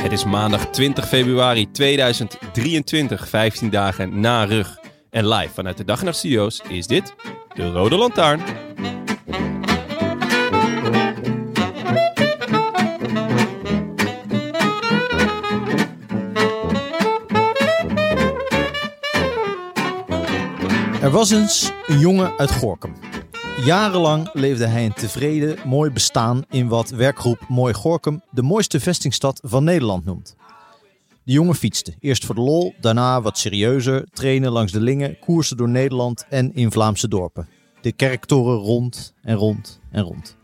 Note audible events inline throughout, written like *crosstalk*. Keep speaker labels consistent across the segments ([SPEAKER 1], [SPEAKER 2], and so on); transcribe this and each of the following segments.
[SPEAKER 1] Het is maandag 20 februari 2023, 15 dagen na rug. En live vanuit de Dag en Nacht Studio's is dit de Rode Lantaarn.
[SPEAKER 2] Er was eens een jongen uit Gorkum. Jarenlang leefde hij een tevreden, mooi bestaan in wat werkgroep Mooi Gorkum de mooiste vestingstad van Nederland noemt. De jongen fietste, eerst voor de lol, daarna wat serieuzer, trainen langs de Lingen, koersen door Nederland en in Vlaamse dorpen. De kerktoren rond en rond en rond.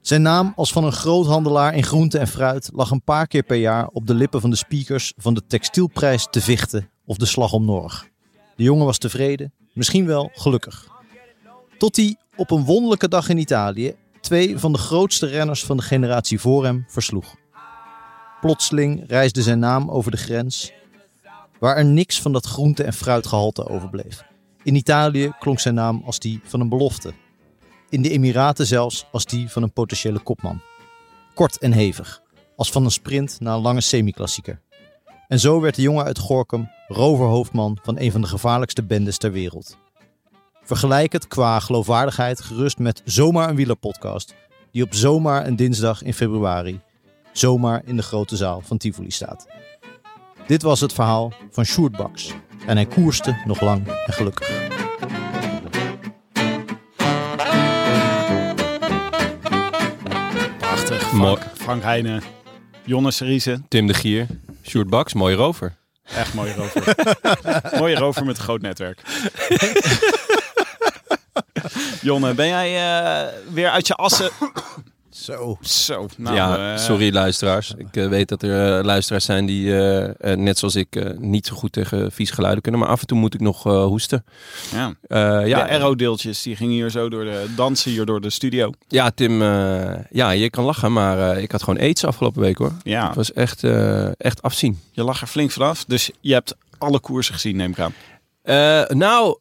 [SPEAKER 2] Zijn naam als van een groothandelaar in groente en fruit lag een paar keer per jaar op de lippen van de speakers van de textielprijs te Vichten of de Slag om Norg. De jongen was tevreden, misschien wel gelukkig. Tot hij op een wonderlijke dag in Italië twee van de grootste renners van de generatie voor hem versloeg. Plotseling reisde zijn naam over de grens, waar er niks van dat groente- en fruitgehalte overbleef. In Italië klonk zijn naam als die van een belofte. In de Emiraten zelfs als die van een potentiële kopman. Kort en hevig, als van een sprint na een lange semi-klassieker. En zo werd de jongen uit Gorkum roverhoofdman van een van de gevaarlijkste bendes ter wereld. Vergelijk het qua geloofwaardigheid gerust met zomaar een wielerpodcast, die op zomaar een dinsdag in februari zomaar in de grote zaal van Tivoli staat. Dit was het verhaal van Sjoerd Baks en hij koerste nog lang en gelukkig.
[SPEAKER 3] Prachtig.
[SPEAKER 1] Mooi.
[SPEAKER 3] Frank, Frank Heijnen. Jonne Seriese.
[SPEAKER 1] Tim de Gier, Sjoerd Baks, mooie rover.
[SPEAKER 3] Echt mooie rover. mooie rover met een groot netwerk. *laughs* Jonne, ben jij eh, weer uit je assen?
[SPEAKER 2] Zo.
[SPEAKER 3] Zo. Nou,
[SPEAKER 1] ja,
[SPEAKER 3] eh,
[SPEAKER 1] sorry luisteraars. Ik eh, weet dat er eh, luisteraars zijn die, eh, eh, net zoals ik, eh, niet zo goed tegen vies geluiden kunnen. Maar af en toe moet ik nog eh, hoesten.
[SPEAKER 3] Ja.
[SPEAKER 1] Eh, ja,
[SPEAKER 3] de aerodeeltjes die gingen hier zo door de dansen hier door de studio.
[SPEAKER 1] ja, Tim, eh, ja, je kan lachen, maar eh, ik had gewoon aids afgelopen week hoor.
[SPEAKER 3] Ja,
[SPEAKER 1] Het was echt, eh, echt afzien.
[SPEAKER 3] je lag er flink vanaf. Dus je hebt alle koersen gezien, neem ik aan.
[SPEAKER 1] Eh, nou,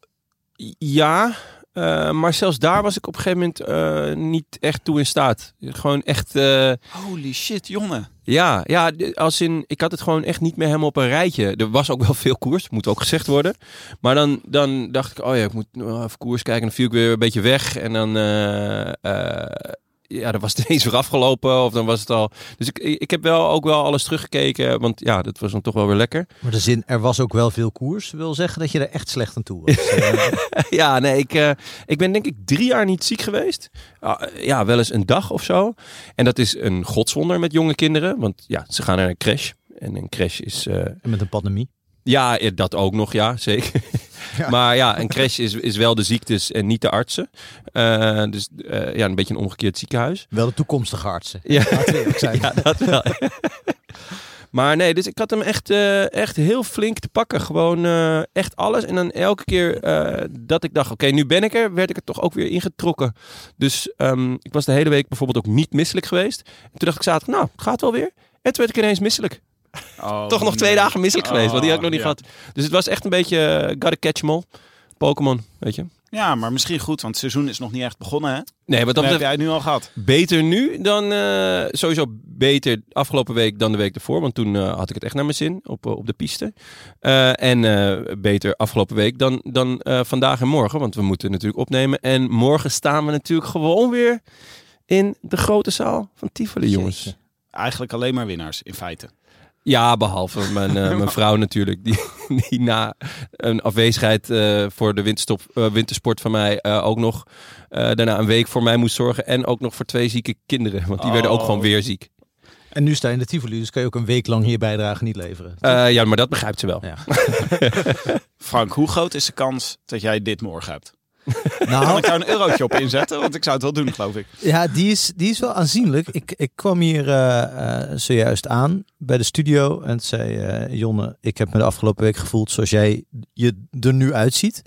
[SPEAKER 1] ja. eh, maar zelfs daar was ik op een gegeven moment eh, niet echt toe in staat. Gewoon echt, eh,
[SPEAKER 3] Holy shit, Jonne.
[SPEAKER 1] ja, ja, d- als in, ik had het gewoon echt niet meer helemaal op een rijtje. Er was ook wel veel koers, moet ook gezegd worden. Maar dan, dan dacht ik, oh ja, ik moet nog even koers kijken. Dan viel ik weer een beetje weg en dan, eh, eh, ja, dan was het *laughs* ineens weer afgelopen of dan was het al. Dus ik, ik heb wel ook wel alles teruggekeken, want ja, dat was dan toch wel weer lekker.
[SPEAKER 2] Maar de zin, er was ook wel veel koers, wil zeggen dat je er echt slecht aan toe *laughs* was.
[SPEAKER 1] Ja, nee, ik, eh, ik ben denk ik drie jaar niet ziek geweest. Ah, ja, wel eens een dag of zo. En dat is een godswonder met jonge kinderen. Want ja, ze gaan naar een crash. En een crash is... eh,
[SPEAKER 2] En met een pandemie.
[SPEAKER 1] ja, eh, dat ook nog, ja, zeker.
[SPEAKER 2] Ja.
[SPEAKER 1] *laughs* Maar ja, een crash is, is wel de ziektes en niet de artsen. Eh, dus eh, ja, een beetje een omgekeerd ziekenhuis.
[SPEAKER 2] Wel de toekomstige artsen.
[SPEAKER 1] Ja.
[SPEAKER 2] Laten we eerlijk zijn.
[SPEAKER 1] Ja, *laughs* dat wel. maar nee, dus ik had hem echt, eh, echt heel flink te pakken. Gewoon eh, echt alles. En dan elke keer eh, dat ik dacht, oké, nu ben ik er, werd ik er toch ook weer ingetrokken. Dus ehm, ik was de hele week bijvoorbeeld ook niet misselijk geweest. En toen dacht ik zaterdag, nou, het gaat wel weer. En toen werd ik ineens misselijk.
[SPEAKER 3] Oh,
[SPEAKER 1] toch nog twee dagen misselijk geweest, want die had ik nog niet
[SPEAKER 3] gehad.
[SPEAKER 1] gehad. Dus het was echt een beetje eh, gotta catch 'em all. Pokémon, weet je.
[SPEAKER 3] Ja, maar misschien goed, want het seizoen is nog niet echt begonnen, hè?
[SPEAKER 1] Nee, wat dat
[SPEAKER 3] Dat heb
[SPEAKER 1] betreft,
[SPEAKER 3] jij het nu al gehad.
[SPEAKER 1] Beter nu dan eh, sowieso beter afgelopen week dan de week ervoor. Want toen eh, had ik het echt naar mijn zin op, eh, op de piste. Eh, en eh, beter afgelopen week dan, dan eh, vandaag en morgen. Want we moeten natuurlijk opnemen. En morgen staan we natuurlijk gewoon weer in de grote zaal van Tivoli, jongens.
[SPEAKER 2] Jeetje.
[SPEAKER 3] Eigenlijk alleen maar winnaars, in feite.
[SPEAKER 1] Ja, behalve mijn, eh, mijn vrouw natuurlijk, die, die na een afwezigheid eh, voor de winterstop, eh, wintersport van mij eh, ook nog eh, daarna een week voor mij moest zorgen. En ook nog voor twee zieke kinderen, want die werden ook
[SPEAKER 3] Oh.
[SPEAKER 1] gewoon weer ziek.
[SPEAKER 2] En nu sta je in de Tivoli, dus kan je ook een week lang hier bijdrage niet leveren.
[SPEAKER 1] Eh, ja, maar dat begrijpt ze wel.
[SPEAKER 2] Ja.
[SPEAKER 3] Frank, hoe groot is de kans dat jij dit morgen
[SPEAKER 2] *laughs*
[SPEAKER 3] hebt? Kan
[SPEAKER 2] Nou,
[SPEAKER 3] ik daar een eurotje op inzetten? Want ik zou het wel doen, geloof ik.
[SPEAKER 2] *laughs* ja, die is, die is wel aanzienlijk. Ik, ik kwam hier eh, eh, zojuist aan bij de studio en toen zei eh, Jonne, ik heb me de afgelopen week gevoeld zoals jij je er nu uitziet.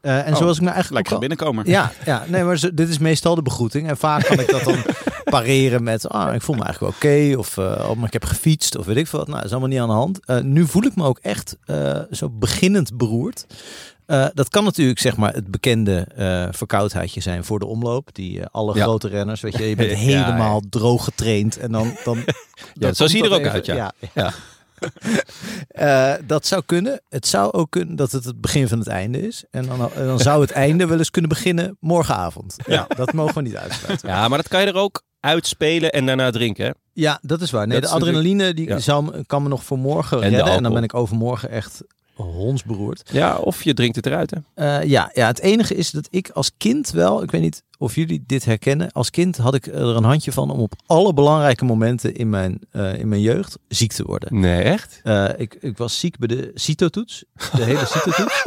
[SPEAKER 2] Eh, en
[SPEAKER 3] Oh,
[SPEAKER 2] zoals ik me eigenlijk
[SPEAKER 3] Lekker
[SPEAKER 2] ook al-
[SPEAKER 3] binnenkomen.
[SPEAKER 2] Ja, ja, nee, maar zo- dit is meestal de begroeting. En vaak kan ik dat
[SPEAKER 1] *laughs*
[SPEAKER 2] dan pareren met, ah, ik voel me eigenlijk wel oké. of, eh, oh, maar ik heb gefietst of weet ik veel wat. Nou, dat is allemaal niet aan de hand. Eh, nu voel ik me ook echt eh, zo beginnend beroerd. Eh, dat kan natuurlijk zeg maar het bekende eh, verkoudheidje zijn voor de omloop. Die eh, alle
[SPEAKER 1] Ja.
[SPEAKER 2] grote renners, weet je, je
[SPEAKER 1] *laughs*
[SPEAKER 2] bent
[SPEAKER 1] Ja,
[SPEAKER 2] helemaal droog getraind. En dan, dan, dan
[SPEAKER 1] zo zie je
[SPEAKER 2] komt
[SPEAKER 1] er
[SPEAKER 2] dat
[SPEAKER 1] ook uit, ja.
[SPEAKER 2] ja. *laughs* Eh, dat zou kunnen. Het zou ook kunnen dat het het begin van het einde is. En dan, en dan *laughs* zou het einde wel eens kunnen beginnen morgenavond. Ja, *laughs* dat mogen we niet uitsluiten.
[SPEAKER 1] Ja, maar dat kan je er ook uitspelen en daarna drinken. Hè?
[SPEAKER 2] Ja, dat is waar. Nee,
[SPEAKER 1] Dat
[SPEAKER 2] de
[SPEAKER 1] is natuurlijk-
[SPEAKER 2] adrenaline die
[SPEAKER 1] ja.
[SPEAKER 2] zou, me- kan me nog voor morgen
[SPEAKER 1] de
[SPEAKER 2] redden. En dan
[SPEAKER 1] alcohol.
[SPEAKER 2] ben ik overmorgen echt hondsberoerd.
[SPEAKER 1] Ja, of je drinkt het eruit. Hè?
[SPEAKER 2] Eh, ja, ja, het enige is dat ik als kind wel, ik weet niet of jullie dit herkennen, als kind had ik er een handje van om op alle belangrijke momenten in mijn, eh, in mijn jeugd ziek te worden.
[SPEAKER 1] Nee, echt?
[SPEAKER 2] Eh, ik, ik was ziek bij de CITO-toets. De hele CITO-toets.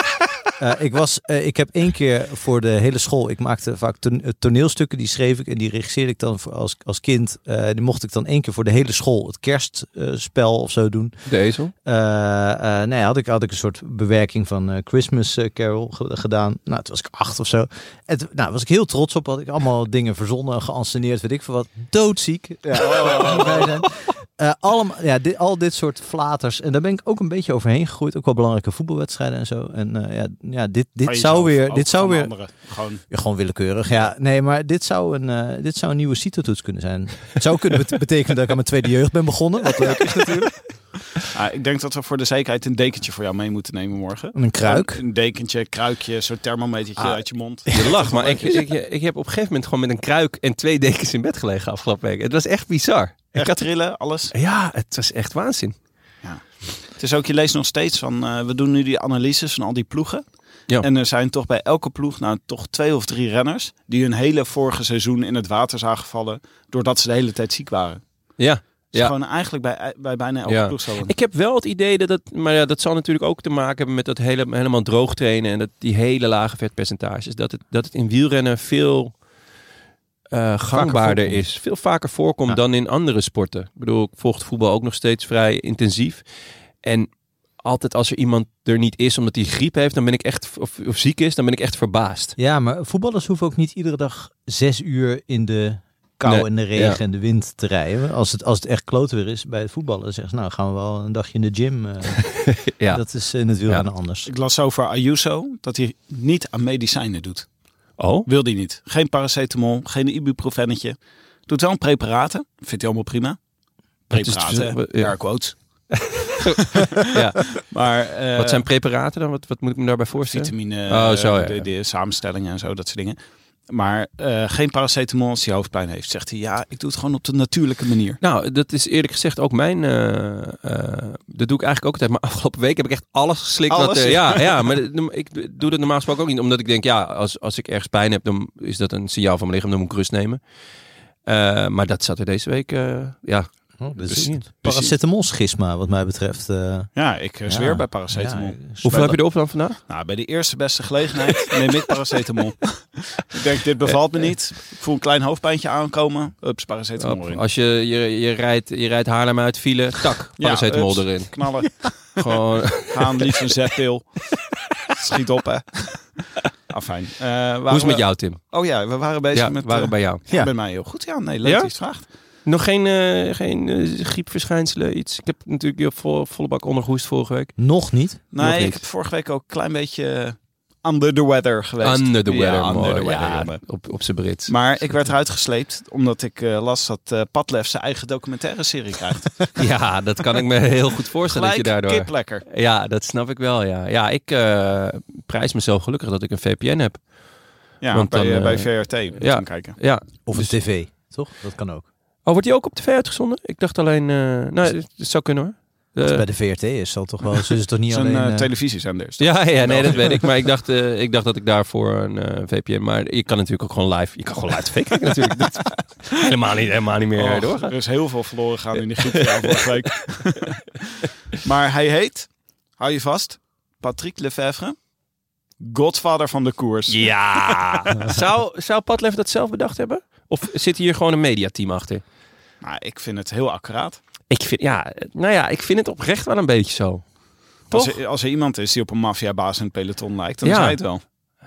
[SPEAKER 2] Eh, ik, was, eh, ik heb één keer voor de hele school, ik maakte vaak ton- eh, toneelstukken, die schreef ik en die regisseerde ik dan voor als, als kind. Eh, die mocht ik dan één keer voor de hele school, het kerstspel eh, of zo doen.
[SPEAKER 1] Deze.
[SPEAKER 2] Eh, eh, nee, had ik, had ik een soort bewerking van eh, Christmas eh, Carol ge- gedaan. Nou, toen was ik acht of zo. En toen- nou, was ik heel trots op. Had ik allemaal *laughs* dingen verzonnen, geanceneerd, weet ik veel wat. Doodziek. Ja, *laughs* moet blij zijn. Eh, allemaal, ja, dit, al dit soort flaters. En daar ben ik ook een beetje overheen gegroeid. Ook wel belangrijke voetbalwedstrijden en zo. En eh, ja, ja, dit,
[SPEAKER 3] Van
[SPEAKER 2] dit
[SPEAKER 3] jezelf,
[SPEAKER 2] zou weer...
[SPEAKER 3] Oh, ook
[SPEAKER 2] Dit zou
[SPEAKER 3] van
[SPEAKER 2] weer
[SPEAKER 3] anderen. Gewoon,
[SPEAKER 2] ja, gewoon willekeurig, ja. Nee, maar dit zou een, eh, dit zou een nieuwe CITO-toets kunnen zijn. Het zou kunnen bet- betekenen dat ik aan mijn tweede jeugd ben begonnen. Wat leuk is natuurlijk.
[SPEAKER 3] Ah, ik denk dat we voor de zekerheid een dekentje voor jou mee moeten nemen morgen.
[SPEAKER 2] Een kruik.
[SPEAKER 3] Een dekentje, kruikje, zo'n thermometertje
[SPEAKER 1] Ah.
[SPEAKER 3] uit je
[SPEAKER 2] *laughs*
[SPEAKER 3] mond.
[SPEAKER 1] *laughs* Je lacht, maar ik, ik, ik heb op een gegeven moment gewoon met een kruik en twee dekens in bed gelegen afgelopen week. Het was echt bizar. Ik
[SPEAKER 3] Echt
[SPEAKER 1] had-
[SPEAKER 3] trillen, alles.
[SPEAKER 1] ja, het was echt waanzin.
[SPEAKER 3] Het is ook, je leest nog steeds van, eh, we doen nu die analyses van al die ploegen.
[SPEAKER 1] Ja.
[SPEAKER 3] En er zijn toch bij elke ploeg nou toch twee of drie renners die hun hele vorige seizoen in het water zagen vallen doordat ze de hele tijd ziek waren.
[SPEAKER 1] Ja.
[SPEAKER 3] Dus
[SPEAKER 1] Ja.
[SPEAKER 3] gewoon eigenlijk bij, bij bijna elke
[SPEAKER 1] Ja.
[SPEAKER 3] ploeg zo.
[SPEAKER 1] Ik heb wel het idee dat dat, maar ja, dat zal natuurlijk ook te maken hebben met dat hele, helemaal droog trainen en dat die hele lage vetpercentages. Dat het, dat het in wielrennen veel eh, gangbaarder
[SPEAKER 2] voorkomt.
[SPEAKER 1] is. Veel vaker voorkomt
[SPEAKER 2] Ja.
[SPEAKER 1] dan in andere sporten. Ik bedoel, ik volg het voetbal ook nog steeds vrij intensief. En altijd als er iemand er niet is omdat hij griep heeft, dan ben ik echt, of, of ziek is, dan ben ik echt verbaasd.
[SPEAKER 2] Ja, maar voetballers hoeven ook niet iedere dag zes uur in de kou
[SPEAKER 1] Nee,
[SPEAKER 2] en de regen
[SPEAKER 1] ja.
[SPEAKER 2] en de wind te rijden. Als het, als het echt kloot weer is bij het voetballen, dan zeggen ze, nou gaan we wel een dagje in de gym. eh.
[SPEAKER 1] *laughs* Ja.
[SPEAKER 2] Dat is eh, natuurlijk anders.
[SPEAKER 3] Ik las over Ayuso dat hij niet aan medicijnen doet.
[SPEAKER 1] Oh?
[SPEAKER 3] Wil hij niet. Geen paracetamol, geen ibuprofennetje. Doet wel een preparaten. Vindt hij allemaal prima.
[SPEAKER 1] Het is
[SPEAKER 3] Preparaten,
[SPEAKER 1] dus-
[SPEAKER 3] ja.
[SPEAKER 1] ja.
[SPEAKER 3] eh, quotes.
[SPEAKER 2] *laughs*
[SPEAKER 1] Ja.
[SPEAKER 3] Maar, eh,
[SPEAKER 1] Wat zijn preparaten dan? Wat, wat moet ik me daarbij voorstellen?
[SPEAKER 3] vitamine,
[SPEAKER 1] Oh, zo, ja,
[SPEAKER 3] de,
[SPEAKER 1] ja.
[SPEAKER 3] de samenstellingen en zo, dat soort dingen. Maar eh, geen paracetamol als hij hoofdpijn heeft. Zegt hij, ja, ik doe het gewoon op de natuurlijke manier.
[SPEAKER 1] Nou, dat is eerlijk gezegd ook mijn. eh, eh, dat doe ik eigenlijk ook altijd. Maar *laughs* afgelopen week heb ik echt alles geslikt. Wat,
[SPEAKER 3] Alles?
[SPEAKER 1] eh, ja, ja, maar *laughs* dat- ik doe dat normaal gesproken ook niet. Omdat ik denk, ja, als, als ik ergens pijn heb, dan is dat een signaal van mijn lichaam. Dan moet ik rust nemen. Eh, maar dat zat er deze week. eh, ja,
[SPEAKER 2] dat
[SPEAKER 1] dus
[SPEAKER 2] is
[SPEAKER 1] niet.
[SPEAKER 2] paracetamol schisma, wat mij betreft. eh
[SPEAKER 3] Ja, ik eh,
[SPEAKER 2] Ja.
[SPEAKER 3] zweer bij paracetamol.
[SPEAKER 2] ja,
[SPEAKER 1] Hoeveel heb je erop dan vandaag?
[SPEAKER 3] Nou, bij de eerste beste gelegenheid
[SPEAKER 1] *laughs*
[SPEAKER 3] neem ik paracetamol. ik denk, dit bevalt me niet. Ik voel een klein hoofdpijntje aankomen. Ups, paracetamol
[SPEAKER 1] Op-
[SPEAKER 3] in.
[SPEAKER 1] als je, je, je, rijdt, je rijdt Haarlem uit, file, tak,
[SPEAKER 3] *laughs* Ja,
[SPEAKER 1] paracetamol
[SPEAKER 3] ups.
[SPEAKER 1] erin.
[SPEAKER 3] Knallen, *laughs*
[SPEAKER 1] Gewoon, *laughs*
[SPEAKER 3] gaan, liefst een zetpil. Schiet op, hè. Afijn. Eh, waren
[SPEAKER 1] hoe is het met
[SPEAKER 3] we-
[SPEAKER 1] jou, Tim?
[SPEAKER 3] Oh ja, we waren bezig
[SPEAKER 1] Ja,
[SPEAKER 3] met...
[SPEAKER 1] waren
[SPEAKER 3] eh,
[SPEAKER 1] bij jou.
[SPEAKER 2] Ja.
[SPEAKER 3] Bij mij heel goed. Ja, nee, leuk
[SPEAKER 1] Ja?
[SPEAKER 3] dat je het vraagt.
[SPEAKER 1] Nog geen, eh, geen eh, griepverschijnselen, iets. Ik heb natuurlijk heel vol, volle bak ondergehoest vorige week.
[SPEAKER 2] Nog niet.
[SPEAKER 1] Nog
[SPEAKER 3] Nee, ik
[SPEAKER 1] niet.
[SPEAKER 3] heb vorige week ook een klein beetje eh, under the weather geweest.
[SPEAKER 1] Under the
[SPEAKER 3] Ja,
[SPEAKER 1] weather,
[SPEAKER 3] under
[SPEAKER 1] mooi.
[SPEAKER 3] the weather,
[SPEAKER 1] Ja,
[SPEAKER 3] jongen.
[SPEAKER 1] op, op zijn Brits.
[SPEAKER 3] Maar ik werd eruit gesleept omdat ik eh, las dat eh Padlef zijn eigen documentaire serie
[SPEAKER 1] *laughs*
[SPEAKER 3] krijgt.
[SPEAKER 1] *laughs* ja, dat kan ik me heel goed voorstellen dat je
[SPEAKER 3] Gelijk
[SPEAKER 1] daardoor...
[SPEAKER 3] kip lekker.
[SPEAKER 1] Ja, dat snap ik wel, ja. Ja, ik eh, prijs mezelf gelukkig dat ik een VPN heb.
[SPEAKER 3] Ja,
[SPEAKER 1] Want
[SPEAKER 3] bij,
[SPEAKER 1] dan,
[SPEAKER 3] eh,
[SPEAKER 1] eh,
[SPEAKER 3] bij VRT. moet je
[SPEAKER 1] ja.
[SPEAKER 3] hem kijken.
[SPEAKER 1] Ja.
[SPEAKER 2] Of
[SPEAKER 1] Dus-
[SPEAKER 2] een tv, toch? Dat kan ook.
[SPEAKER 1] Oh, wordt die ook op tv uitgezonden? Ik dacht alleen... eh, nou, dat zou kunnen hoor. Eh,
[SPEAKER 2] Bij de VRT is dat toch wel. Ze is toch niet
[SPEAKER 3] Zo'n
[SPEAKER 2] alleen...
[SPEAKER 3] eh,
[SPEAKER 2] eh,
[SPEAKER 3] televisiezender. is dat.
[SPEAKER 1] ja, ja, nee, dat weet ik.
[SPEAKER 3] *laughs*
[SPEAKER 1] Maar ik dacht, eh, ik dacht dat ik daarvoor een eh, VPN... Maar je kan natuurlijk ook gewoon live... Je kan gewoon live tv kijken
[SPEAKER 3] *laughs*
[SPEAKER 1] natuurlijk. Dat is helemaal, niet, helemaal niet meer
[SPEAKER 3] Och,
[SPEAKER 1] doorgaan.
[SPEAKER 3] Oh, er is heel veel verloren gaan in die
[SPEAKER 1] *laughs*
[SPEAKER 3] groep van jou vorige week. *laughs* maar hij heet, hou je vast, Patrick Lefevre. Godvader van de koers. *laughs*
[SPEAKER 1] Ja. zou, zou Padlef dat zelf bedacht hebben? Of zit hier gewoon een mediateam achter?
[SPEAKER 3] Nou, ik vind het heel accuraat.
[SPEAKER 1] Ik vind, ja, nou ja, ik vind het oprecht wel een beetje zo. Toch?
[SPEAKER 3] Als er, als er iemand is die op een maffiabaas in het peloton lijkt, dan
[SPEAKER 1] Ja.
[SPEAKER 3] is hij het wel.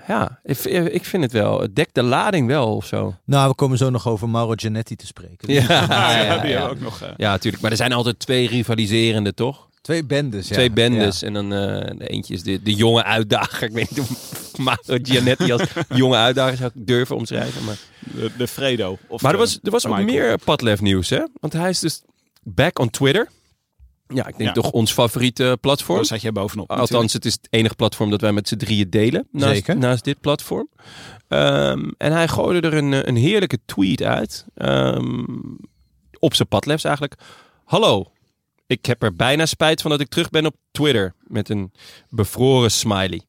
[SPEAKER 1] Ja, ik, ik vind het wel. Het dekt de lading wel of zo.
[SPEAKER 2] Nou, we komen zo nog over Mauro Giannetti te spreken.
[SPEAKER 3] Ah, *laughs* ja,
[SPEAKER 1] *laughs* ja,
[SPEAKER 3] die hebben
[SPEAKER 1] ja.
[SPEAKER 3] we ook nog. eh.
[SPEAKER 1] Ja, natuurlijk. Maar er zijn altijd twee rivaliserende, toch?
[SPEAKER 2] Twee bendes, ja.
[SPEAKER 1] twee bendes. En dan eh, de eentje is de, de jonge uitdager. *laughs* Ik weet niet of Mario Giannetti als jonge uitdager zou ik durven omschrijven. Maar,
[SPEAKER 3] De, de Fredo. Of
[SPEAKER 1] maar er
[SPEAKER 3] de
[SPEAKER 1] was, er was ook
[SPEAKER 3] Michael.
[SPEAKER 1] meer Padlef nieuws, hè? Want hij is dus back on Twitter. Ja, ik denk
[SPEAKER 3] Ja.
[SPEAKER 1] toch ons favoriete platform.
[SPEAKER 3] Daar zat jij bovenop.
[SPEAKER 1] Althans, het is het enige platform dat wij met z'n drieën delen. Naast,
[SPEAKER 2] Zeker.
[SPEAKER 1] naast dit platform. Ehm, en hij gooide er een, eh, een heerlijke tweet uit. ehm, op zijn padlefs eigenlijk. Hallo, ik heb er bijna spijt van dat ik terug ben op Twitter. Met een bevroren smiley.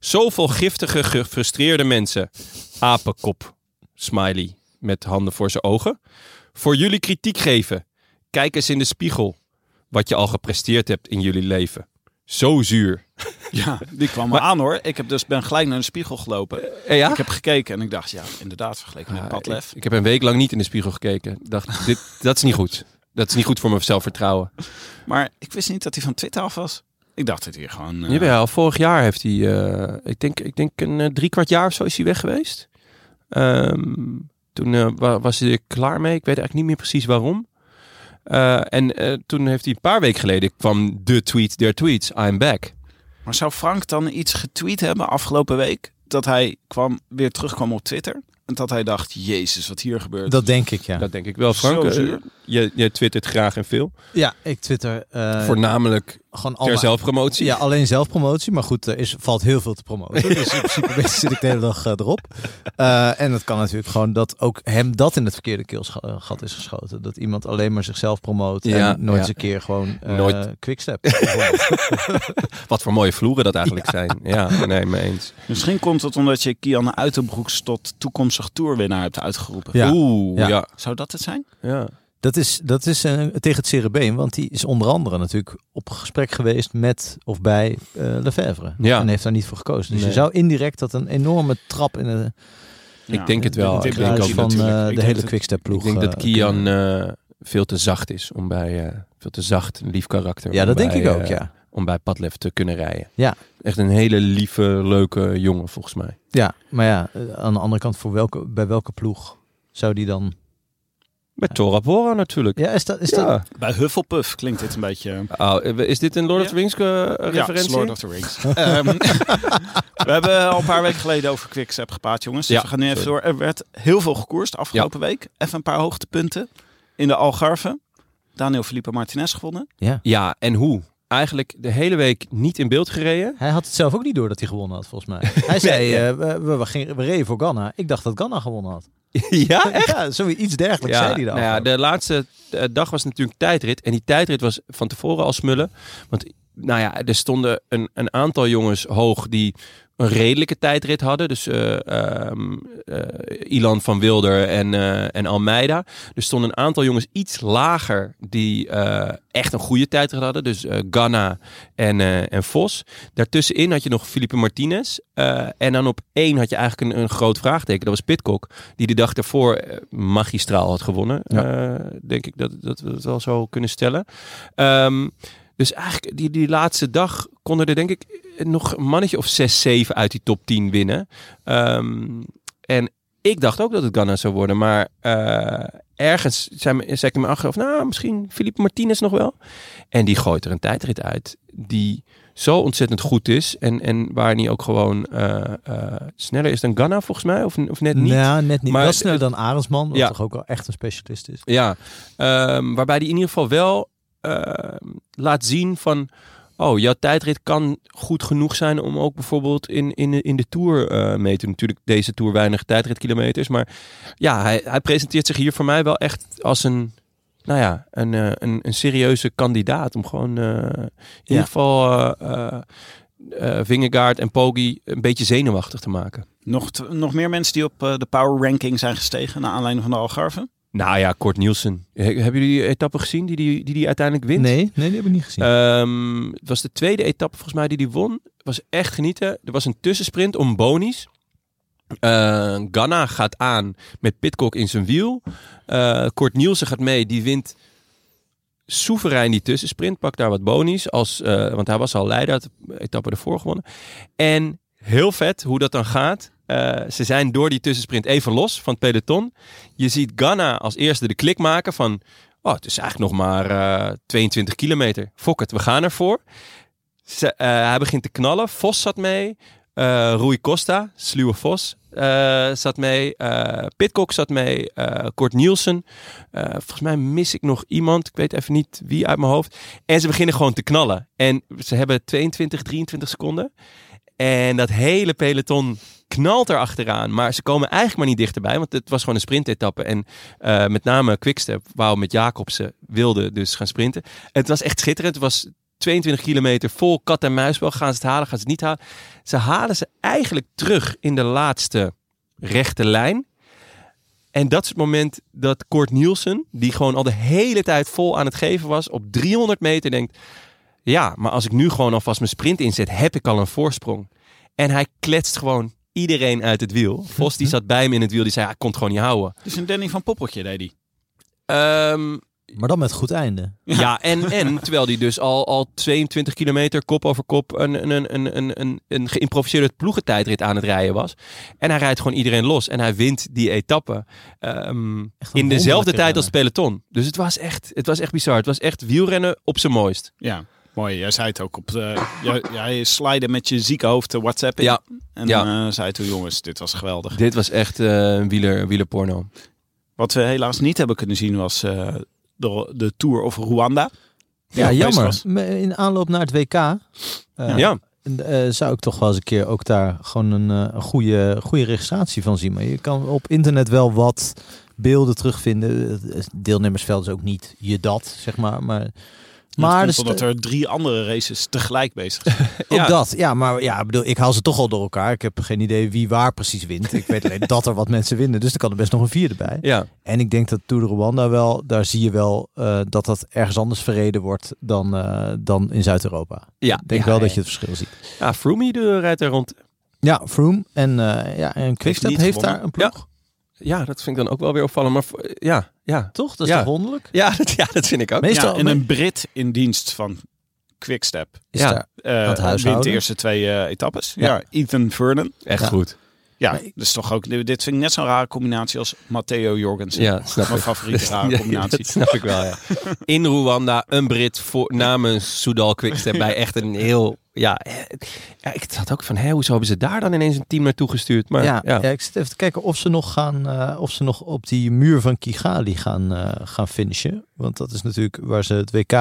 [SPEAKER 1] Zoveel giftige, gefrustreerde mensen. Apenkop. Smiley. Met handen voor zijn ogen. Voor jullie kritiek geven. Kijk eens in de spiegel. Wat je al gepresteerd hebt in jullie leven. Zo zuur.
[SPEAKER 3] *laughs* Ja, die kwam maar aan hoor. Ik heb dus, ben gelijk naar een spiegel gelopen.
[SPEAKER 1] ja?
[SPEAKER 3] Ik heb gekeken en ik dacht, ja, inderdaad, vergeleken met
[SPEAKER 1] ik,
[SPEAKER 3] Padlef.
[SPEAKER 1] ik heb een week lang niet in de spiegel gekeken. Ik *laughs* dacht, dit, dat is niet goed. Dat is niet goed voor mijn zelfvertrouwen.
[SPEAKER 3] Maar ik wist niet dat hij van Twitter af was. Ik dacht dat hij gewoon... eh,
[SPEAKER 1] Jawel, vorig jaar heeft hij, eh, ik, denk, ik denk een eh, drie kwart jaar of zo is hij weg geweest. Ehm, toen eh, wa- was hij er klaar mee. Ik weet eigenlijk niet meer precies waarom. Eh, en eh, toen heeft hij een paar weken geleden kwam de tweet der tweets. I'm back.
[SPEAKER 3] Maar zou Frank dan iets getweet hebben afgelopen week? Dat hij kwam, weer terugkwam op Twitter. En dat hij dacht, jezus, wat hier gebeurt.
[SPEAKER 2] Dat denk ik, ja.
[SPEAKER 1] Dat denk ik wel, Frank.
[SPEAKER 3] Zo
[SPEAKER 1] Eh,
[SPEAKER 3] zuur.
[SPEAKER 1] je, je twittert graag en veel.
[SPEAKER 2] Ja, ik twitter eh,
[SPEAKER 1] Voornamelijk
[SPEAKER 2] gewoon
[SPEAKER 1] ter
[SPEAKER 2] allemaal-
[SPEAKER 1] zelfpromotie.
[SPEAKER 2] Ja, alleen zelfpromotie. Maar goed, er is, valt heel veel te promoten.
[SPEAKER 1] *laughs*
[SPEAKER 2] Dus in principe *laughs* zit ik de hele dag eh, erop. Eh, en het kan natuurlijk gewoon dat ook hem dat in het verkeerde keelgat is geschoten. Dat iemand alleen maar zichzelf promoot
[SPEAKER 1] Ja,
[SPEAKER 2] en nooit
[SPEAKER 1] ja.
[SPEAKER 2] eens een keer gewoon eh
[SPEAKER 1] Nooit.
[SPEAKER 2] quickstep. *laughs* bijvoorbeeld.
[SPEAKER 1] Wat voor mooie vloeren dat eigenlijk zijn. Ja, nee, mee eens.
[SPEAKER 3] Misschien komt het omdat je Kian Uitenbroeks tot toekomstig toerwinnaar hebt uitgeroepen.
[SPEAKER 2] Ja.
[SPEAKER 1] Oeh, ja.
[SPEAKER 2] Ja.
[SPEAKER 1] ja.
[SPEAKER 3] Zou dat het zijn?
[SPEAKER 2] dat is, dat is eh, tegen het cerebeen, want die is onder andere natuurlijk op gesprek geweest met of bij eh Lefebvre.
[SPEAKER 1] Ja.
[SPEAKER 2] En heeft daar niet voor gekozen. Dus
[SPEAKER 1] Nee.
[SPEAKER 2] je zou indirect dat een enorme trap in de,
[SPEAKER 3] Ja.
[SPEAKER 1] Ik denk het wel.
[SPEAKER 3] Dit
[SPEAKER 1] Ik denk,
[SPEAKER 3] bruis
[SPEAKER 1] ook
[SPEAKER 2] ruis
[SPEAKER 3] je
[SPEAKER 2] van
[SPEAKER 1] dat,
[SPEAKER 3] natuurlijk.
[SPEAKER 2] eh,
[SPEAKER 3] Ik
[SPEAKER 2] de
[SPEAKER 3] denk
[SPEAKER 2] hele
[SPEAKER 3] dat-
[SPEAKER 2] quickstep
[SPEAKER 1] ik
[SPEAKER 2] ploeg.
[SPEAKER 1] denk dat
[SPEAKER 2] eh,
[SPEAKER 1] Kian
[SPEAKER 2] kunnen-
[SPEAKER 1] eh, veel te zacht is om bij... eh, veel te zacht, een lief karakter.
[SPEAKER 2] Ja,
[SPEAKER 1] om
[SPEAKER 2] dat denk
[SPEAKER 1] bij,
[SPEAKER 2] ik ook,
[SPEAKER 1] eh,
[SPEAKER 2] ja.
[SPEAKER 1] Om bij Padlef te kunnen rijden.
[SPEAKER 2] Ja.
[SPEAKER 1] Echt een hele lieve, leuke jongen volgens mij.
[SPEAKER 2] Ja, maar ja, eh, aan de andere kant, voor welke, bij welke ploeg zou die dan...
[SPEAKER 1] Met Tora Bora natuurlijk.
[SPEAKER 2] Ja, is dat... Is dat...
[SPEAKER 1] Ja.
[SPEAKER 3] Bij Hufflepuff klinkt dit een beetje...
[SPEAKER 1] Oh, is dit een Lord of
[SPEAKER 3] Ja.
[SPEAKER 1] the Rings eh, referentie?
[SPEAKER 3] Ja, Lord of the Rings. Ehm, *laughs* we hebben al een paar weken geleden over Quickstep gepraat, jongens. Dus
[SPEAKER 1] Ja,
[SPEAKER 3] we gaan nu even
[SPEAKER 1] sorry.
[SPEAKER 3] door. Er werd heel veel gekoerst afgelopen week. Even een paar hoogtepunten. In de Algarve. Daniel Felipe Martinez gewonnen.
[SPEAKER 1] Ja, en hoe? Eigenlijk de hele week niet in beeld gereden.
[SPEAKER 2] Hij had het zelf ook niet door dat hij gewonnen had,
[SPEAKER 1] *laughs*
[SPEAKER 2] volgens mij. Hij zei, eh, we, we, we gingen- we reden voor Ghana. Ik dacht dat Ghana gewonnen had.
[SPEAKER 1] *laughs* ja,
[SPEAKER 2] *laughs* Ja, zoiets dergelijks zei hij dan.
[SPEAKER 1] nou Ah, ja, de laatste eh, dag was natuurlijk tijdrit. En die tijdrit was van tevoren al smullen. Want nou ja, er stonden een, een aantal jongens hoog die een redelijke tijdrit hadden. Dus eh, ehm, eh, Ilan van Wilder en, eh, en Almeida. Er stonden een aantal jongens iets lager die eh, echt een goede tijdrit hadden. Dus eh Ganna en, eh, en Vos. Daartussenin had je nog Felipe Martinez. Eh, en dan op één had je eigenlijk een, een groot vraagteken. Dat was Pitcock. Die de dag daarvoor eh, magistraal had gewonnen. Eh, denk ik dat, dat we het wel zo kunnen stellen. Ehm, dus eigenlijk die, die laatste dag konden er denk ik eh, nog een mannetje of 6, 7 uit die top 10 winnen. Ehm, en ik dacht ook dat het Ghana zou worden. Maar eh, ergens zei, me- zei ik in mijn achterhoofd, nou misschien Felipe Martinez nog wel. En die gooit er een tijdrit uit die zo ontzettend goed is. En, en waar hij ook gewoon eh, eh, sneller is dan Ghana volgens mij. Of, of net niet.
[SPEAKER 2] Nou, net niet.
[SPEAKER 1] Maar-
[SPEAKER 2] Maar, wel sneller dan Arendsman, wat
[SPEAKER 1] Ja.
[SPEAKER 2] toch ook wel echt een specialist is.
[SPEAKER 1] Ja, ehm, waarbij die in ieder geval wel ehm, laat zien van... Oh, jouw tijdrit kan goed genoeg zijn om ook bijvoorbeeld in, in, de- in de Tour eh, mee te doen. Natuurlijk deze Tour weinig tijdritkilometers. Maar ja, hij, hij presenteert zich hier voor mij wel echt als een nou ja, een, eh, een, een serieuze kandidaat om gewoon eh, in ieder geval eh eh, eh, Vingegaard en Poggi een beetje zenuwachtig te maken.
[SPEAKER 3] Nog, t- nog meer mensen die op eh, de power ranking zijn gestegen naar aanleiding van de Algarve.
[SPEAKER 1] Nou ja, Kort Nielsen. He- hebben jullie die etappe gezien die die, die, die uiteindelijk wint?
[SPEAKER 2] Nee, nee, die heb ik niet gezien.
[SPEAKER 1] Ehm, het was de tweede etappe volgens mij die die won. Het was echt genieten. Er was een tussensprint om bonies. Eh Ganna gaat aan met Pitcock in zijn wiel. Eh Kort Nielsen gaat mee. Die wint soeverein die tussensprint. Pakt daar wat bonies. Als, eh, want hij was al leider. Had de etappe ervoor gewonnen. En heel vet hoe dat dan gaat. Eh, ze zijn door die tussensprint even los van het peloton. Je ziet Ganna als eerste de klik maken van... Oh, het is eigenlijk nog maar eh, 22 kilometer. Fok het, we gaan ervoor. Ze, eh, hij begint te knallen. Vos zat mee. Eh Rui Costa, sluwe Vos, eh, zat mee. Eh Pitcock zat mee. Eh Kort Nielsen. Eh, volgens mij mis ik nog iemand. Ik weet even niet wie uit mijn hoofd. En ze beginnen gewoon te knallen. En ze hebben 22, 23 seconden. En dat hele peloton knalt er achteraan. Maar ze komen eigenlijk maar niet dichterbij. Want het was gewoon een sprintetappe. En eh, met name Quickstep, wou met Jacobsen, wilde dus gaan sprinten. Het was echt schitterend. Het was 22 kilometer vol kat en muisbel. Gaan ze het halen, gaan ze het niet halen. Ze halen ze eigenlijk terug in de laatste rechte lijn. En dat is het moment dat Kort Nielsen, die gewoon al de hele tijd vol aan het geven was, op 300 meter denkt: Ja, maar als ik nu gewoon alvast mijn sprint inzet, heb ik al een voorsprong. En hij kletst gewoon iedereen uit het wiel. Vos die zat bij hem in het wiel, die zei: Hij kon het gewoon niet houden.
[SPEAKER 3] Dus een Danny van Poppeltje deed die.
[SPEAKER 1] Ehm,
[SPEAKER 2] maar dan met goed einde.
[SPEAKER 1] ja, en, en terwijl hij dus al, al 22 kilometer kop over kop een, een, een, een, een, een, een geïmproviseerde ploegentijdrit aan het rijden was. En hij rijdt gewoon iedereen los en hij wint die etappe. Ehm,
[SPEAKER 2] Echt een
[SPEAKER 1] in dezelfde
[SPEAKER 2] wonderlijke
[SPEAKER 1] tijd als het peloton. Dus het was, echt, het was echt bizar. Het was echt wielrennen op zijn mooist.
[SPEAKER 3] Ja, mooi. Jij zei het ook op de. jij, jij slide met je zieke hoofd de WhatsApp in.
[SPEAKER 1] Ja,
[SPEAKER 3] En
[SPEAKER 1] ja.
[SPEAKER 3] eh, zei toen, jongens, dit was geweldig.
[SPEAKER 1] Dit was echt eh, een wieler, wielerporno.
[SPEAKER 3] Wat we helaas niet hebben kunnen zien was eh, de, de tour over Rwanda. Die
[SPEAKER 2] Ja,
[SPEAKER 3] ook bezig
[SPEAKER 2] jammer.
[SPEAKER 3] was.
[SPEAKER 2] Me- In aanloop naar het WK eh,
[SPEAKER 1] Ja,
[SPEAKER 2] eh, zou ik toch wel eens een keer ook daar gewoon een, eh, een goede, goede registratie van zien. Maar je kan op internet wel wat beelden terugvinden. Het Deelnemersveld is ook niet je dat, zeg maar. Maar,
[SPEAKER 3] Maar
[SPEAKER 2] maar
[SPEAKER 3] dat
[SPEAKER 2] de
[SPEAKER 3] komt
[SPEAKER 2] sta-
[SPEAKER 3] omdat er drie andere races tegelijk bezig zijn.
[SPEAKER 2] ook
[SPEAKER 1] ja.
[SPEAKER 2] dat. Ja, maar ja, ik bedoel, ik haal ze toch al door elkaar. Ik heb geen idee wie waar precies wint. Ik weet alleen dat er wat mensen winnen. Dus er kan er best nog een vierde bij.
[SPEAKER 1] ja.
[SPEAKER 2] En ik denk dat Tour de Rwanda wel, daar zie je wel eh, dat dat ergens anders verreden wordt dan, eh, dan in Zuid-Europa.
[SPEAKER 1] ja.
[SPEAKER 2] Ik denk
[SPEAKER 1] ja,
[SPEAKER 2] wel
[SPEAKER 1] ja.
[SPEAKER 2] dat je het verschil ziet.
[SPEAKER 1] Ja, Froome die rijdt er rond.
[SPEAKER 2] Ja, Froome en, eh, ja, en Quickstep
[SPEAKER 3] niet
[SPEAKER 2] heeft,
[SPEAKER 3] gewonnen.
[SPEAKER 2] daar een ploeg.
[SPEAKER 1] Ja, dat vind ik dan ook wel weer opvallend. Maar voor- ja, ja.
[SPEAKER 2] Toch? Dat is
[SPEAKER 1] Ja.
[SPEAKER 2] toch wonderlijk?
[SPEAKER 1] Ja, *laughs* dat, ja, dat vind ik ook.
[SPEAKER 2] Meestal
[SPEAKER 3] Ja, en een Brit in dienst van Quickstep.
[SPEAKER 2] is
[SPEAKER 1] ja.
[SPEAKER 2] daar-
[SPEAKER 3] eh
[SPEAKER 2] Dat huishouden.
[SPEAKER 3] wint de eerste twee eh, etappes. Ja.
[SPEAKER 2] Ja.
[SPEAKER 3] Ethan Vernon.
[SPEAKER 1] Echt
[SPEAKER 2] Ja.
[SPEAKER 1] goed.
[SPEAKER 3] Ja,
[SPEAKER 2] Maar ik-
[SPEAKER 3] dus toch ook. Dit vind ik net zo'n rare combinatie als Matteo Jorgensen.
[SPEAKER 1] Ja, snap
[SPEAKER 3] Mijn
[SPEAKER 1] ik.
[SPEAKER 3] favoriete
[SPEAKER 2] *laughs*
[SPEAKER 1] Ja,
[SPEAKER 3] rare combinatie.
[SPEAKER 1] Dat snap ik wel, ja. In Rwanda, een Brit voor, namens Soudal Quickstep bij echt een heel... Ja, eh, ja, ik zat ook van, hé, hoezo hebben ze daar dan ineens een team naartoe gestuurd? Maar
[SPEAKER 2] ja,
[SPEAKER 1] ja, eh,
[SPEAKER 2] ja, ik zit even te kijken of ze nog, gaan, eh, of ze nog op die muur van Kigali gaan, eh, gaan finishen. Want dat is natuurlijk waar ze het WK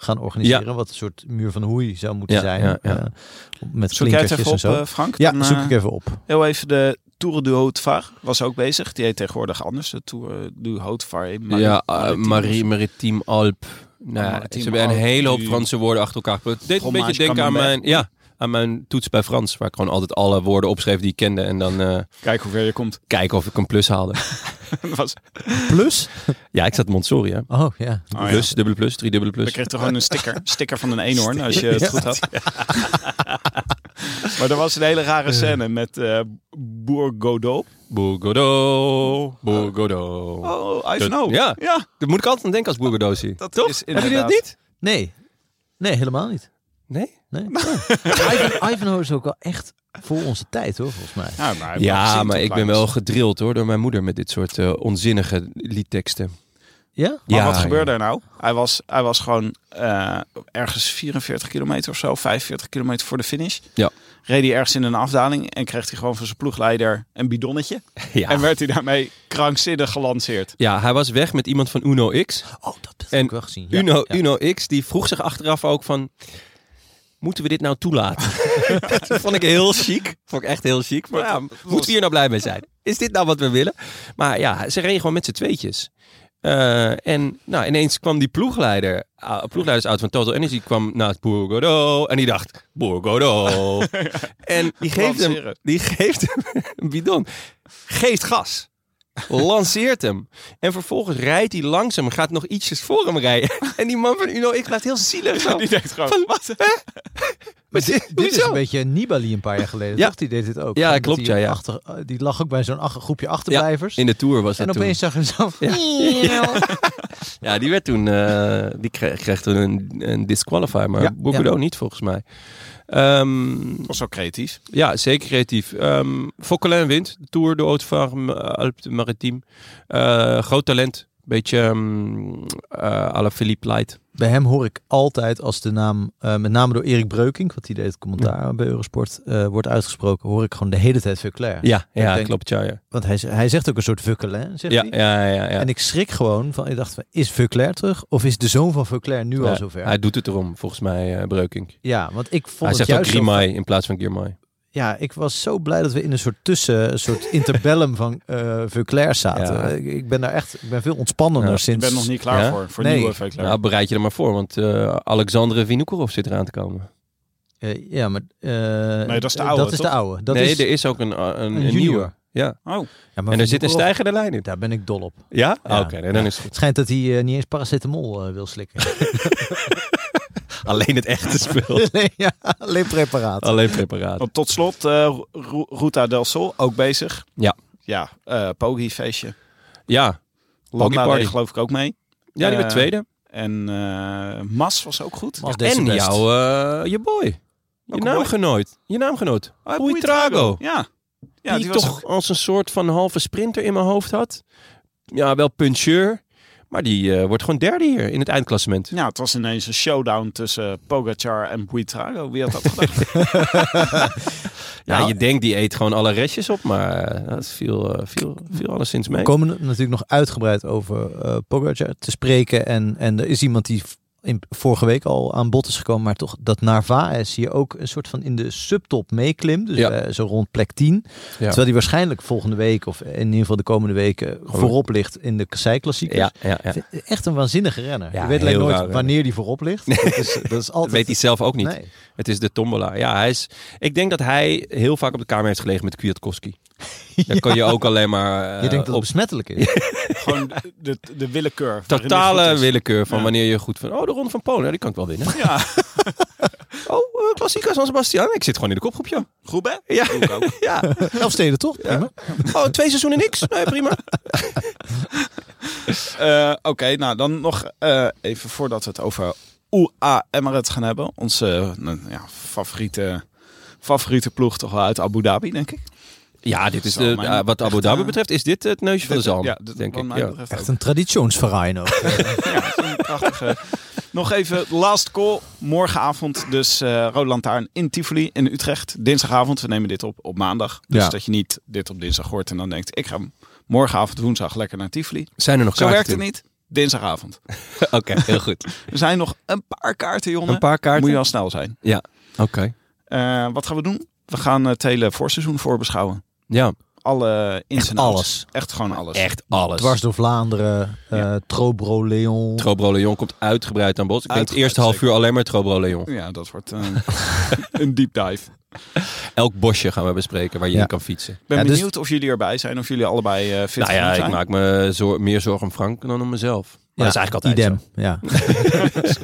[SPEAKER 2] gaan organiseren. Wat een soort muur van hoei zou moeten
[SPEAKER 1] Ja,
[SPEAKER 2] zijn.
[SPEAKER 1] ja, ja.
[SPEAKER 2] eh, met
[SPEAKER 3] Zoek jij het
[SPEAKER 2] klinkertjes
[SPEAKER 3] even
[SPEAKER 2] en
[SPEAKER 3] op,
[SPEAKER 2] zo.
[SPEAKER 3] eh, Frank?
[SPEAKER 2] ja,
[SPEAKER 3] Dan,
[SPEAKER 2] zoek
[SPEAKER 3] eh,
[SPEAKER 2] ik even op.
[SPEAKER 3] Heel even de Tour du Haut-Var was ook bezig. Die heet tegenwoordig anders. De Tour du Haut-Var. eh, Mar-
[SPEAKER 1] ja eh,
[SPEAKER 3] Maritiem
[SPEAKER 1] Marie,
[SPEAKER 3] of
[SPEAKER 1] Maritime Alp. Nou, ja,
[SPEAKER 3] Maritime
[SPEAKER 1] ze hebben een
[SPEAKER 3] Alp,
[SPEAKER 1] hele hoop
[SPEAKER 3] die-
[SPEAKER 1] Franse woorden achter elkaar. Het deed een
[SPEAKER 3] Fromage
[SPEAKER 1] beetje denken aan
[SPEAKER 3] camembert.
[SPEAKER 1] mijn, ja, aan mijn toets bij Frans. Waar ik gewoon altijd alle woorden opschreef die ik kende. En dan eh,
[SPEAKER 3] zo. Kijk hoe ver je *laughs* komt.
[SPEAKER 1] kijken of ik een plus *laughs* haalde.
[SPEAKER 3] Dat was,
[SPEAKER 2] Plus?
[SPEAKER 1] ja, ik zat Montsory, hè.
[SPEAKER 2] Oh ja.
[SPEAKER 3] Oh ja.
[SPEAKER 1] Plus, dubbele plus, drie dubbele
[SPEAKER 3] Dan
[SPEAKER 1] plus.
[SPEAKER 3] kreeg je gewoon een *laughs* sticker. sticker van een eenhoorn, als je het goed *laughs* had. maar er was een hele rare scène met eh Boer Godot.
[SPEAKER 1] Bourgodo, Bourgodo.
[SPEAKER 3] Oh, I
[SPEAKER 1] Dat-
[SPEAKER 3] know.
[SPEAKER 1] ja.
[SPEAKER 3] ja
[SPEAKER 1] Daar moet ik altijd aan denken als Bourgodo zie.
[SPEAKER 3] dat
[SPEAKER 1] Toch?
[SPEAKER 3] is
[SPEAKER 1] Hebben jullie dat
[SPEAKER 3] inderdaad-
[SPEAKER 1] niet?
[SPEAKER 2] Nee. Nee, helemaal niet.
[SPEAKER 1] Nee?
[SPEAKER 2] Nee. Oh. Ivan, Ivanhoe is ook wel echt voor onze tijd hoor, volgens mij.
[SPEAKER 3] Ja, maar,
[SPEAKER 1] Ja, maar ik ben wel gedrild hoor door mijn moeder met dit soort eh, onzinnige liedteksten.
[SPEAKER 2] Ja?
[SPEAKER 3] Maar
[SPEAKER 1] Ja,
[SPEAKER 3] wat
[SPEAKER 1] ja.
[SPEAKER 3] gebeurde er nou? Hij was, hij was gewoon eh, ergens 44 kilometer of zo, 45 kilometer voor de finish.
[SPEAKER 1] Ja.
[SPEAKER 3] Reed hij ergens in een afdaling en kreeg hij gewoon van zijn ploegleider een bidonnetje.
[SPEAKER 1] Ja.
[SPEAKER 3] En werd hij daarmee krankzinnig gelanceerd.
[SPEAKER 1] ja, hij was weg met iemand van Uno X.
[SPEAKER 2] Oh, dat heb
[SPEAKER 1] En
[SPEAKER 2] ik wel gezien. Ja,
[SPEAKER 1] Uno,
[SPEAKER 2] ja.
[SPEAKER 1] Uno X die vroeg zich achteraf ook van... Moeten we dit nou
[SPEAKER 2] *laughs*
[SPEAKER 1] toelaten? *laughs* dat vond ik heel chic. Vond ik echt heel chic. Maar ja, moeten we hier nou blij mee zijn? Is dit nou wat we willen? Maar ja, ze reden gewoon met z'n tweetjes. Eh, en nou, ineens kwam die ploegleider, ah, ploegleidersauto van Total Energy kwam naast Boer Godot. En die dacht, Boer
[SPEAKER 2] *laughs*
[SPEAKER 1] Godot. en die geeft, hem,
[SPEAKER 3] Lanceren.
[SPEAKER 1] die geeft hem een bidon. Geeft gas. Lanceert hem. En vervolgens rijdt hij langzaam. Gaat nog ietsjes voor hem rijden. *laughs* en die man van Uno, ik laat heel zielig zo.
[SPEAKER 3] *laughs* Die denkt gewoon,
[SPEAKER 1] Van,
[SPEAKER 3] wat?
[SPEAKER 1] Wat-
[SPEAKER 2] Dit is
[SPEAKER 1] hoezo?
[SPEAKER 2] een beetje Nibali een paar jaar geleden.
[SPEAKER 1] Ja.
[SPEAKER 2] Toch? Die deed dit ook.
[SPEAKER 1] Ja,
[SPEAKER 2] Dat
[SPEAKER 1] klopt,
[SPEAKER 2] die
[SPEAKER 1] ja, ja.
[SPEAKER 2] Achter, eh, die lag ook bij zo'n ach- groepje achterblijvers.
[SPEAKER 1] In de Tour was
[SPEAKER 2] en
[SPEAKER 1] dat toen.
[SPEAKER 2] opeens zag je zo.
[SPEAKER 1] Ja. Ja, die werd toen, eh, die kreeg, kreeg toen een, een disqualifier, maar
[SPEAKER 2] Ja,
[SPEAKER 1] Boer
[SPEAKER 2] ja.
[SPEAKER 1] Godot niet volgens mij. Ehm,
[SPEAKER 3] Dat was zo creatief.
[SPEAKER 1] ja, zeker creatief. Ehm Fokkelin wint de Tour de Haute Farm Alpes de Maritime. Eh, groot talent. Beetje ehm eh, à la Philippe Light.
[SPEAKER 2] Bij hem hoor ik altijd als de naam, eh, met name door Erik Breukink, want die deed het commentaar bij Eurosport, eh, wordt uitgesproken, hoor ik gewoon de hele tijd Vuclair.
[SPEAKER 1] Ja,
[SPEAKER 2] Ik
[SPEAKER 1] ja
[SPEAKER 2] denk-
[SPEAKER 1] klopt. Ja, ja.
[SPEAKER 2] Want hij, z- hij zegt ook een soort Vuclair, zegt
[SPEAKER 1] Ja,
[SPEAKER 2] hij.
[SPEAKER 1] ja, ja, ja.
[SPEAKER 2] En ik schrik gewoon van, ik dacht, van, is Vuclair terug? Of is de zoon van Vuclair nu
[SPEAKER 1] Ja,
[SPEAKER 2] al zover?
[SPEAKER 1] Hij doet het erom, volgens mij, eh, Breukink.
[SPEAKER 2] ja, want ik vond
[SPEAKER 1] Hij
[SPEAKER 2] het
[SPEAKER 1] zegt ook
[SPEAKER 2] juist zo
[SPEAKER 1] Grimay in plaats van Girmay.
[SPEAKER 2] Ja, ik was zo blij dat we in een soort tussen,
[SPEAKER 1] *laughs*
[SPEAKER 2] een soort interbellum van eh Vuclair zaten.
[SPEAKER 1] Ja.
[SPEAKER 2] Ik, ik ben daar echt, ik ben veel ontspannender
[SPEAKER 1] Ja, je
[SPEAKER 3] Ik
[SPEAKER 2] sinds.
[SPEAKER 3] ben nog niet klaar
[SPEAKER 1] Ja?
[SPEAKER 3] voor, voor
[SPEAKER 2] Nee.
[SPEAKER 3] nieuwe Veuclair.
[SPEAKER 1] Nou, bereid je er maar voor, want eh Alexandre Vinokourov zit eraan te komen.
[SPEAKER 2] Eh, ja, maar. eh,
[SPEAKER 3] Nee, dat is de oude,
[SPEAKER 2] Dat is de
[SPEAKER 3] toch?
[SPEAKER 2] oude. Dat
[SPEAKER 1] nee,
[SPEAKER 2] is,
[SPEAKER 1] er is ook een, een, een
[SPEAKER 2] junior.
[SPEAKER 1] nieuwe. Ja.
[SPEAKER 3] Oh,
[SPEAKER 2] Ja, maar
[SPEAKER 1] En er
[SPEAKER 2] Van
[SPEAKER 1] zit een
[SPEAKER 2] Broek,
[SPEAKER 1] stijgende lijn in.
[SPEAKER 2] Daar ben ik dol op.
[SPEAKER 1] Ja? Ah,
[SPEAKER 2] Ja.
[SPEAKER 1] Oké, nee, dan is het goed.
[SPEAKER 2] Het schijnt dat hij eh, niet eens paracetamol eh, wil slikken.
[SPEAKER 1] *laughs* Alleen het echte spul.
[SPEAKER 2] *laughs* nee, ja, alleen preparaat.
[SPEAKER 1] Alleen preparaat.
[SPEAKER 3] want tot slot, eh, Ru- Ruta del Sol, ook bezig.
[SPEAKER 1] Ja.
[SPEAKER 3] Ja, eh Pogi feestje.
[SPEAKER 1] Ja.
[SPEAKER 3] Landa
[SPEAKER 1] Party.
[SPEAKER 3] deed geloof ik ook mee.
[SPEAKER 1] Ja, die werd
[SPEAKER 3] Eh,
[SPEAKER 1] tweede.
[SPEAKER 3] En eh, Mas was ook goed.
[SPEAKER 2] Mas deed
[SPEAKER 1] En
[SPEAKER 2] zijn best.
[SPEAKER 1] jouw, eh, je boy. Je
[SPEAKER 3] Welke boy?
[SPEAKER 1] naamgenoot. Je naamgenoot.
[SPEAKER 3] Ah,
[SPEAKER 1] Buitrago.
[SPEAKER 3] Ja. ja
[SPEAKER 1] die, toch als een soort van halve sprinter in mijn hoofd had. Ja, wel puncheur. Maar die eh, wordt gewoon derde hier in het eindklassement.
[SPEAKER 3] Ja, het was ineens een showdown tussen Pogacar en Buitrago. Wie had dat
[SPEAKER 1] *laughs*
[SPEAKER 3] gedacht?
[SPEAKER 1] Ja,
[SPEAKER 2] Nou,
[SPEAKER 1] je denkt die eet gewoon alle restjes op. Maar eh, dat viel, eh, viel, viel alleszins mee.
[SPEAKER 2] We komen natuurlijk nog uitgebreid over eh Pogacar te spreken. En, en er is iemand die v- in, vorige week al aan bod is gekomen. Maar toch dat Narvaez hier ook een soort van in de subtop meeklimt. Dus
[SPEAKER 1] Ja.
[SPEAKER 2] eh, zo rond plek 10. Terwijl die waarschijnlijk volgende week of in ieder geval de komende weken voorop ligt in de Kassei-klassieker.
[SPEAKER 1] Oh. ja, ja, ja.
[SPEAKER 2] Ik vind het Echt een waanzinnige renner.
[SPEAKER 1] Ja,
[SPEAKER 2] je weet
[SPEAKER 1] heel
[SPEAKER 2] alleen nooit
[SPEAKER 1] raar, hè?
[SPEAKER 2] wanneer die voorop ligt. Dat is, dat is
[SPEAKER 1] Dat
[SPEAKER 2] altijd...
[SPEAKER 1] weet hij zelf ook niet.
[SPEAKER 2] Nee.
[SPEAKER 1] Het is de tombola. Ja, hij is, ik denk dat hij heel vaak op de kamer heeft gelegen met Kwiatkowski. Daar kan je ook alleen maar eh,
[SPEAKER 2] je denkt dat het
[SPEAKER 1] op
[SPEAKER 2] besmettelijk is.
[SPEAKER 3] Gewoon de, de willekeur. waarin hij goed
[SPEAKER 1] totale
[SPEAKER 3] is.
[SPEAKER 1] willekeur van
[SPEAKER 3] Ja.
[SPEAKER 1] wanneer je goed van... Oh, de Ronde van Polen, nou, die kan ik wel winnen.
[SPEAKER 3] Ja,
[SPEAKER 1] *laughs* Oh, eh, klassieker San Sebastian. Ik zit gewoon in de kopgroep, joh.
[SPEAKER 3] goed hè?
[SPEAKER 1] Ja.
[SPEAKER 3] Doe ik ook.
[SPEAKER 1] *laughs* Ja.
[SPEAKER 2] *laughs* Elf steden toch? Prima.
[SPEAKER 1] Oh, twee seizoenen niks. Nee, prima.
[SPEAKER 3] Eh, Oké, nou dan nog eh, even voordat we het over UA Emirates gaan hebben. Onze eh, nou, ja, favoriete, favoriete ploeg toch wel uit Abu Dhabi, denk ik.
[SPEAKER 1] Ja, dit is
[SPEAKER 3] Zo,
[SPEAKER 1] de,
[SPEAKER 3] mijn-
[SPEAKER 1] ja, wat Abu
[SPEAKER 3] echt,
[SPEAKER 1] Dhabi
[SPEAKER 3] eh,
[SPEAKER 1] betreft is dit het neusje van de
[SPEAKER 3] Dit- eh,
[SPEAKER 1] zalm,
[SPEAKER 3] ja, dit-
[SPEAKER 1] denk
[SPEAKER 3] wat
[SPEAKER 1] ik.
[SPEAKER 3] mij
[SPEAKER 1] Ja.
[SPEAKER 3] betreft ook.
[SPEAKER 2] Echt een traditionsverein ook.
[SPEAKER 3] Ja, zo'n prachtige.
[SPEAKER 1] *laughs*
[SPEAKER 3] Nog even last call. Morgenavond dus eh Rode Lantaarn in Tivoli in Utrecht. Dinsdagavond, we nemen dit op op maandag. Dus
[SPEAKER 2] Ja.
[SPEAKER 3] dat je niet dit op dinsdag hoort en dan denkt... ik ga morgenavond woensdag lekker naar Tivoli.
[SPEAKER 1] Zijn er nog
[SPEAKER 3] Zo
[SPEAKER 1] kaarten?
[SPEAKER 3] werkt het niet. Dinsdagavond.
[SPEAKER 1] niet. Oké, heel goed.
[SPEAKER 3] Er zijn nog een paar kaarten,
[SPEAKER 1] *laughs*
[SPEAKER 3] jongen.
[SPEAKER 1] Een paar
[SPEAKER 3] Moet
[SPEAKER 1] kaarten?
[SPEAKER 3] je wel snel zijn.
[SPEAKER 1] Oké.
[SPEAKER 3] Eh, wat gaan we doen? We gaan het hele voorseizoen voorbeschouwen.
[SPEAKER 1] Ja,
[SPEAKER 3] Alle ins en outs.
[SPEAKER 2] Alles.
[SPEAKER 3] Echt gewoon alles.
[SPEAKER 1] echt alles.
[SPEAKER 2] *laughs* Dwars door Vlaanderen, eh
[SPEAKER 3] Ja.
[SPEAKER 2] Trobro Leon.
[SPEAKER 1] Trobro Leon komt uitgebreid aan bod. Ik denk het
[SPEAKER 3] Uitgebreid,
[SPEAKER 1] eerste half
[SPEAKER 3] zeker.
[SPEAKER 1] uur alleen maar Trobro Leon.
[SPEAKER 3] Ja, dat
[SPEAKER 1] *laughs*
[SPEAKER 3] wordt eh, *laughs* een deep dive.
[SPEAKER 1] Elk bosje gaan we bespreken waar je
[SPEAKER 2] Ja.
[SPEAKER 1] in kan fietsen.
[SPEAKER 3] Ik ben
[SPEAKER 2] Ja, dus-
[SPEAKER 3] benieuwd of jullie erbij zijn. Of jullie allebei eh fit
[SPEAKER 1] Nou ja,
[SPEAKER 3] genoeg
[SPEAKER 1] ik
[SPEAKER 3] zijn.
[SPEAKER 1] maak me zor- meer zorgen om Frank dan om mezelf. Maar
[SPEAKER 2] Ja,
[SPEAKER 1] dat is eigenlijk altijd zo.
[SPEAKER 2] idem. Ja.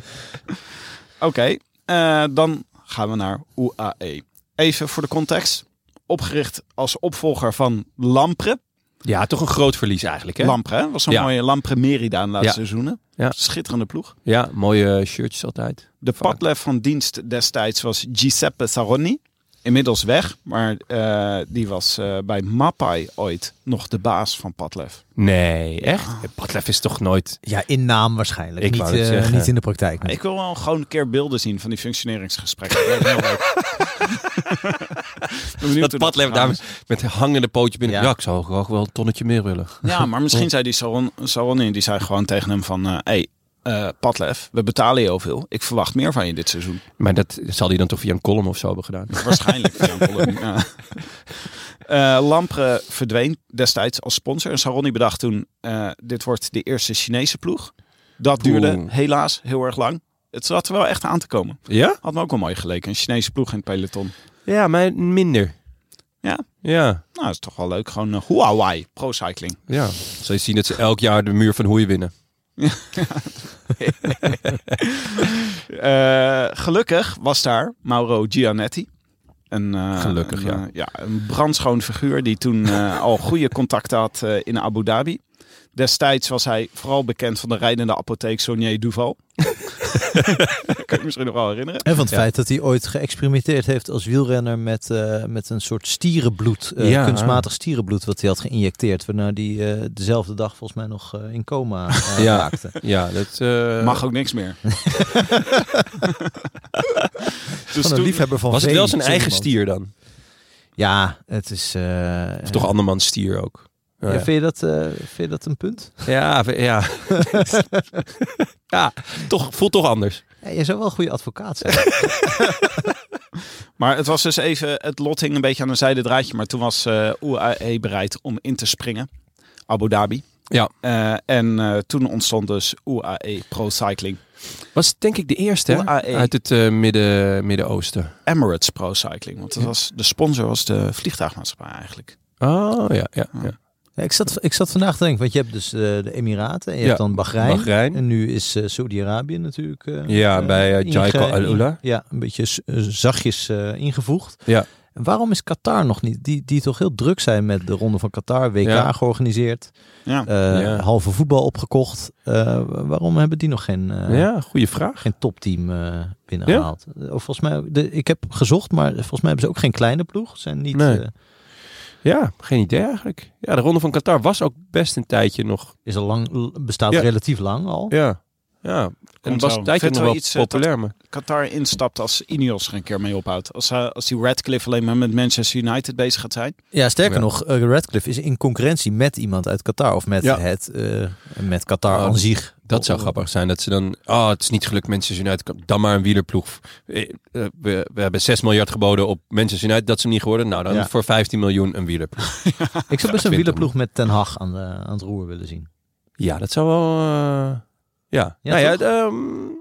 [SPEAKER 3] Oké, eh, dan gaan we naar UAE. Even voor de context. Opgericht als opvolger van Lampre.
[SPEAKER 1] Ja, toch een groot verlies eigenlijk. Hè?
[SPEAKER 3] Lampre, hè? was zo'n
[SPEAKER 1] Ja.
[SPEAKER 3] mooie Lampre Merida in de laatste
[SPEAKER 1] Ja.
[SPEAKER 3] seizoenen.
[SPEAKER 1] Ja.
[SPEAKER 3] Schitterende ploeg.
[SPEAKER 1] Ja, mooie shirtjes altijd.
[SPEAKER 3] De
[SPEAKER 1] Vaak.
[SPEAKER 3] padlef van dienst destijds was Giuseppe Saronni. Inmiddels weg, maar eh, die was eh, bij Mapai ooit nog de baas van padlef.
[SPEAKER 1] Nee, echt? Padlef is toch nooit...
[SPEAKER 2] ja, in naam waarschijnlijk.
[SPEAKER 1] Ik
[SPEAKER 2] niet,
[SPEAKER 1] wou het
[SPEAKER 2] eh,
[SPEAKER 1] zeggen.
[SPEAKER 2] niet in de praktijk.
[SPEAKER 3] Ik wil wel gewoon een keer beelden zien van die functioneringsgesprekken. Dat lijkt me *laughs* heel leuk. Ik ben benieuwd hoe
[SPEAKER 1] Dat Padlef
[SPEAKER 3] gegaan
[SPEAKER 1] daar
[SPEAKER 3] is.
[SPEAKER 1] met een hangende pootje binnen.
[SPEAKER 2] Ja.
[SPEAKER 1] Ja, ik zou graag wel een tonnetje meer willen.
[SPEAKER 3] Ja, maar misschien zei die Saron, Saronni, die zei gewoon tegen hem van... eh hey, eh, Padlef, we betalen je heel veel. Ik verwacht meer van je dit seizoen.
[SPEAKER 1] Maar dat zal hij dan toch via een column of zo hebben gedaan.
[SPEAKER 3] Waarschijnlijk. via een column, ja. Eh, Lampre verdween destijds als sponsor. En Saronni bedacht toen, eh, dit wordt de eerste Chinese ploeg. Dat duurde
[SPEAKER 1] Oeh.
[SPEAKER 3] helaas heel erg lang. Het zat er wel echt aan te komen.
[SPEAKER 1] Ja?
[SPEAKER 3] Had me ook wel mooi geleken. Een Chinese ploeg in het peloton.
[SPEAKER 1] Ja, maar minder.
[SPEAKER 3] Ja?
[SPEAKER 1] Ja,
[SPEAKER 3] Nou, is toch wel leuk. Gewoon eh, Huawei Pro Cycling.
[SPEAKER 1] ja. Zal je zien dat ze elk jaar de muur van Hoei winnen.
[SPEAKER 3] Eh, gelukkig was daar Mauro Gianetti. Een, eh,
[SPEAKER 1] Gelukkig,
[SPEAKER 3] een,
[SPEAKER 1] ja.
[SPEAKER 3] eh, ja. Een brandschoon figuur die toen
[SPEAKER 1] *laughs*
[SPEAKER 3] eh, al goede contacten had eh, in Abu Dhabi. Destijds was hij vooral bekend van de rijdende apotheek Sonier
[SPEAKER 1] *laughs*
[SPEAKER 3] Duval. dat kan je misschien nog wel herinneren.
[SPEAKER 2] En van het feit dat hij ooit geëxperimenteerd heeft als wielrenner met, eh, met een soort stierenbloed, eh,
[SPEAKER 1] Ja.
[SPEAKER 2] kunstmatig stierenbloed wat hij had geïnjecteerd. Waarna hij eh, dezelfde dag volgens mij nog eh, in coma eh,
[SPEAKER 1] Ja.
[SPEAKER 2] raakte.
[SPEAKER 1] Ja, dat... eh,
[SPEAKER 3] Mag ook niks
[SPEAKER 1] *laughs*
[SPEAKER 3] meer. *laughs* dus
[SPEAKER 2] Van een
[SPEAKER 3] toen-
[SPEAKER 2] liefhebber van
[SPEAKER 1] was het
[SPEAKER 2] vee,
[SPEAKER 1] wel zijn
[SPEAKER 2] zo
[SPEAKER 1] eigen
[SPEAKER 2] iemand.
[SPEAKER 1] stier dan?
[SPEAKER 2] Ja, het is... eh,
[SPEAKER 1] Of toch andermans stier ook?
[SPEAKER 2] ja, Vind, je dat, eh, vind je dat een punt?
[SPEAKER 1] Ja, v- *laughs* ja. ja toch, voelt toch anders.
[SPEAKER 2] Ja, je zou wel een goede advocaat zijn.
[SPEAKER 3] Maar het was dus even, het lot hing een beetje aan een zijde draadje. Maar toen was eh UAE bereid om in te springen. Abu Dhabi.
[SPEAKER 1] Ja.
[SPEAKER 3] Eh, en eh, toen ontstond dus UAE Pro Cycling.
[SPEAKER 1] Was denk ik de eerste hè?
[SPEAKER 3] UAE.
[SPEAKER 1] uit het eh, midden, Midden-Oosten.
[SPEAKER 3] Emirates Pro Cycling. Want dat was, de sponsor was de vliegtuigmaatschappij eigenlijk.
[SPEAKER 1] Oh ja, ja. ja.
[SPEAKER 2] Ja, ik, zat, ik zat vandaag te denken, want je hebt dus eh, de Emiraten en je
[SPEAKER 1] Ja,
[SPEAKER 2] hebt dan Bahrein.
[SPEAKER 1] Bahrein.
[SPEAKER 2] En nu is eh, Saudi-Arabië natuurlijk. eh,
[SPEAKER 1] Ja,
[SPEAKER 2] eh,
[SPEAKER 1] bij, eh, Jaiko
[SPEAKER 2] inge-
[SPEAKER 1] Al-Ula.
[SPEAKER 2] Ja, een beetje s- eh, zachtjes eh, ingevoegd.
[SPEAKER 1] Ja.
[SPEAKER 2] En waarom is Qatar nog niet? Die, die toch heel druk zijn met de Ronde van Qatar, WK
[SPEAKER 1] Ja.
[SPEAKER 2] georganiseerd,
[SPEAKER 3] Ja.
[SPEAKER 2] eh,
[SPEAKER 1] Ja.
[SPEAKER 2] halve voetbal opgekocht. Eh, waarom hebben die nog geen, eh,
[SPEAKER 1] ja, goede vraag.
[SPEAKER 2] geen topteam eh, binnengehaald? Eh, Of volgens mij, de, ik heb gezocht, maar volgens mij hebben ze ook geen kleine ploeg. Zijn niet,
[SPEAKER 1] Nee.
[SPEAKER 2] eh,
[SPEAKER 1] Ja, geen idee eigenlijk. Ja, de Ronde van Qatar was ook best een tijdje nog.
[SPEAKER 2] is al lang, l- bestaat
[SPEAKER 1] Ja.
[SPEAKER 2] relatief lang al.
[SPEAKER 1] Ja. Ja, en
[SPEAKER 3] Komt
[SPEAKER 1] het was
[SPEAKER 3] zo.
[SPEAKER 1] een tijdje
[SPEAKER 3] Vindt
[SPEAKER 1] nog wel
[SPEAKER 3] wel iets, eh,
[SPEAKER 1] populair. Maar.
[SPEAKER 3] Qatar instapt als Ineos er een keer mee ophoudt. Als, eh, als die Radcliffe alleen maar met Manchester United bezig gaat zijn.
[SPEAKER 2] Ja, sterker
[SPEAKER 1] Ja.
[SPEAKER 2] nog, eh, Radcliffe is in concurrentie met iemand uit Qatar. Of met,
[SPEAKER 1] Ja.
[SPEAKER 2] het, eh, met Qatar
[SPEAKER 1] Oh,
[SPEAKER 2] aan zich.
[SPEAKER 1] Dat zou grappig zijn. Dat ze dan... Oh, het is niet gelukt Manchester United. Dan maar een wielerploeg. Eh, eh, We, we hebben 6 miljard geboden op Manchester United. Dat ze hem niet geworden. Nou, dan
[SPEAKER 2] Ja.
[SPEAKER 1] voor 15 miljoen een wielerploeg.
[SPEAKER 2] Ik
[SPEAKER 1] *laughs*
[SPEAKER 2] zou best een
[SPEAKER 1] 20.
[SPEAKER 2] wielerploeg met Ten Hag aan, de, aan het roer willen zien.
[SPEAKER 1] Ja, dat zou wel. eh, ja.
[SPEAKER 2] Ja,
[SPEAKER 1] nou ja, het,
[SPEAKER 2] toch?
[SPEAKER 1] ehm,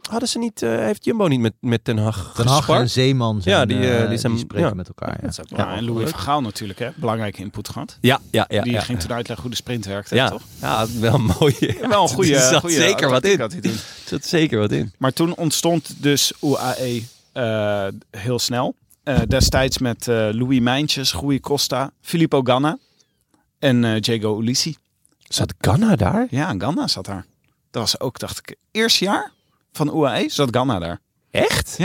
[SPEAKER 1] hadden ze niet. eh, heeft Jumbo niet met, met Ten Hag
[SPEAKER 2] Ten Hag en
[SPEAKER 1] gespart?
[SPEAKER 2] Zeeman zijn,
[SPEAKER 1] Ja, die, eh,
[SPEAKER 2] eh,
[SPEAKER 1] die
[SPEAKER 2] die,
[SPEAKER 1] zijn-
[SPEAKER 2] spreken
[SPEAKER 1] ja.
[SPEAKER 2] met elkaar. Ja.
[SPEAKER 1] Dat zou ik
[SPEAKER 3] Ja,
[SPEAKER 1] wel
[SPEAKER 3] en Louis
[SPEAKER 1] leuk.
[SPEAKER 3] van Gaal natuurlijk, hè? belangrijke input gehad.
[SPEAKER 1] Ja, ja, ja.
[SPEAKER 3] die
[SPEAKER 1] ja.
[SPEAKER 3] ging toen uitleggen hoe de sprint werkte,
[SPEAKER 1] ja,
[SPEAKER 3] toch?
[SPEAKER 1] ja, wel mooi.
[SPEAKER 3] *laughs* Wel een
[SPEAKER 1] *laughs*
[SPEAKER 3] goede...
[SPEAKER 1] Er zat
[SPEAKER 3] goede
[SPEAKER 1] zeker wat
[SPEAKER 3] tactiek
[SPEAKER 1] in.
[SPEAKER 3] had hij toen.
[SPEAKER 1] Er zat zeker wat in.
[SPEAKER 3] Maar toen ontstond dus UAE eh, heel snel. Eh, destijds met eh, Louis Mijntjes, Rui Costa, Filippo Ganna en eh Diego Ulissi.
[SPEAKER 1] Zat Ghana daar?
[SPEAKER 3] Ja, Ganna zat daar. Dat was ook, dacht ik, eerst jaar van UAE zat Ganna daar.
[SPEAKER 1] Echt?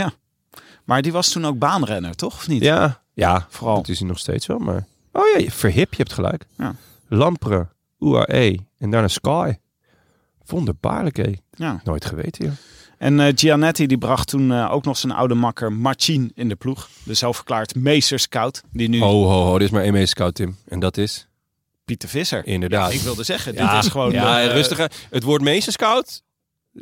[SPEAKER 3] Maar die was toen ook baanrenner, toch? Of niet?
[SPEAKER 1] Ja, ja.
[SPEAKER 3] Vooral.
[SPEAKER 1] Dat is hij nog steeds wel. Maar. Oh ja, je- verhip, je hebt gelijk.
[SPEAKER 3] Ja.
[SPEAKER 1] Lampre, UAE E en daarna Sky. Wonderbaarlijk, hé.
[SPEAKER 3] Ja.
[SPEAKER 1] Nooit geweten, joh.
[SPEAKER 3] En eh, Gianetti die bracht toen eh, ook nog zijn oude makker Marcin in de ploeg. De zelfverklaard meesterscout. Die nu
[SPEAKER 1] Oh, ho, ho. Dit is maar één meescout, Tim. En dat is?
[SPEAKER 3] Pieter Visser.
[SPEAKER 1] Inderdaad.
[SPEAKER 3] Ik wilde zeggen,
[SPEAKER 1] Ja,
[SPEAKER 3] dit is gewoon...
[SPEAKER 1] Ja,
[SPEAKER 3] eh,
[SPEAKER 1] rustiger. Het woord meesterscout,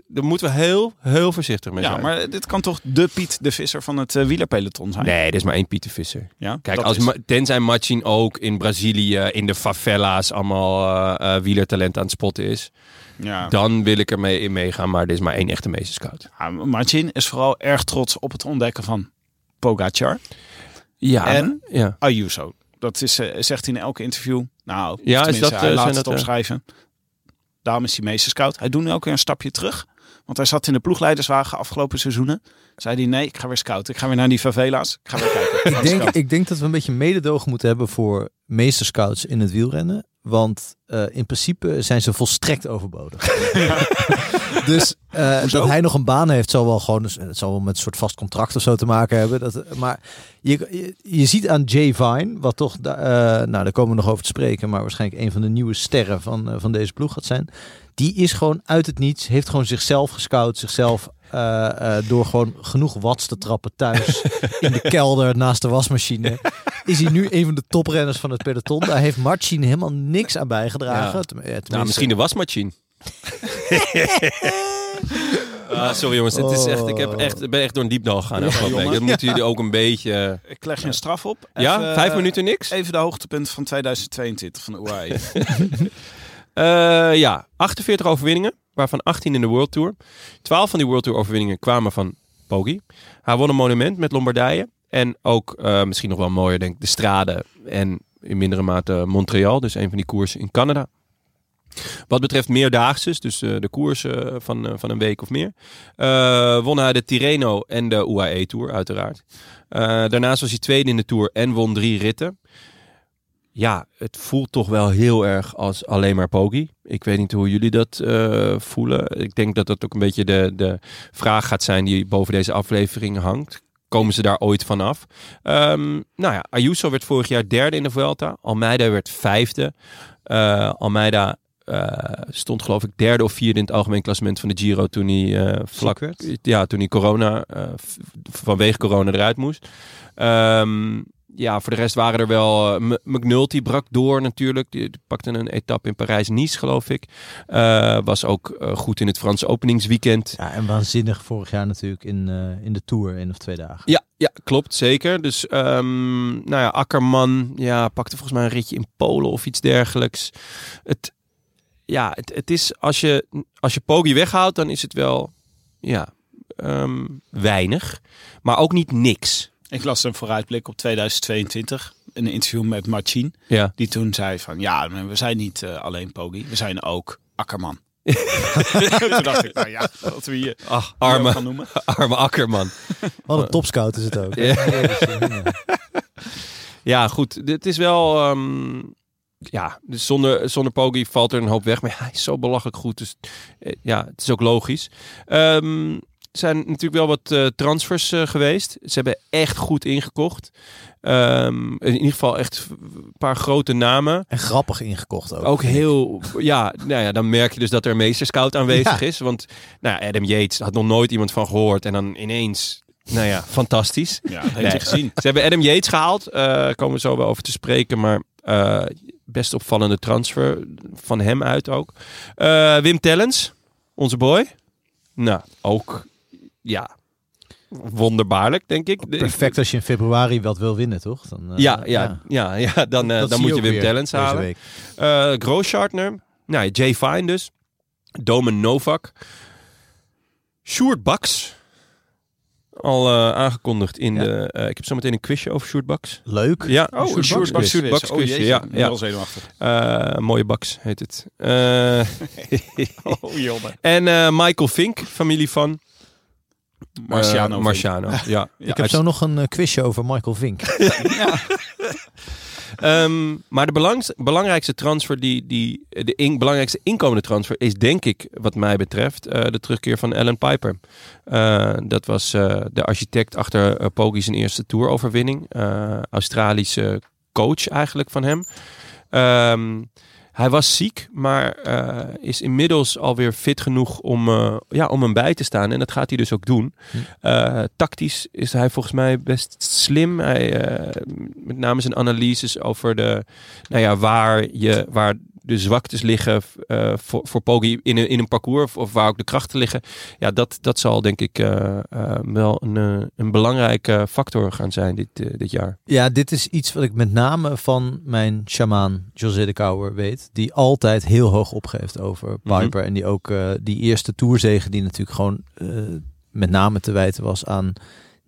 [SPEAKER 1] daar moeten we heel, heel voorzichtig mee
[SPEAKER 3] Ja,
[SPEAKER 1] zijn.
[SPEAKER 3] maar dit kan toch de Piet de Visser van het eh, wielerpeloton zijn?
[SPEAKER 1] Nee, dit is maar één Pieter Visser.
[SPEAKER 3] Ja,
[SPEAKER 1] Kijk,
[SPEAKER 3] dat
[SPEAKER 1] als
[SPEAKER 3] is-
[SPEAKER 1] Ma- tenzij Martin ook in Brazilië, in de favela's, allemaal eh, eh, wielertalent aan het spotten is.
[SPEAKER 3] ja.
[SPEAKER 1] Dan wil ik ermee in meegaan, maar dit is maar één echte meesterscout.
[SPEAKER 3] Ja, Martin is vooral erg trots op het ontdekken van Pogacar.
[SPEAKER 1] Ja.
[SPEAKER 3] En?
[SPEAKER 1] Ja.
[SPEAKER 3] Ayuso. Dat is, eh, zegt hij in elke interview. Nou,
[SPEAKER 1] Ja, is
[SPEAKER 3] tenminste,
[SPEAKER 1] dat,
[SPEAKER 3] hij
[SPEAKER 1] eh,
[SPEAKER 3] laat
[SPEAKER 1] zijn
[SPEAKER 3] het
[SPEAKER 1] dat, eh,
[SPEAKER 3] opschrijven. Daarom is hij meesterscout. Hij doet nu ook weer een stapje terug. Want hij zat in de ploegleiderswagen afgelopen seizoenen. Zei hij, nee, ik ga weer scouten. Ik ga weer naar die favela's. Ik ga
[SPEAKER 1] *laughs*
[SPEAKER 3] weer kijken.
[SPEAKER 2] Ik, denk, ik denk dat we een beetje mededogen moeten hebben voor meesterscouts in het wielrennen. Want eh, in principe zijn ze volstrekt
[SPEAKER 1] *laughs*
[SPEAKER 2] overbodig. dus eh, dat hij nog een baan heeft, zal wel gewoon, het zal wel met een soort vast contract of zo te maken hebben. Dat, eh, maar je, je, je ziet aan Jay Vine, wat toch, da- eh, nou daar komen we nog over te spreken, maar waarschijnlijk een van de nieuwe sterren van, eh, van deze ploeg gaat zijn. Die is gewoon uit het niets, heeft gewoon zichzelf gescout, zichzelf eh, eh, door gewoon genoeg watts te trappen
[SPEAKER 1] *laughs*
[SPEAKER 2] thuis in de kelder naast de wasmachine. Is hij nu een van de toprenners van het peloton? Daar heeft Martin helemaal niks aan bijgedragen.
[SPEAKER 1] Ja.
[SPEAKER 2] Tem- eh, tenminste-
[SPEAKER 1] Nou, misschien de wasmachine. *laughs* Ah, sorry jongens, het is echt, ik heb echt, ik ben echt door een diepdal gegaan. afgelopen week.
[SPEAKER 3] jongens.
[SPEAKER 1] Dat moeten jullie ook een beetje...
[SPEAKER 3] Ik leg je een straf op.
[SPEAKER 1] ja,
[SPEAKER 3] Even,
[SPEAKER 1] vijf
[SPEAKER 3] eh,
[SPEAKER 1] minuten niks?
[SPEAKER 3] Even de hoogtepunten van 2022 van de E. UAE.
[SPEAKER 1] Eh, ja, 48 overwinningen, waarvan 18 in de World Tour. 12 van die World Tour overwinningen kwamen van Poggi. Hij won een monument met Lombardije. En ook, eh, misschien nog wel mooier denk ik, de Strade. En in mindere mate Montreal, dus een van die koersen in Canada. Wat betreft meerdaagses, dus eh, de koersen van, eh, van een week of meer, eh, won hij de Tirreno en de UAE Tour, uiteraard. Eh, daarnaast was hij tweede in de Tour en won drie ritten ja, het voelt toch wel heel erg als alleen maar Pogi. Ik weet niet hoe jullie dat eh, voelen. Ik denk dat dat ook een beetje de, de vraag gaat zijn die boven deze aflevering hangt. Komen ze daar ooit vanaf? Ehm nou ja, Ayuso werd vorig jaar derde in de Vuelta. Almeida werd vijfde. Eh, Almeida eh, stond geloof ik derde of vierde in het algemeen klassement van de Giro toen hij eh, vlak
[SPEAKER 2] Ziek werd.
[SPEAKER 1] Ja, toen hij corona, eh, v- vanwege corona eruit moest. Ehm ja, voor de rest waren er wel... eh, M- McNulty brak door natuurlijk. Die, die pakte een etappe in Parijs-Nice, geloof ik. Eh, was ook eh, goed in het Franse openingsweekend.
[SPEAKER 2] Ja, en waanzinnig vorig jaar natuurlijk in, eh, in de Tour, één of twee dagen.
[SPEAKER 1] Ja, ja, klopt, zeker. Dus ehm, nou ja, Akkerman ja, pakte volgens mij een ritje in Polen of iets dergelijks. Het, ja, het, het is als je, als je Poggi weghoudt, dan is het wel ja, ehm, weinig, maar ook niet niks.
[SPEAKER 3] Ik las een vooruitblik op 2022. Een interview met Martin.
[SPEAKER 1] Ja.
[SPEAKER 3] Die toen zei van, ja, maar we zijn niet eh, alleen Poggi. We zijn ook
[SPEAKER 1] *laughs*
[SPEAKER 3] Akkerman. toen dacht ik, nou ja, wat we hier
[SPEAKER 1] Ach,
[SPEAKER 3] armen
[SPEAKER 1] arme,
[SPEAKER 3] gaan noemen.
[SPEAKER 1] *laughs* arme Akkerman.
[SPEAKER 2] Wat een topscout is het ook.
[SPEAKER 1] Ja.
[SPEAKER 2] Ja.
[SPEAKER 1] Ja, goed. Het is wel. ehm, ja, dus zonder, zonder Poggi valt er een hoop weg. Maar hij is zo belachelijk goed. Dus eh, ja, het is ook logisch. Ehm, er zijn natuurlijk wel wat eh, transfers eh, geweest. Ze hebben echt goed ingekocht. Ehm, in ieder geval echt een paar grote namen.
[SPEAKER 2] En grappig ingekocht ook.
[SPEAKER 1] Ook heel, ja, nou ja, dan merk je dus dat er een meesterscout aanwezig
[SPEAKER 2] Ja.
[SPEAKER 1] is. Want nou, ja, Adam Yates had nog nooit iemand van gehoord. En dan ineens, nou ja, fantastisch.
[SPEAKER 3] Ja, dat
[SPEAKER 1] Nee.
[SPEAKER 3] heeft je gezien.
[SPEAKER 1] Ze hebben Adam Yates gehaald. eh, Daar komen we zo wel over te spreken. Maar eh, best opvallende transfer van hem uit ook. Eh, Wim Tellens, onze boy. Nou, ook ja, wonderbaarlijk, denk ik. De-
[SPEAKER 2] Perfect als je in februari wat wil winnen, toch? Dan, eh,
[SPEAKER 1] Ja, ja, ja, ja, dan, eh, dan
[SPEAKER 2] Dat zie
[SPEAKER 1] moet je
[SPEAKER 2] ook
[SPEAKER 1] Wim
[SPEAKER 2] weer
[SPEAKER 1] Tellens
[SPEAKER 2] deze
[SPEAKER 1] halen.
[SPEAKER 2] week.
[SPEAKER 1] Eh Grooschartner. Nou, ja, Jay Fine dus. Domen Novak. Sjoerd Baks. Al eh, aangekondigd in
[SPEAKER 2] Ja.
[SPEAKER 1] de... eh, ik heb zometeen een quizje over Sjoerd Baks.
[SPEAKER 2] Leuk.
[SPEAKER 1] Ja,
[SPEAKER 3] Oh, een short
[SPEAKER 1] Baks.
[SPEAKER 3] quiz.
[SPEAKER 1] Baks
[SPEAKER 3] Oh,
[SPEAKER 1] quizje,
[SPEAKER 3] jeetje.
[SPEAKER 1] ja,
[SPEAKER 3] Ik ben
[SPEAKER 1] ja.
[SPEAKER 3] wel zenuwachtig.
[SPEAKER 1] Eh, mooie Baks heet het. Eh,
[SPEAKER 3] Oh, jongen.
[SPEAKER 1] en eh, Michael Fink, familie van...
[SPEAKER 3] Marciano
[SPEAKER 1] Eh,
[SPEAKER 3] Fink. *laughs*
[SPEAKER 1] Marciano, ja.
[SPEAKER 2] ik heb zo nog een eh, quizje over Michael Vink.
[SPEAKER 1] *laughs* Ehm, maar de belangs- belangrijkste transfer, die, die, de in- belangrijkste inkomende transfer is denk ik, wat mij betreft, eh, de terugkeer van Alan Piper. Eh, dat was eh, de architect achter eh, Poggi zijn eerste toeroverwinning. Eh, Australische coach eigenlijk van hem. Ehm, hij was ziek, maar eh, is inmiddels alweer fit genoeg om, eh, ja, om hem bij te staan. En dat gaat hij dus ook doen. Eh, tactisch is hij volgens mij best slim. Hij, eh, met name zijn analyses over de, nou ja, waar, je, waar de zwaktes liggen eh, voor, voor Poggi in een, in een parcours. Of, of waar ook de krachten liggen. Ja, dat, dat zal denk ik eh, eh, wel een, eh, een belangrijke factor gaan zijn dit, eh, dit jaar.
[SPEAKER 2] Ja, dit is iets wat ik met name van mijn shamaan José de Kouwer weet. Die altijd heel hoog opgeeft over
[SPEAKER 1] Mhm.
[SPEAKER 2] Piper. En die ook eh, die eerste toerzegen die natuurlijk gewoon eh, met name te wijten was aan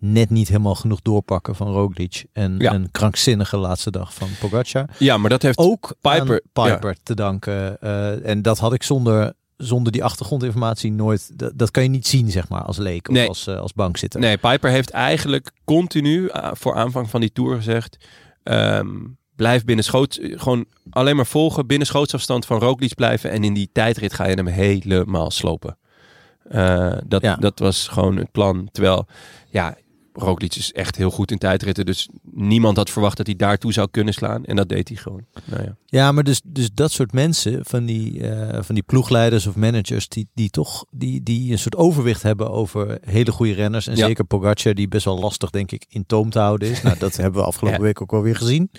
[SPEAKER 2] net niet helemaal genoeg doorpakken van Roglic. En
[SPEAKER 1] Ja.
[SPEAKER 2] een krankzinnige laatste dag van Pogacar.
[SPEAKER 1] Ja, maar dat heeft
[SPEAKER 2] Ook
[SPEAKER 1] Piper,
[SPEAKER 2] aan Piper te danken. Eh, en dat had ik zonder, zonder die achtergrondinformatie nooit... Dat, dat kan je niet zien, zeg maar, als leek of
[SPEAKER 1] Nee.
[SPEAKER 2] als, eh, als bankzitter.
[SPEAKER 1] Nee, Piper heeft eigenlijk continu ah, voor aanvang van die tour gezegd: ehm, blijf binnen schoots, gewoon alleen maar volgen, binnen schootsafstand van Roglic blijven en in die tijdrit ga je hem helemaal slopen. Eh, dat,
[SPEAKER 2] Ja.
[SPEAKER 1] dat was gewoon het plan. Terwijl, ja, Roglic is echt heel goed in tijdritten, dus niemand had verwacht dat hij daartoe zou kunnen slaan en dat deed hij gewoon. Nou ja.
[SPEAKER 2] Ja, maar dus, dus dat soort mensen, van die, eh, van die ploegleiders of managers, die, die toch die, die een soort overwicht hebben over hele goede renners. En
[SPEAKER 1] Ja.
[SPEAKER 2] zeker
[SPEAKER 1] *laughs*
[SPEAKER 2] Pogacar, die best wel lastig, denk ik, in toom te houden is. Nou, dat hebben we afgelopen
[SPEAKER 1] Ja.
[SPEAKER 2] week ook wel weer gezien.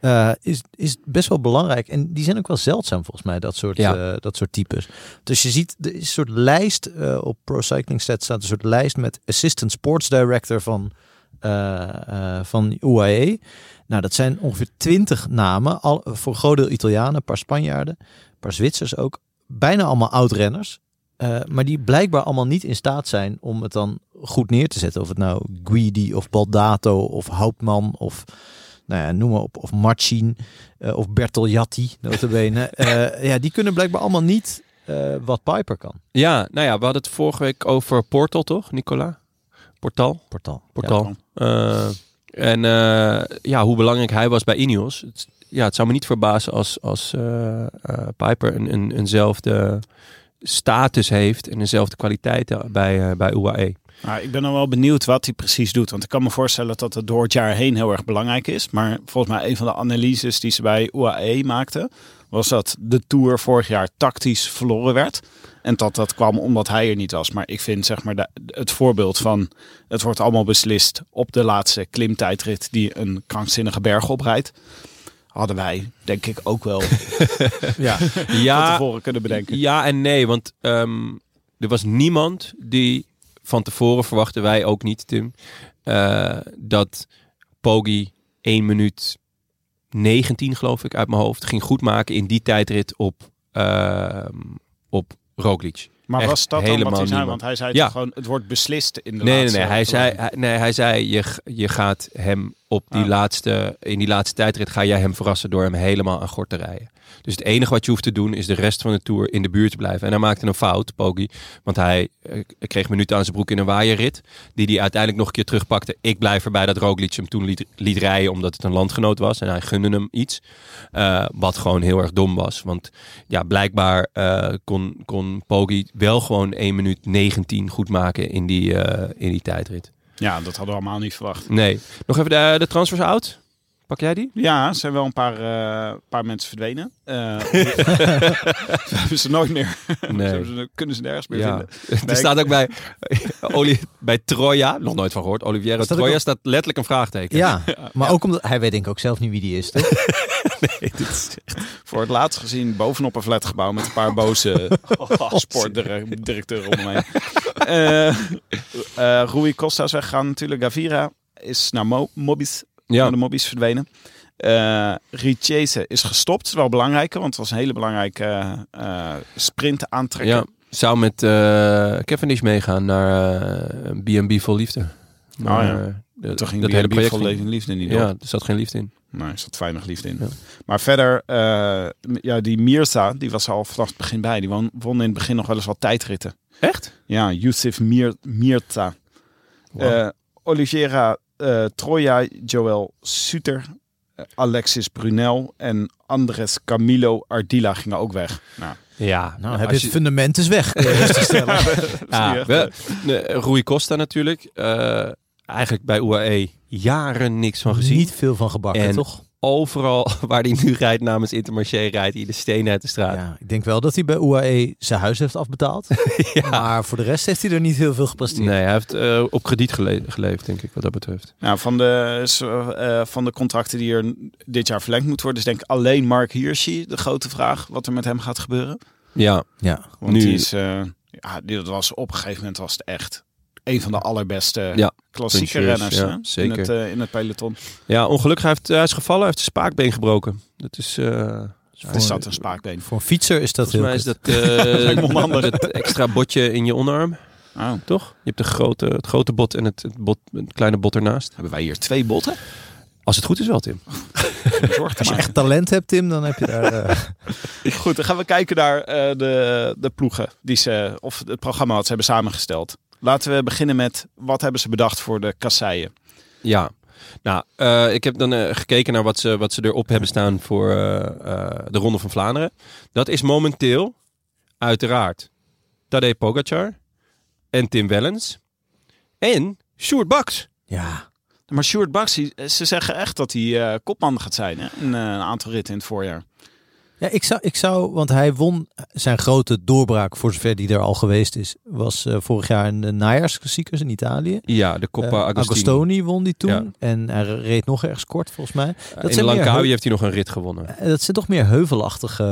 [SPEAKER 2] Eh, eh, is, is best wel belangrijk. En die zijn ook wel zeldzaam volgens mij, dat soort,
[SPEAKER 1] Ja.
[SPEAKER 2] eh, dat soort types. Dus je ziet, er is een soort lijst eh, op Pro Cycling Stats staat een soort lijst met Assistant Sports Director van, eh, eh, van UAE. Nou, dat zijn ongeveer twintig namen, al, voor een groot deel Italianen, een paar Spanjaarden, een paar Zwitsers ook. Bijna allemaal oud-renners. eh, maar die blijkbaar allemaal niet in staat zijn om het dan goed neer te zetten. Of het nou Guidi of Baldato of Houtman of nou ja, noem maar op, of Marcin eh, of Bertoljatti,
[SPEAKER 1] *laughs*
[SPEAKER 2] notabene. Eh ja, die kunnen blijkbaar allemaal niet eh, wat Piper kan.
[SPEAKER 1] Ja, nou ja, we hadden het vorige week over Portal, toch, Nicola? Portal?
[SPEAKER 2] Portal.
[SPEAKER 1] Portal. Eh, en eh, ja, hoe belangrijk hij was bij Ineos. Het, ja, het zou me niet verbazen als, als eh, eh, Piper een, een, eenzelfde status heeft en dezelfde kwaliteiten bij, eh, bij UAE.
[SPEAKER 3] Maar ik ben dan wel benieuwd wat hij precies doet. Want ik kan me voorstellen dat het door het jaar heen heel erg belangrijk is. Maar volgens mij een van de analyses die ze bij UAE maakten... was dat de Tour vorig jaar tactisch verloren werd. En dat dat kwam omdat hij er niet was. Maar ik vind zeg maar de- het voorbeeld van... het wordt allemaal beslist op de laatste klimtijdrit... die een krankzinnige berg oprijdt. Hadden wij denk ik ook wel
[SPEAKER 2] Ja. ja.
[SPEAKER 1] *laughs*
[SPEAKER 3] van
[SPEAKER 1] Ja,
[SPEAKER 3] tevoren kunnen bedenken.
[SPEAKER 1] ja en nee, want ehm, er was niemand die van tevoren verwachten wij ook niet, Tim, eh, dat Poggi 1 minuut 19, geloof ik, uit mijn hoofd ging goedmaken in die tijdrit op, ehm, op Roglic.
[SPEAKER 3] Maar
[SPEAKER 1] Echt
[SPEAKER 3] was dat dan
[SPEAKER 1] helemaal
[SPEAKER 3] wat hij zei?
[SPEAKER 1] niemand.
[SPEAKER 3] Want hij zei
[SPEAKER 1] Ja.
[SPEAKER 3] toch gewoon... het wordt beslist in de
[SPEAKER 1] Nee, nee,
[SPEAKER 3] laatste...
[SPEAKER 1] nee. Hij zei,
[SPEAKER 3] verlenging.
[SPEAKER 1] hij- nee, hij zei je, g- je gaat hem op die
[SPEAKER 3] Ah.
[SPEAKER 1] laatste, in die laatste tijdrit ga jij hem verrassen door hem helemaal aan gort te rijden. Dus het enige wat je hoeft te doen is de rest van de Tour in de buurt te blijven. En hij maakte een fout, Poggi, want hij eh, kreeg minuten aan zijn broek in een waaierrit, die hij uiteindelijk nog een keer terugpakte. Ik blijf erbij dat Roglic hem toen liet, liet rijden omdat het een landgenoot was en hij gunde hem iets. Eh, wat gewoon heel erg dom was, want ja, blijkbaar eh, kon, kon Poggi wel gewoon 1 minuut 19 goed maken in die, eh, in die tijdrit.
[SPEAKER 3] Ja, dat hadden we allemaal niet verwacht.
[SPEAKER 1] Nee. Nog even eh, de, de transfers out. Pak jij
[SPEAKER 3] *laughs*
[SPEAKER 1] die?
[SPEAKER 3] Ja, er zijn wel een paar, eh, paar mensen verdwenen. Eh, *laughs* we hebben ze nooit meer. Ze
[SPEAKER 1] Nee.
[SPEAKER 3] hebben ze- kunnen ze nergens meer
[SPEAKER 1] Ja.
[SPEAKER 3] vinden.
[SPEAKER 1] *laughs* Er staat ook bij, Oli, bij Troja, nog nooit van gehoord, Oliviero
[SPEAKER 2] Staat ook
[SPEAKER 1] Troja
[SPEAKER 2] op-
[SPEAKER 1] staat letterlijk een vraagteken.
[SPEAKER 2] maar ook omdat hij weet denk ik ook zelf niet wie die
[SPEAKER 1] *laughs*
[SPEAKER 2] is. toch?
[SPEAKER 3] Voor het laatst gezien bovenop een flatgebouw met een paar
[SPEAKER 1] *laughs*
[SPEAKER 3] boze
[SPEAKER 1] Oh,
[SPEAKER 3] sportdirecteuren om me heen. Eh eh, Rui Costa is weggegaan natuurlijk. Gavira is naar Mo Mobis
[SPEAKER 1] Ja.
[SPEAKER 3] van de mobbies verdwenen. Eh Richese is gestopt. Dat is wel belangrijk, want het was een hele belangrijke eh, eh, sprint aantrekken.
[SPEAKER 1] ja. Zou met eh Cavendish meegaan naar eh, B&B Vol Liefde.
[SPEAKER 3] Oh ja.
[SPEAKER 1] eh, de-
[SPEAKER 3] Toen ging
[SPEAKER 1] dat
[SPEAKER 3] dat
[SPEAKER 1] hele project
[SPEAKER 3] vol
[SPEAKER 1] ging-
[SPEAKER 3] leven en liefde niet door.
[SPEAKER 1] Ja, er zat geen liefde in.
[SPEAKER 3] Nee, er zat weinig liefde in.
[SPEAKER 1] Ja.
[SPEAKER 3] Maar verder, eh, m- ja, die Mirza, die was er al vanaf het begin bij. Die won, won in het begin nog wel eens wat tijdritten.
[SPEAKER 1] Echt?
[SPEAKER 3] Ja, Yusuf Mir, Mirza. Eh, Oliveira eh, Troja, Joël Suter, eh, Alexis Brunel en Andres Camilo Ardila gingen ook weg. Nou,
[SPEAKER 1] Ja.
[SPEAKER 2] Nou, heb je
[SPEAKER 1] als
[SPEAKER 2] het *laughs* Ah, fundament is weg. kun je rustig stellen.
[SPEAKER 1] Ja,
[SPEAKER 3] echt
[SPEAKER 1] wel, nee, Rui Costa natuurlijk. Eh, eigenlijk bij UAE jaren niks van gezien.
[SPEAKER 2] Niet veel van gebakken,
[SPEAKER 1] En-
[SPEAKER 2] toch?
[SPEAKER 1] Overal *laughs* waar hij nu rijdt namens Intermarché rijdt hij de steen uit de straat.
[SPEAKER 2] Ja, ik denk wel dat hij bij UAE zijn huis heeft
[SPEAKER 1] *laughs*
[SPEAKER 2] afbetaald. Maar voor de rest heeft hij er niet heel veel gepresteerd.
[SPEAKER 1] Nee, hij heeft eh, op krediet gele- geleefd, denk ik, wat dat betreft.
[SPEAKER 3] Nou, van, de, s- eh, van de contracten die er n- dit jaar verlengd moeten worden, is denk ik alleen Mark Hirschi de grote vraag wat er met hem gaat gebeuren.
[SPEAKER 1] Ja,
[SPEAKER 2] Ja.
[SPEAKER 3] Want
[SPEAKER 1] Nu-
[SPEAKER 3] die is, eh, ja, die dat was op een gegeven moment was het echt een van de allerbeste
[SPEAKER 1] Ja,
[SPEAKER 3] klassieke
[SPEAKER 1] puncheurs,
[SPEAKER 3] renners
[SPEAKER 1] ja,
[SPEAKER 3] hè,
[SPEAKER 1] zeker.
[SPEAKER 3] In, het, eh, in het peloton.
[SPEAKER 1] ja ongelukkig. Hij, heeft, hij is gevallen, hij heeft zijn spaakbeen gebroken. Dat is... eh,
[SPEAKER 3] Het is dat een spaakbeen.
[SPEAKER 2] Voor een fietser is dat
[SPEAKER 1] Volgens mij is
[SPEAKER 2] heel
[SPEAKER 1] *laughs* dat, eh,
[SPEAKER 3] lijkt me onhandig.
[SPEAKER 1] dat extra botje in je onderarm,
[SPEAKER 3] Oh,
[SPEAKER 1] toch? Je hebt de grote, het grote bot en het, het, bot, het kleine bot ernaast.
[SPEAKER 3] hebben wij hier twee botten?
[SPEAKER 1] Als het goed is wel, Tim.
[SPEAKER 3] Zorg
[SPEAKER 2] Als
[SPEAKER 3] te *laughs*
[SPEAKER 2] je
[SPEAKER 3] maken.
[SPEAKER 2] echt talent hebt, Tim, dan heb je daar... eh, *laughs*
[SPEAKER 3] Goed, dan gaan we kijken naar eh, de, de ploegen die ze, of het programma wat ze hebben samengesteld. Laten we beginnen met wat hebben ze bedacht voor de kasseien.
[SPEAKER 1] Ja. Nou, eh, ik heb dan eh, gekeken naar wat ze, wat ze erop hebben staan voor eh, eh, de Ronde van Vlaanderen. Dat is momenteel, uiteraard, Tadej Pogacar en Tim Wellens en Sjoerd Baks.
[SPEAKER 2] ja.
[SPEAKER 3] Maar eh, Sjoerd Baks, die- ze zeggen echt dat hij eh, kopman gaat zijn hè? in eh, een aantal ritten in het voorjaar.
[SPEAKER 2] Ja, ik zou, ik zou, want hij won zijn grote doorbraak, voor zover die er al geweest is, was eh, vorig jaar in de najaarsklassiekers in Italië.
[SPEAKER 1] Ja, de Coppa
[SPEAKER 2] Eh,
[SPEAKER 1] Agostini.
[SPEAKER 2] Agostoni won die toen.
[SPEAKER 1] Ja,
[SPEAKER 2] En hij reed nog ergens kort, volgens mij.
[SPEAKER 1] Eh, in
[SPEAKER 2] zijn meer
[SPEAKER 1] Langkawi
[SPEAKER 2] heup-
[SPEAKER 1] heeft hij nog een rit gewonnen.
[SPEAKER 2] Eh, Dat zijn toch meer heuvelachtige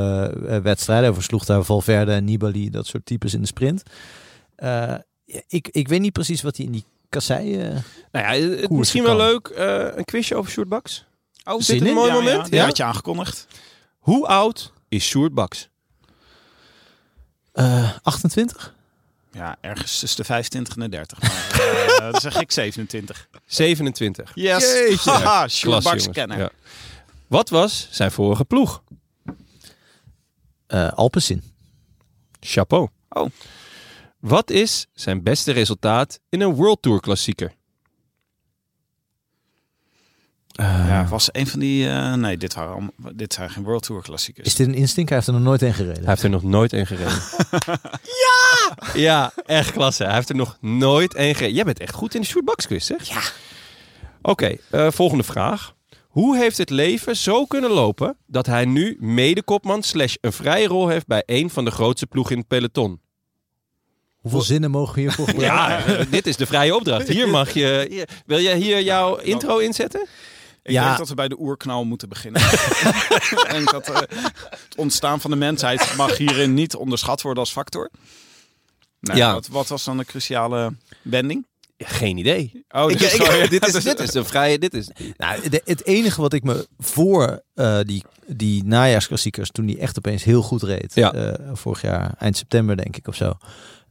[SPEAKER 2] eh, wedstrijden. Hij versloeg daar Valverde en Nibali, dat soort types in de sprint. Eh, ja, ik, ik weet niet precies wat hij in die kassei... eh,
[SPEAKER 1] Nou ja, het- het,
[SPEAKER 2] Koersen
[SPEAKER 1] misschien wel
[SPEAKER 2] kan.
[SPEAKER 1] leuk, eh, een quizje over Sjoerd Baks.
[SPEAKER 3] Oh,
[SPEAKER 1] Is dit een mooi moment?
[SPEAKER 3] Ja,
[SPEAKER 1] Ja?
[SPEAKER 3] had je aangekondigd.
[SPEAKER 1] Hoe oud is Sjoerd Baks?
[SPEAKER 2] eh, 28?
[SPEAKER 3] Ja, ergens tussen de 25 en de 30. Maar, eh, *laughs* dan zeg ik 27.
[SPEAKER 1] 27. *laughs*
[SPEAKER 3] Yes! Haha, Sjoerd
[SPEAKER 1] Klasse,
[SPEAKER 3] Baks
[SPEAKER 1] jongens.
[SPEAKER 3] kennen.
[SPEAKER 1] Ja. Wat was zijn vorige ploeg?
[SPEAKER 2] Eh Alpecin.
[SPEAKER 1] Chapeau.
[SPEAKER 3] Oh.
[SPEAKER 1] Wat is zijn beste resultaat in een World Tour klassieker?
[SPEAKER 3] Ja, was een van die... eh, nee, dit, waren allemaal- dit zijn geen World Tour klassiekers.
[SPEAKER 2] Is dit een instinct? Hij heeft er nog nooit een gereden.
[SPEAKER 1] Hij heeft er nog nooit één gereden. ja! Ja, echt klasse. Hij heeft er nog nooit één gereden. Jij bent echt goed in de shootboxquiz, zeg. Ja. Oké, eh, volgende vraag. Hoe heeft het leven zo kunnen lopen dat hij nu medekopman slash een vrije rol heeft bij een van de grootste ploegen in het peloton?
[SPEAKER 2] Hoeveel zinnen mogen we *laughs* hiervoor gebruiken?
[SPEAKER 1] Ja, eh, dit is de vrije opdracht. Hier mag je... hier- wil jij hier jouw intro inzetten?
[SPEAKER 3] Ik
[SPEAKER 2] Ja.
[SPEAKER 3] denk dat we bij de oerknal moeten beginnen. *laughs* ik denk dat eh, het ontstaan van de mensheid mag hierin niet onderschat worden als factor. Nou,
[SPEAKER 1] Ja.
[SPEAKER 3] wat, wat was dan de cruciale wending?
[SPEAKER 1] Ja, geen idee.
[SPEAKER 3] Oh,
[SPEAKER 1] Ik- ik- *laughs* dit,
[SPEAKER 3] *laughs*
[SPEAKER 1] is, dit is een vrije. Dit is,
[SPEAKER 2] Nou, de- het enige wat ik me voor eh, die, die najaarsklassiekers, toen die echt opeens heel goed reed,
[SPEAKER 1] Ja.
[SPEAKER 2] eh, vorig jaar, eind september denk ik of zo,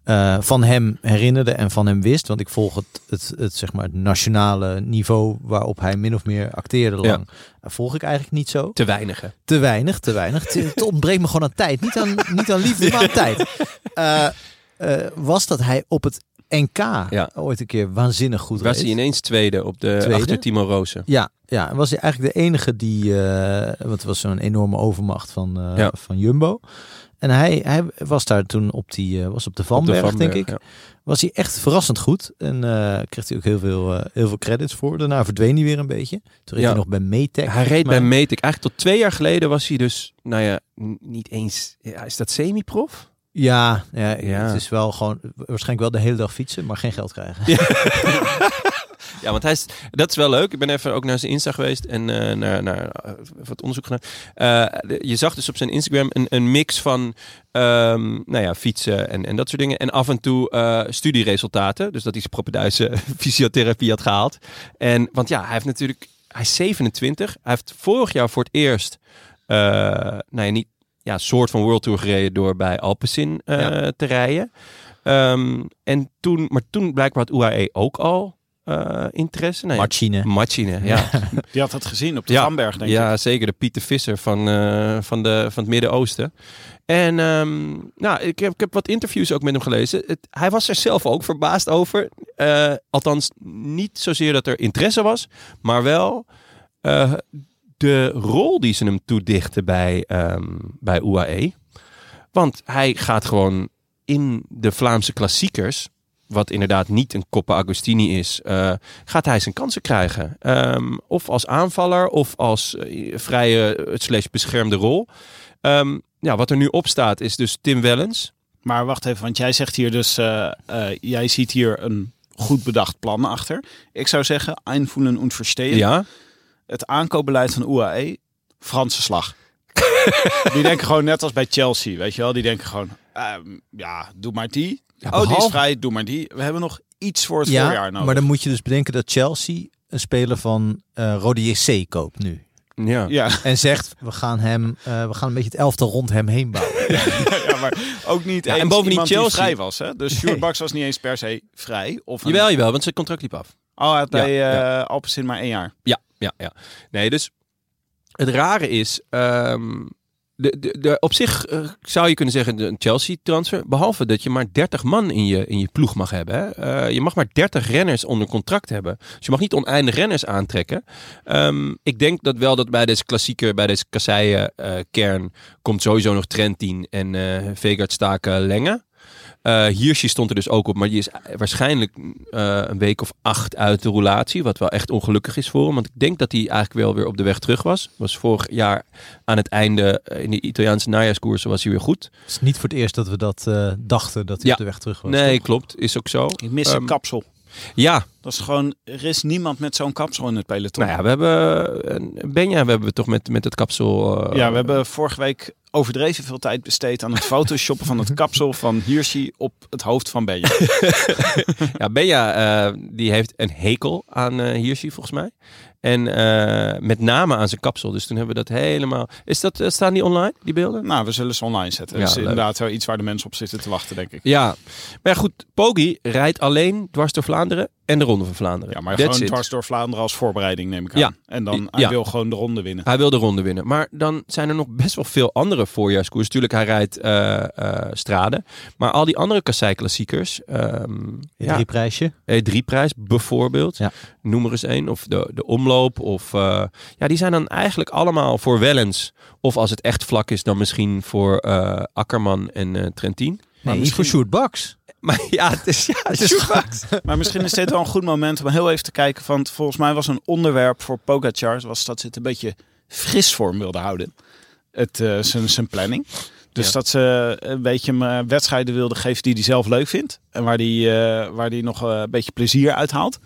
[SPEAKER 2] eh, van hem herinnerde en van hem wist. Want ik volg het, het, het, zeg maar, het nationale niveau waarop hij min of meer acteerde
[SPEAKER 1] Ja.
[SPEAKER 2] lang. Eh, Volg ik eigenlijk niet zo.
[SPEAKER 1] te weinig. hè?
[SPEAKER 2] Te weinig, te weinig. Te- Het ontbreekt me gewoon aan tijd. Niet aan, niet aan liefde, maar aan tijd. Eh, eh, was dat hij op het NK
[SPEAKER 1] Ja.
[SPEAKER 2] ooit een keer waanzinnig goed
[SPEAKER 1] Was hij
[SPEAKER 2] reed.
[SPEAKER 1] ineens tweede op de
[SPEAKER 2] Tweede?
[SPEAKER 1] achter Timo Rozen?
[SPEAKER 2] Ja, ja, was hij eigenlijk de enige die, eh, want het was zo'n enorme overmacht van, eh,
[SPEAKER 1] Ja.
[SPEAKER 2] van Jumbo. En hij, hij was daar toen op, die, eh, was op de
[SPEAKER 1] Op de
[SPEAKER 2] Vanberg, denk ik.
[SPEAKER 1] Vanberg, ja.
[SPEAKER 2] Was hij echt verrassend goed. En eh, kreeg hij ook heel veel, eh, heel veel credits voor. Daarna verdween hij weer een beetje. Toen reed
[SPEAKER 1] Ja.
[SPEAKER 2] hij nog bij Metec.
[SPEAKER 1] Hij reed bij
[SPEAKER 2] volgens mij.
[SPEAKER 1] Metek. Eigenlijk tot twee jaar geleden was hij dus, nou ja, n- niet eens. Ja, is dat semi-prof?
[SPEAKER 2] Ja, ja,
[SPEAKER 1] Ja.
[SPEAKER 2] het is wel gewoon, waarschijnlijk wel de hele dag fietsen, maar geen geld krijgen.
[SPEAKER 1] Ja, want hij is, dat is wel leuk. Ik ben even ook naar zijn Insta geweest en eh, naar, naar eh, wat onderzoek gedaan. Eh, de- je zag dus op zijn Instagram een, een mix van ehm, nou ja, fietsen en, en dat soort dingen. En af en toe eh, studieresultaten. Dus dat hij zijn propeduise *laughs* fysiotherapie had gehaald. En, want ja, hij heeft natuurlijk... Hij is 27. Hij heeft vorig jaar voor het eerst... eh nou ja, niet... Ja, soort van World Tour gereden door bij Alpecin eh,
[SPEAKER 2] Ja.
[SPEAKER 1] te rijden. Ehm, en toen, maar toen blijkbaar had UAE ook al eh, interesse. Nou ja,
[SPEAKER 2] Machine.
[SPEAKER 1] Machine, ja.
[SPEAKER 3] Die had het gezien op de
[SPEAKER 1] Ja.
[SPEAKER 3] Vanberg, denk ik.
[SPEAKER 1] Ja, zeker. De Pieter Visser van, eh, van, de, van het Midden-Oosten. En ehm, nou, ik, heb, ik heb wat interviews ook met hem gelezen. Het, hij was er zelf ook verbaasd over. Eh, althans, niet zozeer dat er interesse was, maar wel eh, de rol die ze hem toedichten bij, ehm, bij UAE. Want hij gaat gewoon in de Vlaamse klassiekers, wat inderdaad niet een Coppa Agostini is, eh, gaat hij zijn kansen krijgen. Ehm, of als aanvaller, of als eh, vrije eh, slash beschermde rol. Ehm, ja, wat er nu op staat is dus Tim Wellens.
[SPEAKER 3] Maar wacht even, want jij zegt hier dus... eh, eh, jij ziet hier een goed bedacht plan achter. Ik zou zeggen, einvoelen und verstehen.
[SPEAKER 1] Ja,
[SPEAKER 3] Het aankoopbeleid van UAE, Franse slag. *laughs* die denken gewoon net als bij Chelsea, weet je wel. Die denken gewoon, ehm, ja, doe maar die. oh, die is
[SPEAKER 2] behalve-
[SPEAKER 3] vrij, doe maar die. We hebben nog iets voor het
[SPEAKER 2] Ja,
[SPEAKER 3] voorjaar nodig.
[SPEAKER 2] maar dan moet je dus bedenken dat Chelsea een speler van eh Rode JC koopt nu.
[SPEAKER 1] ja.
[SPEAKER 3] Ja, *laughs*
[SPEAKER 2] En zegt, we gaan, hem, eh, we gaan een beetje het elftal rond hem heen bouwen.
[SPEAKER 3] ja, maar ook niet
[SPEAKER 1] Ja, en
[SPEAKER 3] eens
[SPEAKER 1] bovendien
[SPEAKER 3] iemand die
[SPEAKER 1] Chelsea.
[SPEAKER 3] vrij was. Hè? Dus Sjoerd Baks was niet eens per se vrij. Of een-
[SPEAKER 1] Jawel, jawel, want zijn contract liep af.
[SPEAKER 3] Oh, hij had bij eh
[SPEAKER 1] Ja,
[SPEAKER 3] Alpecin maar één jaar.
[SPEAKER 1] Ja, ja, ja. Nee, dus het rare is, ehm, de, de, de, op zich eh, zou je kunnen zeggen de- een Chelsea-transfer, behalve dat je maar 30 man in je, in je ploeg mag hebben. Hè. Eh, je mag maar 30 renners onder contract hebben. Dus je mag niet oneindig renners aantrekken. Ehm, ik denk dat wel dat bij deze klassieke, bij deze kasseien eh, kern komt sowieso nog Trentin en eh Vegard Staken Lenge. Eh Hirschi stond er dus ook op, maar die is waarschijnlijk eh, een week of acht uit de roulatie. Wat wel echt ongelukkig is voor hem. Want ik denk dat hij eigenlijk wel weer op de weg terug was. Was vorig jaar aan het einde eh, in de Italiaanse najaarscoursen was hij weer goed.
[SPEAKER 2] Het is niet voor het eerst dat we dat eh, dachten, dat hij
[SPEAKER 1] Ja.
[SPEAKER 2] op de weg terug was.
[SPEAKER 1] nee, klopt. Is ook zo.
[SPEAKER 3] Ik mis
[SPEAKER 1] Ehm,
[SPEAKER 3] een kapsel.
[SPEAKER 1] Ja,
[SPEAKER 3] Dat is gewoon, er is niemand met zo'n kapsel in het peloton.
[SPEAKER 1] nou ja, we hebben eh, Benja, we hebben we toch met, met het kapsel. eh,
[SPEAKER 3] Ja, we hebben vorige week overdreven veel tijd
[SPEAKER 1] *laughs*
[SPEAKER 3] besteed aan het photoshoppen van het kapsel van Hirschi op het hoofd van Benja.
[SPEAKER 1] *laughs* Ja, Benja eh, die heeft een hekel aan eh Hirschi volgens mij. En eh, met name aan zijn kapsel. Dus toen hebben we dat helemaal... Is dat, eh, staan die online, die beelden?
[SPEAKER 3] Nou, we zullen ze online zetten.
[SPEAKER 1] Ja,
[SPEAKER 3] dat is
[SPEAKER 1] leuk.
[SPEAKER 3] inderdaad wel iets waar de mensen op zitten te wachten, denk ik.
[SPEAKER 1] Ja, maar ja, goed, Poggi rijdt alleen dwars door Vlaanderen en de Ronde van Vlaanderen.
[SPEAKER 3] Ja, maar
[SPEAKER 1] That's
[SPEAKER 3] gewoon
[SPEAKER 1] it.
[SPEAKER 3] dwars door Vlaanderen als voorbereiding, neem ik aan.
[SPEAKER 1] Ja.
[SPEAKER 3] En dan, hij
[SPEAKER 1] Ja.
[SPEAKER 3] wil gewoon de ronde winnen.
[SPEAKER 1] Hij wil de ronde winnen. Maar dan zijn er nog best wel veel andere voorjaarskoers. Tuurlijk, hij rijdt eh, eh, straden. Maar al die andere kasseiklassiekers. ehm ja,
[SPEAKER 2] Drie prijsje.
[SPEAKER 1] E3-prijs bijvoorbeeld.
[SPEAKER 2] Ja.
[SPEAKER 1] Noem er eens één. Of de, de omloop. Of, eh, ja, die zijn dan eigenlijk allemaal voor Wellens. Of als het echt vlak is, dan misschien voor eh, Akkerman en eh, Trentin.
[SPEAKER 2] Nee, niet
[SPEAKER 3] misschien-
[SPEAKER 2] voor Sjoerd Baks.
[SPEAKER 1] Maar ja, het is... Ja, het is
[SPEAKER 3] Maar misschien is dit wel een goed moment om heel even te kijken. Want volgens mij was een onderwerp voor Pogacar... was dat ze het een beetje fris vorm wilde houden. Het, eh, zijn, zijn planning. Dus
[SPEAKER 1] Ja.
[SPEAKER 3] dat ze een beetje hem eh, wedstrijden wilde geven die hij zelf leuk vindt. En waar hij eh, waar die nog eh, een beetje plezier uit haalt.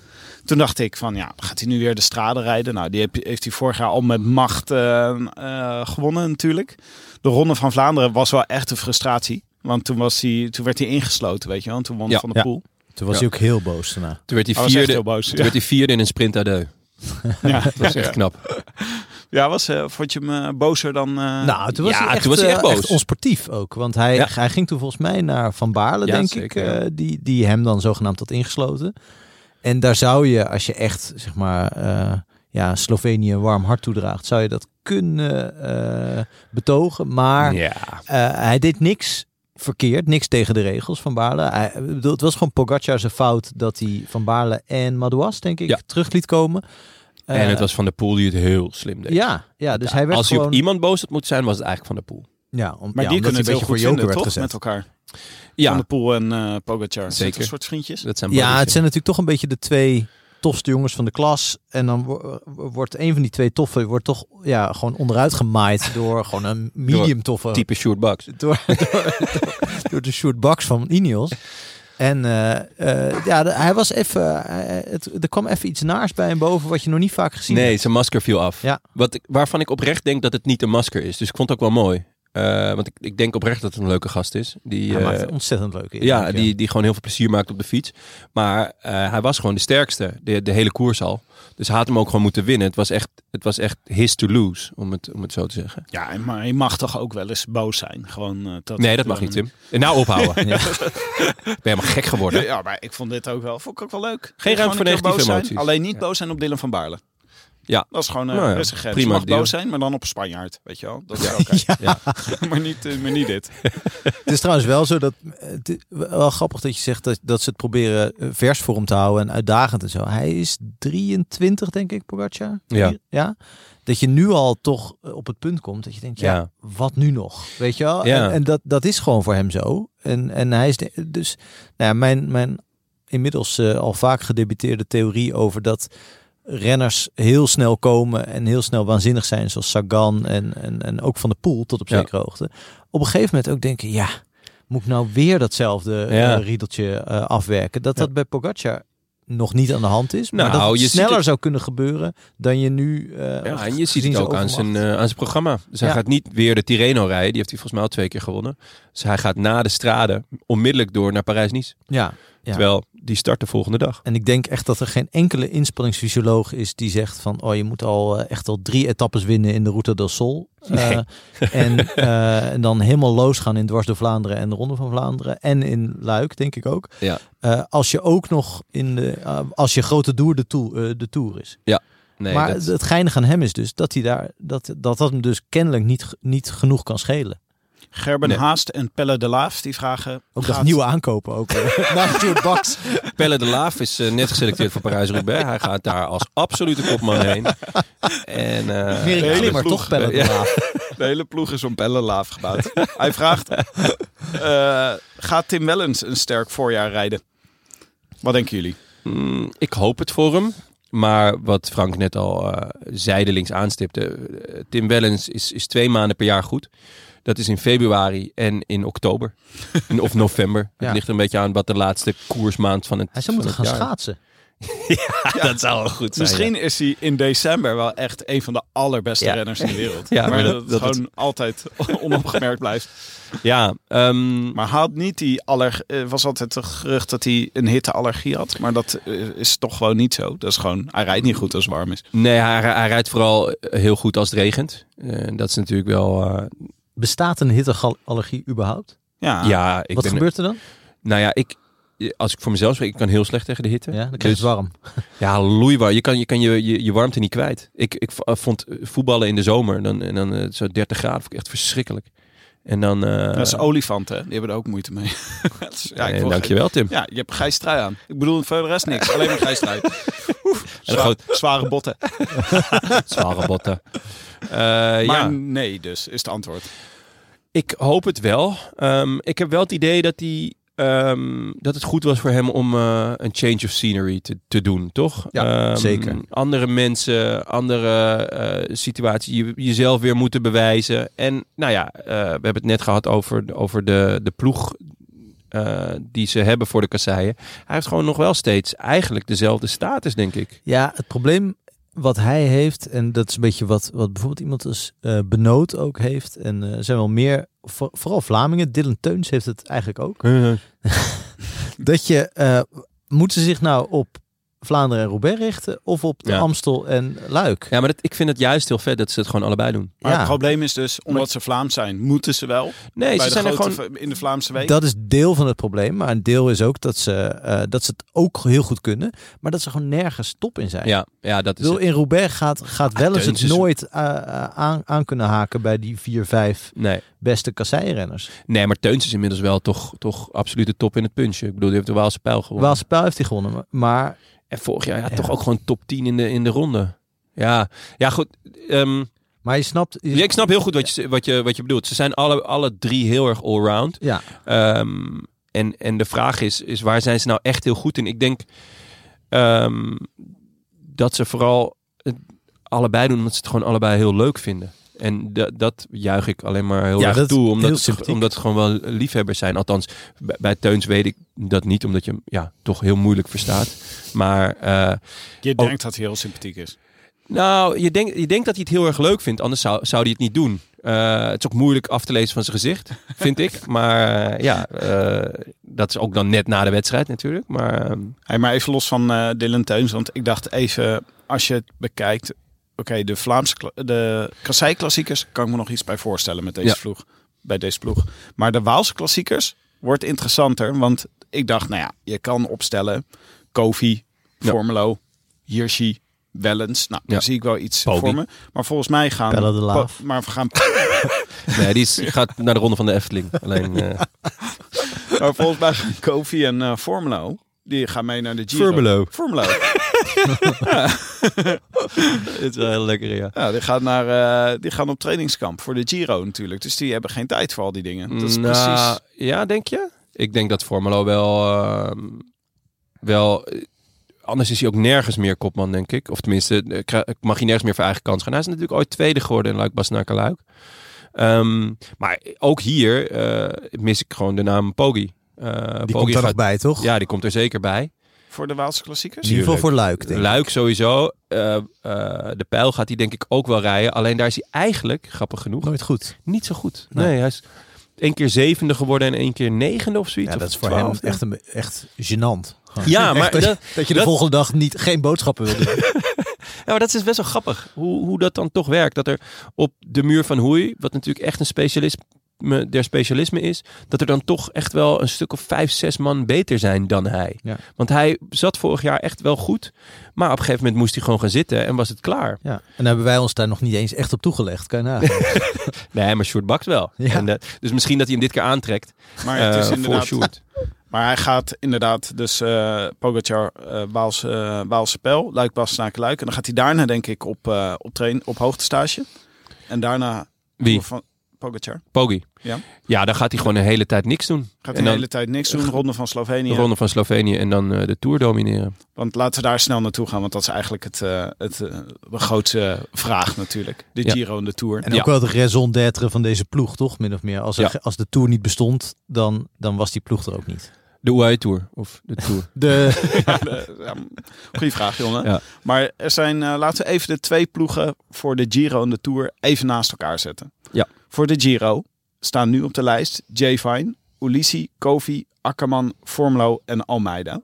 [SPEAKER 3] Toen dacht ik van ja, gaat hij nu weer de straden rijden? Nou, die heb- heeft hij vorig jaar al met macht eh, eh, gewonnen natuurlijk. De Ronde van Vlaanderen was wel echt een frustratie. Want toen, was hij, toen werd hij ingesloten, weet je wel. En toen won
[SPEAKER 1] Ja.
[SPEAKER 3] Van de
[SPEAKER 2] Ja.
[SPEAKER 3] Poel.
[SPEAKER 2] Toen was
[SPEAKER 1] Ja.
[SPEAKER 2] hij ook heel boos daarna.
[SPEAKER 1] Toen werd hij
[SPEAKER 3] Hij was echt
[SPEAKER 1] vierde,
[SPEAKER 3] heel boos.
[SPEAKER 1] toen werd hij vierde in een sprint à deux.
[SPEAKER 3] Ja,
[SPEAKER 1] Dat is echt knap.
[SPEAKER 3] ja was, eh, vond je hem eh, bozer dan... eh,
[SPEAKER 2] Nou, toen was,
[SPEAKER 1] ja,
[SPEAKER 2] hij, echt,
[SPEAKER 1] toen was hij echt
[SPEAKER 2] eh,
[SPEAKER 1] boos.
[SPEAKER 2] onsportief ook. Want hij,
[SPEAKER 1] Ja.
[SPEAKER 2] hij ging toen volgens mij naar Van Baarle,
[SPEAKER 1] Ja,
[SPEAKER 2] denk
[SPEAKER 1] zeker,
[SPEAKER 2] ik.
[SPEAKER 1] ja.
[SPEAKER 2] eh, die, die hem dan zogenaamd had ingesloten. En daar zou je, als je echt, zeg maar, eh, ja, Slovenië een warm hart toedraagt, zou je dat kunnen eh, betogen. Maar
[SPEAKER 1] Ja.
[SPEAKER 2] eh, hij deed niks verkeerd, niks tegen de regels van Baarle. Hij, ik bedoel, het was gewoon Pogacar zijn fout dat hij Van Baarle en Madouas, denk ik,
[SPEAKER 1] Ja.
[SPEAKER 2] terug liet komen. Eh,
[SPEAKER 1] En het was Van der Poel die het heel slim deed.
[SPEAKER 2] Ja, ja, dus hij werd
[SPEAKER 1] Als hij
[SPEAKER 2] gewoon...
[SPEAKER 1] op iemand boos had moeten zijn, was het eigenlijk Van der Poel.
[SPEAKER 2] Ja, om,
[SPEAKER 3] maar
[SPEAKER 2] ja,
[SPEAKER 3] die
[SPEAKER 2] omdat
[SPEAKER 3] kunnen het
[SPEAKER 2] hij
[SPEAKER 3] heel
[SPEAKER 2] een beetje voor
[SPEAKER 3] goed
[SPEAKER 2] joker
[SPEAKER 3] vinden,
[SPEAKER 2] werd
[SPEAKER 3] toch?
[SPEAKER 2] gezet.
[SPEAKER 3] Met elkaar.
[SPEAKER 1] Ja,
[SPEAKER 3] Van de Poel en eh Pogacar. Zeker.
[SPEAKER 1] Zeker.
[SPEAKER 3] Een soort vriendjes.
[SPEAKER 1] dat zijn
[SPEAKER 2] Ja, het
[SPEAKER 1] buddies,
[SPEAKER 2] zijn natuurlijk toch een beetje de twee tofste jongens van de klas. En dan wo- wo- wordt een van die twee toffe wordt toch ja, gewoon onderuit gemaaid door gewoon een medium toffe.
[SPEAKER 1] Type Sjoerd Baks.
[SPEAKER 2] Door, *laughs* door, door- door de short box van Ineos. En eh, eh, ja, de- hij was even. hij- het, er kwam even iets naars bij hem boven wat je nog niet vaak gezien hebt.
[SPEAKER 1] Nee, zijn masker viel af.
[SPEAKER 2] Ja.
[SPEAKER 1] Wat ik, waarvan ik oprecht denk dat het niet een masker is. Dus ik vond het ook wel mooi. Eh, want ik, ik denk oprecht dat het een leuke gast is. Die,
[SPEAKER 2] Hij
[SPEAKER 1] eh,
[SPEAKER 2] maakt een ontzettend leuk.
[SPEAKER 1] ja, die, die gewoon heel veel plezier maakt op de fiets. Maar eh, hij was gewoon de sterkste. De, de hele koers al. Dus hij had hem ook gewoon moeten winnen. Het was echt, het was echt his to lose, om het, om het zo te zeggen.
[SPEAKER 3] Ja, en maar je mag toch ook wel eens boos zijn. Gewoon, eh, dat
[SPEAKER 1] nee, dat mag niet, Tim. Eh, Nou, ophouden. *laughs* Ja. ben helemaal gek geworden.
[SPEAKER 3] Ja, maar ik vond dit ook wel, vond ik ook wel leuk.
[SPEAKER 1] Geen
[SPEAKER 3] Gewoon
[SPEAKER 1] ruimte voor
[SPEAKER 3] een keer
[SPEAKER 1] negatieve
[SPEAKER 3] boos zijn.
[SPEAKER 1] emoties.
[SPEAKER 3] Alleen niet
[SPEAKER 1] Ja.
[SPEAKER 3] boos zijn op Dylan van Baarle.
[SPEAKER 1] Ja.
[SPEAKER 3] Dat is gewoon eh
[SPEAKER 1] Nou ja,
[SPEAKER 3] rustig. grens.
[SPEAKER 1] prima
[SPEAKER 3] je mag
[SPEAKER 1] deal.
[SPEAKER 3] boos zijn, maar dan op een Spanjaard. Weet je wel? Dat is oké.
[SPEAKER 1] *laughs* Ja.
[SPEAKER 3] *laughs* maar, niet, eh, maar niet dit.
[SPEAKER 2] Het is trouwens wel zo dat. eh, Het is wel grappig dat je zegt dat, dat ze het proberen eh, vers voor hem te houden en uitdagend en zo. Hij is 23, denk ik, Pogacar.
[SPEAKER 1] Ja.
[SPEAKER 2] ja? Dat je nu al toch eh, op het punt komt dat je denkt, ja,
[SPEAKER 1] Ja.
[SPEAKER 2] wat nu nog? Weet je wel?
[SPEAKER 1] Ja.
[SPEAKER 2] En, en dat, dat is gewoon voor hem zo. En, en hij is de- dus. Nou ja, mijn, mijn inmiddels eh, al vaak gedebuteerde theorie over dat renners heel snel komen en heel snel waanzinnig zijn, zoals Sagan en, en, en ook Van de Poel tot op
[SPEAKER 1] Ja.
[SPEAKER 2] zekere hoogte. Op een gegeven moment ook denken, ja, moet ik nou weer datzelfde
[SPEAKER 1] Ja.
[SPEAKER 2] eh, riedeltje eh, afwerken? Dat dat bij Pogacar nog niet aan de hand is, maar
[SPEAKER 1] Nou,
[SPEAKER 2] dat het
[SPEAKER 1] je ziet
[SPEAKER 2] sneller
[SPEAKER 1] het-
[SPEAKER 2] zou kunnen gebeuren dan je nu... eh,
[SPEAKER 1] Ja, en je
[SPEAKER 2] gezien
[SPEAKER 1] ziet het ook aan
[SPEAKER 2] overmacht.
[SPEAKER 1] zijn, eh, aan zijn programma. Dus hij
[SPEAKER 2] Ja.
[SPEAKER 1] gaat niet weer de Tirreno rijden. Die heeft hij volgens mij al twee keer gewonnen. Dus hij gaat na de strade onmiddellijk door naar Parijs-Nice.
[SPEAKER 2] Ja, ja.
[SPEAKER 1] Terwijl die start de volgende dag.
[SPEAKER 2] En ik denk echt dat er geen enkele inspanningsfysioloog is die zegt van, oh, je moet al eh, echt al drie etappes winnen in de Route del Sol. Eh,
[SPEAKER 1] *laughs*
[SPEAKER 2] en, eh, en dan helemaal losgaan in dwars door Vlaanderen en de Ronde van Vlaanderen en in Luik, denk ik ook.
[SPEAKER 1] Ja.
[SPEAKER 2] Eh, als je ook nog in de, eh, als je grote doer de, toer de tour is.
[SPEAKER 1] Nee,
[SPEAKER 2] maar
[SPEAKER 1] dat-
[SPEAKER 2] het geinige aan hem is dus dat hij daar, dat dat, dat hem dus kennelijk niet, ge- niet genoeg kan schelen.
[SPEAKER 3] Gerben
[SPEAKER 1] Nee.
[SPEAKER 3] Haast en Pelle de Laaf, die vragen...
[SPEAKER 2] Ook
[SPEAKER 3] gaat-
[SPEAKER 2] dat nieuwe aankopen
[SPEAKER 3] *laughs*
[SPEAKER 2] ook. eh, Naast Stuart Baks.
[SPEAKER 1] Pelle de Laaf is eh, net geselecteerd voor Parijs-Roubaix. Hij gaat daar als absolute kopman
[SPEAKER 2] *laughs*
[SPEAKER 1] heen. En, eh,
[SPEAKER 2] Erik
[SPEAKER 3] hele
[SPEAKER 2] Klimmer,
[SPEAKER 3] ploeg,
[SPEAKER 2] toch Pelle de
[SPEAKER 1] ja.
[SPEAKER 2] Laaf.
[SPEAKER 3] De hele ploeg is om Pelle de Laaf gebouwd. Hij vraagt, Eh, gaat Tim Wellens een sterk voorjaar rijden? Wat denken jullie?
[SPEAKER 1] Mm, ik hoop het voor hem. Maar wat Frank net al eh, zijdelings aanstipte. eh, Tim Wellens is, is twee maanden per jaar goed. Dat is in februari en in
[SPEAKER 2] *laughs*
[SPEAKER 1] oktober. In- of november.
[SPEAKER 2] Ja.
[SPEAKER 1] Het ligt er een beetje aan wat de laatste koersmaand van het
[SPEAKER 2] Hij zou
[SPEAKER 1] van
[SPEAKER 2] moeten gaan
[SPEAKER 1] het jaar-
[SPEAKER 2] schaatsen.
[SPEAKER 1] Ah, Dat zou wel goed zijn.
[SPEAKER 3] Misschien
[SPEAKER 1] ja.
[SPEAKER 3] is hij in december wel echt een van de allerbeste
[SPEAKER 1] Ja.
[SPEAKER 3] renners in de wereld.
[SPEAKER 1] Ja,
[SPEAKER 3] maar,
[SPEAKER 1] maar
[SPEAKER 3] dat,
[SPEAKER 1] dat-
[SPEAKER 3] het
[SPEAKER 1] dat het-
[SPEAKER 3] gewoon altijd *laughs* onopgemerkt blijft.
[SPEAKER 1] Ja, ehm,
[SPEAKER 3] Maar haalt niet die aller... eh, was altijd het gerucht dat hij een hitteallergie had. Maar dat eh, is toch gewoon niet zo. Dat is gewoon... Hij rijdt niet goed als het warm is.
[SPEAKER 1] nee, hij, hij rijdt vooral eh, heel goed als het regent. Eh, dat is natuurlijk wel... eh,
[SPEAKER 2] Bestaat een hitteallergie überhaupt?
[SPEAKER 3] Ja,
[SPEAKER 1] ja, ik
[SPEAKER 2] Ah, Wat
[SPEAKER 1] ben,
[SPEAKER 2] gebeurt er dan?
[SPEAKER 1] Nou ja, ik... Als ik voor mezelf spreek, ik kan heel slecht tegen de hitte.
[SPEAKER 2] Ja, dan krijg je
[SPEAKER 1] Dus-
[SPEAKER 2] het warm.
[SPEAKER 1] Ja, loeibaar. Je kan je, kan je, je, je warmte niet kwijt. Ik, ik v- eh, vond eh, voetballen in de zomer, dan, en dan eh, zo 30 graden, vond ik echt verschrikkelijk. En dan... eh,
[SPEAKER 3] dat is olifanten. hè? Die hebben er ook moeite mee. *laughs* Dat is- ja, ik
[SPEAKER 1] eh,
[SPEAKER 3] wil geen-
[SPEAKER 1] dankjewel, Tim.
[SPEAKER 3] Ja, je hebt grijs trui aan. Ik bedoel voor de rest niks. Alleen maar
[SPEAKER 1] *laughs*
[SPEAKER 3] grijs trui. Oef,
[SPEAKER 1] En
[SPEAKER 3] zwaar-
[SPEAKER 1] groot-
[SPEAKER 3] zware botten.
[SPEAKER 1] Zware
[SPEAKER 3] *laughs*
[SPEAKER 1] botten. Eh,
[SPEAKER 3] Maar
[SPEAKER 1] ja,
[SPEAKER 3] nee dus, is het antwoord.
[SPEAKER 1] ik hoop het wel. Ehm, ik heb wel het idee dat, die, ehm, dat het goed was voor hem om eh, een change of scenery te, te doen, toch?
[SPEAKER 2] Ja,
[SPEAKER 1] Ehm,
[SPEAKER 2] zeker.
[SPEAKER 1] Andere mensen, andere eh situaties, je, jezelf weer moeten bewijzen. En nou ja, eh, we hebben het net gehad over, over de, de ploeg eh, die ze hebben voor de kasseien. Hij heeft gewoon nog wel steeds eigenlijk dezelfde status, denk ik.
[SPEAKER 2] Ja, het probleem wat hij heeft, en dat is een beetje wat, wat bijvoorbeeld iemand als eh, Benoot ook heeft. En eh, er zijn wel meer, voor- vooral Vlamingen, Dylan Teuns heeft het eigenlijk
[SPEAKER 1] *laughs*
[SPEAKER 2] ook. Dat je, eh, moeten ze zich nou op Vlaanderen en Roubaix richten of op de
[SPEAKER 1] Ja.
[SPEAKER 2] Amstel en Luik?
[SPEAKER 1] Ja, maar dat, ik vind het juist heel vet dat ze het gewoon allebei doen.
[SPEAKER 3] Maar
[SPEAKER 2] Ja.
[SPEAKER 3] het probleem is dus, omdat ze Vlaams zijn, moeten ze wel.
[SPEAKER 1] Nee,
[SPEAKER 3] bij
[SPEAKER 1] ze
[SPEAKER 3] de
[SPEAKER 1] zijn er
[SPEAKER 3] grote
[SPEAKER 1] gewoon...
[SPEAKER 3] v- in de Vlaamse week.
[SPEAKER 2] Dat is deel van het probleem, maar een deel is ook dat ze, eh, dat ze het ook heel goed kunnen, maar dat ze gewoon nergens top in zijn.
[SPEAKER 1] Ja, ja, dat
[SPEAKER 2] Ik
[SPEAKER 1] is
[SPEAKER 2] bedoel,
[SPEAKER 1] het.
[SPEAKER 2] in Roubaix gaat, gaat wel eens
[SPEAKER 1] Teuns
[SPEAKER 2] het
[SPEAKER 1] is-
[SPEAKER 2] nooit eh, eh, aan, aan kunnen haken bij die vier, vijf
[SPEAKER 1] Nee.
[SPEAKER 2] beste kasseirenners.
[SPEAKER 1] Nee, maar Teuns is inmiddels wel toch, toch absoluut de top in het puntje. Ik bedoel, die heeft de Waalse pijl gewonnen.
[SPEAKER 2] Waalse Pijl heeft hij gewonnen, maar- maar
[SPEAKER 1] En vorig jaar ja,
[SPEAKER 2] Ja.
[SPEAKER 1] toch ook gewoon top 10 in de, in de ronde. Ja, ja goed. ehm,
[SPEAKER 2] Maar je snapt... je-
[SPEAKER 1] ja, ik snap heel goed wat je, wat je, wat je bedoelt. Ze zijn alle, alle drie heel erg allround.
[SPEAKER 2] Ja.
[SPEAKER 1] Ehm, en, en de vraag is, is, waar zijn ze nou echt heel goed in? Ik denk ehm, dat ze vooral het allebei doen omdat ze het gewoon allebei heel leuk vinden. En da- dat juich ik alleen maar heel
[SPEAKER 2] Ja, dat
[SPEAKER 1] erg
[SPEAKER 2] is
[SPEAKER 1] toe,
[SPEAKER 2] heel
[SPEAKER 1] omdat het,
[SPEAKER 2] sympathiek.
[SPEAKER 1] omdat het gewoon wel liefhebbers zijn. Althans, bij, bij Teuns weet ik dat niet, omdat je hem ja, toch heel moeilijk verstaat. Maar eh,
[SPEAKER 3] Je
[SPEAKER 1] Oh.
[SPEAKER 3] denkt dat hij heel sympathiek is.
[SPEAKER 1] nou, je denkt, je denkt dat hij het heel erg leuk vindt, anders zou, zou hij het niet doen. Eh, het is ook moeilijk af te lezen van zijn gezicht, *laughs* vind ik. Maar eh, ja, eh, dat is ook dan net na de wedstrijd natuurlijk. Maar ehm,
[SPEAKER 3] Hey, maar even los van eh, Dylan Teuns, want ik dacht even, als je het bekijkt... Oké, de Vlaamse kla- de kasseiklassiekers kan ik me nog iets bij voorstellen met deze,
[SPEAKER 1] Ja.
[SPEAKER 3] vloeg, bij deze ploeg. Maar de Waalse klassiekers wordt interessanter, want ik dacht, nou ja, je kan opstellen Kofi,
[SPEAKER 1] Ja.
[SPEAKER 3] Formelo, Hirschi, Wellens. Nou, daar
[SPEAKER 1] Ja.
[SPEAKER 3] zie ik wel iets
[SPEAKER 1] Poggi.
[SPEAKER 3] voor me. Maar volgens mij gaan...
[SPEAKER 2] Pelle de Laaf.
[SPEAKER 3] po- Maar we gaan *laughs*
[SPEAKER 1] nee, die is, gaat naar de ronde van de Efteling. Alleen, eh,
[SPEAKER 3] Maar volgens mij gaan Kofi en eh Formelo, die gaan mee naar de Giro.
[SPEAKER 1] Formelo.
[SPEAKER 3] Formelo.
[SPEAKER 1] het is wel heel lekker, ja.
[SPEAKER 3] Ja, die gaan, naar, eh, die gaan op trainingskamp voor de Giro natuurlijk. Dus die hebben geen tijd voor al die dingen. Dat is
[SPEAKER 1] Nou,
[SPEAKER 3] precies...
[SPEAKER 1] Ja, denk je? Ik denk dat Formelo wel... ehm, wel eh, anders is hij ook nergens meer kopman, denk ik. Of tenminste, eh, kra- mag hij nergens meer voor eigen kans gaan. Hij is natuurlijk ooit tweede geworden in Luik Basnaken Luik. Ehm, maar ook hier eh, mis ik gewoon de naam Poggi. Eh,
[SPEAKER 2] die komt er nog bij, toch?
[SPEAKER 1] Ja, die komt er zeker bij.
[SPEAKER 3] Voor de Waalse klassiekers?
[SPEAKER 2] in ieder geval voor Luik, denk ik.
[SPEAKER 1] Luik sowieso. Eh, eh, de pijl gaat hij denk ik ook wel rijden. Alleen daar is hij eigenlijk, grappig genoeg,
[SPEAKER 2] Nooit goed.
[SPEAKER 1] niet zo goed. Nee,
[SPEAKER 2] Nee.
[SPEAKER 1] hij is één keer zevende geworden en één keer negende of zoiets.
[SPEAKER 2] Ja,
[SPEAKER 1] of
[SPEAKER 2] dat is voor hem
[SPEAKER 1] twaalfde.
[SPEAKER 2] echt, een, echt gênant. Gewoon. *laughs*
[SPEAKER 1] Ja, maar
[SPEAKER 2] Echt dat,
[SPEAKER 1] dat-
[SPEAKER 2] je, dat je de
[SPEAKER 1] dat-
[SPEAKER 2] volgende dag niet, geen boodschappen wil doen.
[SPEAKER 1] Ja, maar dat is best wel grappig. Hoe, hoe dat dan toch werkt. Dat er op de muur van Hoei, wat natuurlijk echt een specialisme der specialisme is, dat er dan toch echt wel een stuk of vijf, zes man beter zijn dan hij.
[SPEAKER 2] Ja.
[SPEAKER 1] Want hij zat vorig jaar echt wel goed, maar op een gegeven moment moest hij gewoon gaan zitten en was het klaar.
[SPEAKER 2] *laughs* Ja. En dan hebben wij ons daar nog niet eens echt op toegelegd. Kan je nagaan.
[SPEAKER 1] Nee, maar Sjoerd bakt wel.
[SPEAKER 2] Ja.
[SPEAKER 1] En, eh, dus misschien dat hij hem dit keer aantrekt
[SPEAKER 3] Maar, het
[SPEAKER 1] eh,
[SPEAKER 3] is
[SPEAKER 1] voor
[SPEAKER 3] inderdaad,
[SPEAKER 1] Sjoerd.
[SPEAKER 3] *laughs* maar hij gaat inderdaad dus eh Pogacar, eh Waalse, eh, Waalse Pijl, Luik, Bastenaken, Luik. En dan gaat hij daarna denk ik op, eh op, train, op hoogtestage. En daarna...
[SPEAKER 1] Wie?
[SPEAKER 3] Van Pogacar.
[SPEAKER 1] Poggi.
[SPEAKER 3] Ja.
[SPEAKER 1] ja, dan gaat hij gewoon een hele tijd niks doen.
[SPEAKER 3] Gaat
[SPEAKER 1] En
[SPEAKER 3] de
[SPEAKER 1] dan-
[SPEAKER 3] hele tijd niks doen. Ronde van
[SPEAKER 1] De
[SPEAKER 3] Slovenië.
[SPEAKER 1] ronde van Slovenië en dan eh, de Tour domineren.
[SPEAKER 3] Want laten we daar snel naartoe gaan. Want dat is eigenlijk het, eh, het, eh, de grootste vraag natuurlijk. De
[SPEAKER 1] Ja.
[SPEAKER 3] Giro en de Tour.
[SPEAKER 2] En
[SPEAKER 1] Ja.
[SPEAKER 2] ook wel de raison d'être van deze ploeg, toch? Min of meer. Als, er
[SPEAKER 1] Ja.
[SPEAKER 2] ge- als de Tour niet bestond, dan, dan was die ploeg er ook niet.
[SPEAKER 1] De UAE Tour of de Tour.
[SPEAKER 2] De,
[SPEAKER 3] Ja, de- ja, goeie vraag, Jonne.
[SPEAKER 1] Ja.
[SPEAKER 3] Maar er zijn, eh, laten we even de twee ploegen voor de Giro en de Tour even naast elkaar zetten.
[SPEAKER 1] Ja.
[SPEAKER 3] Voor de Giro staan nu op de lijst Jay Vine, Ulissi, Kofi, Akkerman, Formlo en Almeida.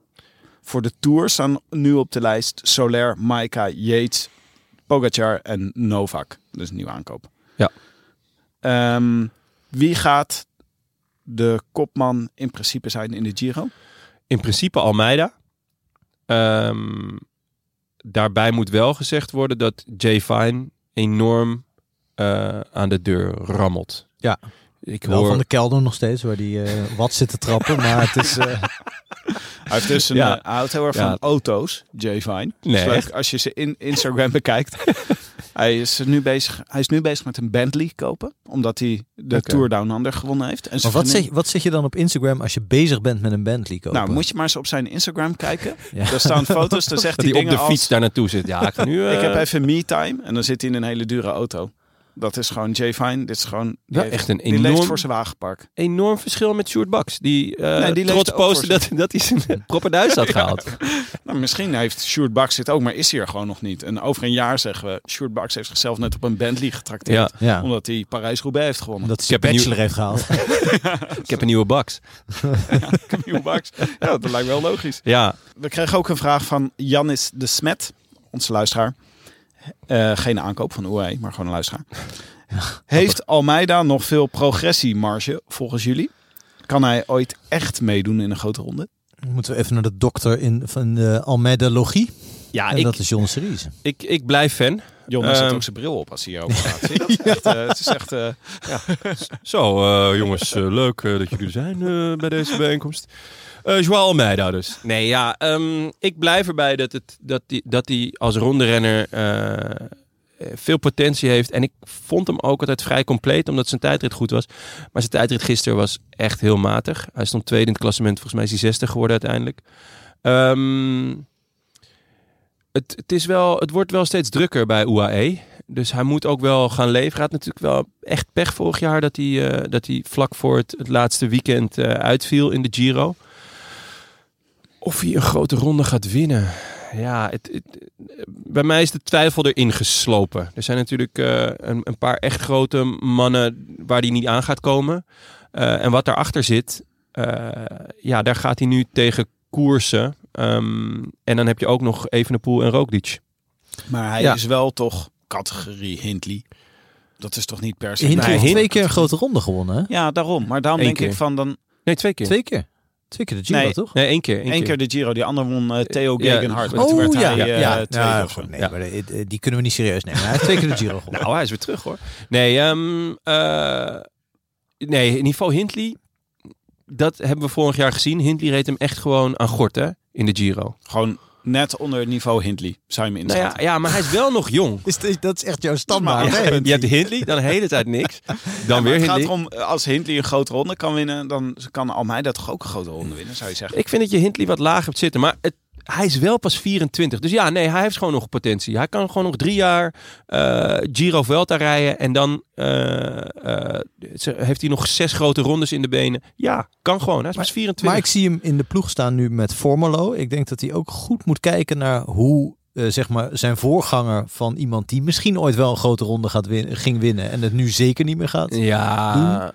[SPEAKER 3] Voor de Tour staan nu op de lijst Soler, Maika, Yates, Pogacar en Novak. Dus een nieuwe aankoop.
[SPEAKER 1] Ja.
[SPEAKER 3] Ehm, wie gaat de kopman in principe zijn in de Giro?
[SPEAKER 1] In principe Almeida. Ehm, daarbij moet wel gezegd worden dat Jay Fine enorm eh, aan de deur rammelt.
[SPEAKER 2] Ja.
[SPEAKER 1] Ik
[SPEAKER 2] wel
[SPEAKER 1] hoor...
[SPEAKER 2] van de kelder nog steeds, waar die eh, wat zit te trappen. Maar het is... eh,
[SPEAKER 3] Hij heeft dus een,
[SPEAKER 1] Ja.
[SPEAKER 3] eh, hij houdt heel erg
[SPEAKER 1] Ja.
[SPEAKER 3] van auto's, Jay Vine. Dat is
[SPEAKER 1] Nee,
[SPEAKER 3] leuk
[SPEAKER 1] echt?
[SPEAKER 3] als je ze in Instagram *laughs* bekijkt. hij, is nu bezig, hij is nu bezig met een Bentley kopen, omdat hij de
[SPEAKER 1] Oké.
[SPEAKER 3] Tour Down Under gewonnen heeft. En
[SPEAKER 2] maar
[SPEAKER 3] zijn
[SPEAKER 2] wat
[SPEAKER 3] vriendin-
[SPEAKER 2] zet, wat zet je dan op Instagram als je bezig bent met een Bentley kopen?
[SPEAKER 3] Nou, moet je maar eens op zijn Instagram
[SPEAKER 1] *laughs*
[SPEAKER 3] kijken.
[SPEAKER 2] Ja.
[SPEAKER 3] Daar staan foto's, daar zegt
[SPEAKER 1] dat
[SPEAKER 3] hij
[SPEAKER 1] hij op
[SPEAKER 3] dingen
[SPEAKER 1] de fiets
[SPEAKER 3] als...
[SPEAKER 1] daar naartoe zit. Ja, ik, ga nu, eh,
[SPEAKER 3] *laughs* Ik heb even me-time en dan zit hij in een hele dure auto. Dat is gewoon Jay Vine. Dit is gewoon... die
[SPEAKER 1] wel
[SPEAKER 3] heeft-
[SPEAKER 1] echt een
[SPEAKER 3] Die leeft
[SPEAKER 1] enorm,
[SPEAKER 3] voor zijn wagenpark.
[SPEAKER 1] enorm verschil met Sjoerd Baks. Die, eh,
[SPEAKER 3] Nee, die leeft
[SPEAKER 1] trots
[SPEAKER 3] ook voor
[SPEAKER 1] postte *laughs* dat, dat hij zijn proper Duits *laughs* had gehaald.
[SPEAKER 3] Nou, misschien heeft Sjoerd Baks dit ook, maar is hij er gewoon nog niet. En over een jaar zeggen we, Sjoerd Baks heeft zichzelf net op een Bentley getrakteerd.
[SPEAKER 1] Ja.
[SPEAKER 2] Ja,
[SPEAKER 3] Omdat hij Parijs-Roubaix heeft gewonnen. *laughs*
[SPEAKER 2] omdat ze
[SPEAKER 1] heb een nieuw-
[SPEAKER 2] bachelor heeft
[SPEAKER 1] *laughs*
[SPEAKER 2] gehaald. *laughs*
[SPEAKER 1] Ik heb een nieuwe Baks.
[SPEAKER 3] Nieuwe Max. Ja, dat lijkt wel logisch.
[SPEAKER 1] Ja,
[SPEAKER 3] We kregen ook een vraag van Janis de Smet, onze luisteraar. Eh, geen aankoop van UAE, maar gewoon een *laughs* luisteraar. Heeft Almeida nog veel progressiemarge volgens jullie? Kan hij ooit echt meedoen in een grote ronde?
[SPEAKER 2] Moeten we even naar de dokter in, van de Almeida Logie.
[SPEAKER 1] ja
[SPEAKER 2] en
[SPEAKER 1] Ah, ik,
[SPEAKER 2] dat is John Series.
[SPEAKER 1] ik, ik blijf fan.
[SPEAKER 3] Jon zet
[SPEAKER 1] Ehm.
[SPEAKER 3] ook zijn bril op als hij hierover praat. Zie je *laughs* dat? Echt, eh, het is echt... eh,
[SPEAKER 1] Zo, eh, jongens, eh, leuk eh, dat jullie er zijn eh, bij deze bijeenkomst. Eh Joao Almeida dus. Nee, ja, ehm, ik blijf erbij dat hij dat die, dat die als ronderenner eh, eh, veel potentie heeft. En ik vond hem ook altijd vrij compleet, omdat zijn tijdrit goed was. Maar zijn tijdrit gisteren was echt heel matig. Hij stond tweede in het klassement. Volgens mij is hij zestig geworden uiteindelijk. Ehm, het, het, is wel, het wordt wel steeds drukker bij UAE. Dus hij moet ook wel gaan leveren. Hij had natuurlijk wel echt pech vorig jaar dat hij, eh, dat hij vlak voor het, het laatste weekend eh, uitviel in de Giro. Of hij een grote ronde gaat winnen. Ja, het, het- bij mij is de twijfel erin geslopen. Er zijn natuurlijk eh, een, een paar echt grote mannen waar hij niet aan gaat komen. Eh, en wat daarachter zit, eh, ja, daar gaat hij nu tegen koersen. Ehm, en dan heb je ook nog Evenepoel en Roglic.
[SPEAKER 3] maar hij
[SPEAKER 2] Ja.
[SPEAKER 3] is wel toch categorie Hindley. Dat is toch niet per se...
[SPEAKER 2] Hint
[SPEAKER 1] Nee,
[SPEAKER 2] heeft
[SPEAKER 1] Hint-
[SPEAKER 2] twee keer een grote ronde gewonnen. Hè?
[SPEAKER 3] Ja, daarom. Maar daarom
[SPEAKER 1] Eén
[SPEAKER 3] denk ik
[SPEAKER 1] keer.
[SPEAKER 3] van dan
[SPEAKER 1] Nee, twee keer.
[SPEAKER 2] Twee keer. Twee keer de Giro,
[SPEAKER 3] Nee.
[SPEAKER 2] toch?
[SPEAKER 1] Nee, één keer. één
[SPEAKER 3] één keer de Giro. Die ander won eh, Theo
[SPEAKER 1] Ja,
[SPEAKER 3] Gegenhardt.
[SPEAKER 1] oh,
[SPEAKER 3] Toen werd hij,
[SPEAKER 2] ja,
[SPEAKER 3] eh,
[SPEAKER 2] ja,
[SPEAKER 3] tweede
[SPEAKER 2] ja,
[SPEAKER 3] of zo.
[SPEAKER 2] goed, nee,
[SPEAKER 1] Ja.
[SPEAKER 2] maar de- eh, die kunnen we niet serieus nemen. Hij heeft twee keer de Giro gewonnen.
[SPEAKER 1] Nou, hij is weer terug hoor. Nee, ehm, eh, nee in ieder geval Hindley. Dat hebben we vorig jaar gezien. Hindley reed hem echt gewoon aan gort hè, in de Giro.
[SPEAKER 3] Gewoon net onder het niveau Hindley, zou je me
[SPEAKER 1] Nou ja,
[SPEAKER 3] inschatten.
[SPEAKER 1] ja, maar hij is wel nog jong.
[SPEAKER 2] *laughs* Is dit- dat is echt jouw
[SPEAKER 3] Maar-
[SPEAKER 2] standaard.
[SPEAKER 3] Ja,
[SPEAKER 2] hè?
[SPEAKER 1] Je hebt Hindley, dan de hele tijd
[SPEAKER 3] *laughs*
[SPEAKER 1] niks. Dan
[SPEAKER 3] Maar
[SPEAKER 1] weer
[SPEAKER 3] het gaat
[SPEAKER 1] Hindley.
[SPEAKER 3] erom, eh, als Hindley een grote ronde kan winnen, dan kan Almeida toch ook een grote ronde winnen, zou je zeggen.
[SPEAKER 1] Ik vind dat je Hindley wat laag hebt zitten. Maar het, hij is wel pas 24. Dus ja, nee, hij heeft gewoon nog potentie. Hij kan gewoon nog drie jaar eh, Giro Velta rijden. En dan eh, eh, ze- heeft hij nog zes grote rondes in de benen. Ja, kan gewoon. Hij is pas 24.
[SPEAKER 2] Maar ik zie hem in de ploeg staan nu met Formolo. Ik denk dat hij ook goed moet kijken naar hoe eh, zeg maar zijn voorganger van iemand die misschien ooit wel een grote ronde gaat win ging winnen en het nu zeker niet meer gaat,
[SPEAKER 1] Ja,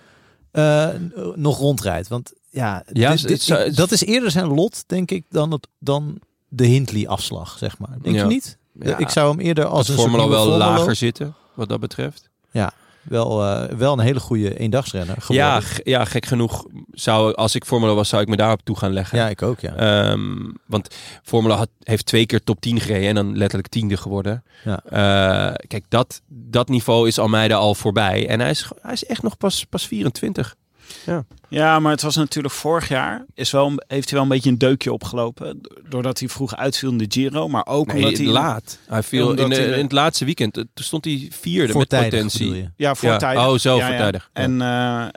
[SPEAKER 2] eh, n- nog rondrijdt. Want ja,
[SPEAKER 1] Ja,
[SPEAKER 2] dit-
[SPEAKER 1] het
[SPEAKER 2] dit-
[SPEAKER 1] zou-
[SPEAKER 2] ik- dat is eerder zijn lot, denk ik, dan, het, dan de Hindley-afslag, zeg maar. Denk
[SPEAKER 1] Ja.
[SPEAKER 2] je niet?
[SPEAKER 1] Ja.
[SPEAKER 2] Ik zou hem eerder als
[SPEAKER 1] als
[SPEAKER 2] een
[SPEAKER 1] de
[SPEAKER 2] soort
[SPEAKER 1] Formula wel
[SPEAKER 2] nieuwe Formolo-
[SPEAKER 1] lager zitten, wat dat betreft.
[SPEAKER 2] Wel, eh, wel een hele goede eendagsrenner geworden.
[SPEAKER 1] Ja, g- ja, gek genoeg zou, als ik Formula was, zou ik me daarop toe gaan leggen.
[SPEAKER 2] Ja, ik ook, ja.
[SPEAKER 1] Ehm, want Formula had, heeft twee keer top 10 gereden en dan letterlijk tiende geworden.
[SPEAKER 2] Ja.
[SPEAKER 1] Eh, kijk, dat, dat niveau is Almeida al voorbij. En hij is, ge- hij is echt nog pas, pas 24.
[SPEAKER 3] Ja, maar het was natuurlijk vorig jaar. Is wel, een- heeft hij wel een beetje een deukje opgelopen. do- Doordat hij vroeg uitviel in de Giro. Maar ook
[SPEAKER 1] Nee,
[SPEAKER 3] omdat hij...
[SPEAKER 1] laat. Hij viel
[SPEAKER 3] Omdat
[SPEAKER 1] in, de-
[SPEAKER 3] hij-
[SPEAKER 1] in het laatste weekend. eh, Toen stond hij vierde
[SPEAKER 2] Voortijdig,
[SPEAKER 1] met
[SPEAKER 2] bedoel
[SPEAKER 1] potentie.
[SPEAKER 2] je?
[SPEAKER 3] Ja, voortijdig.
[SPEAKER 1] oh, zo,
[SPEAKER 3] Ja, ja.
[SPEAKER 1] voortijdig. Ja.
[SPEAKER 3] En,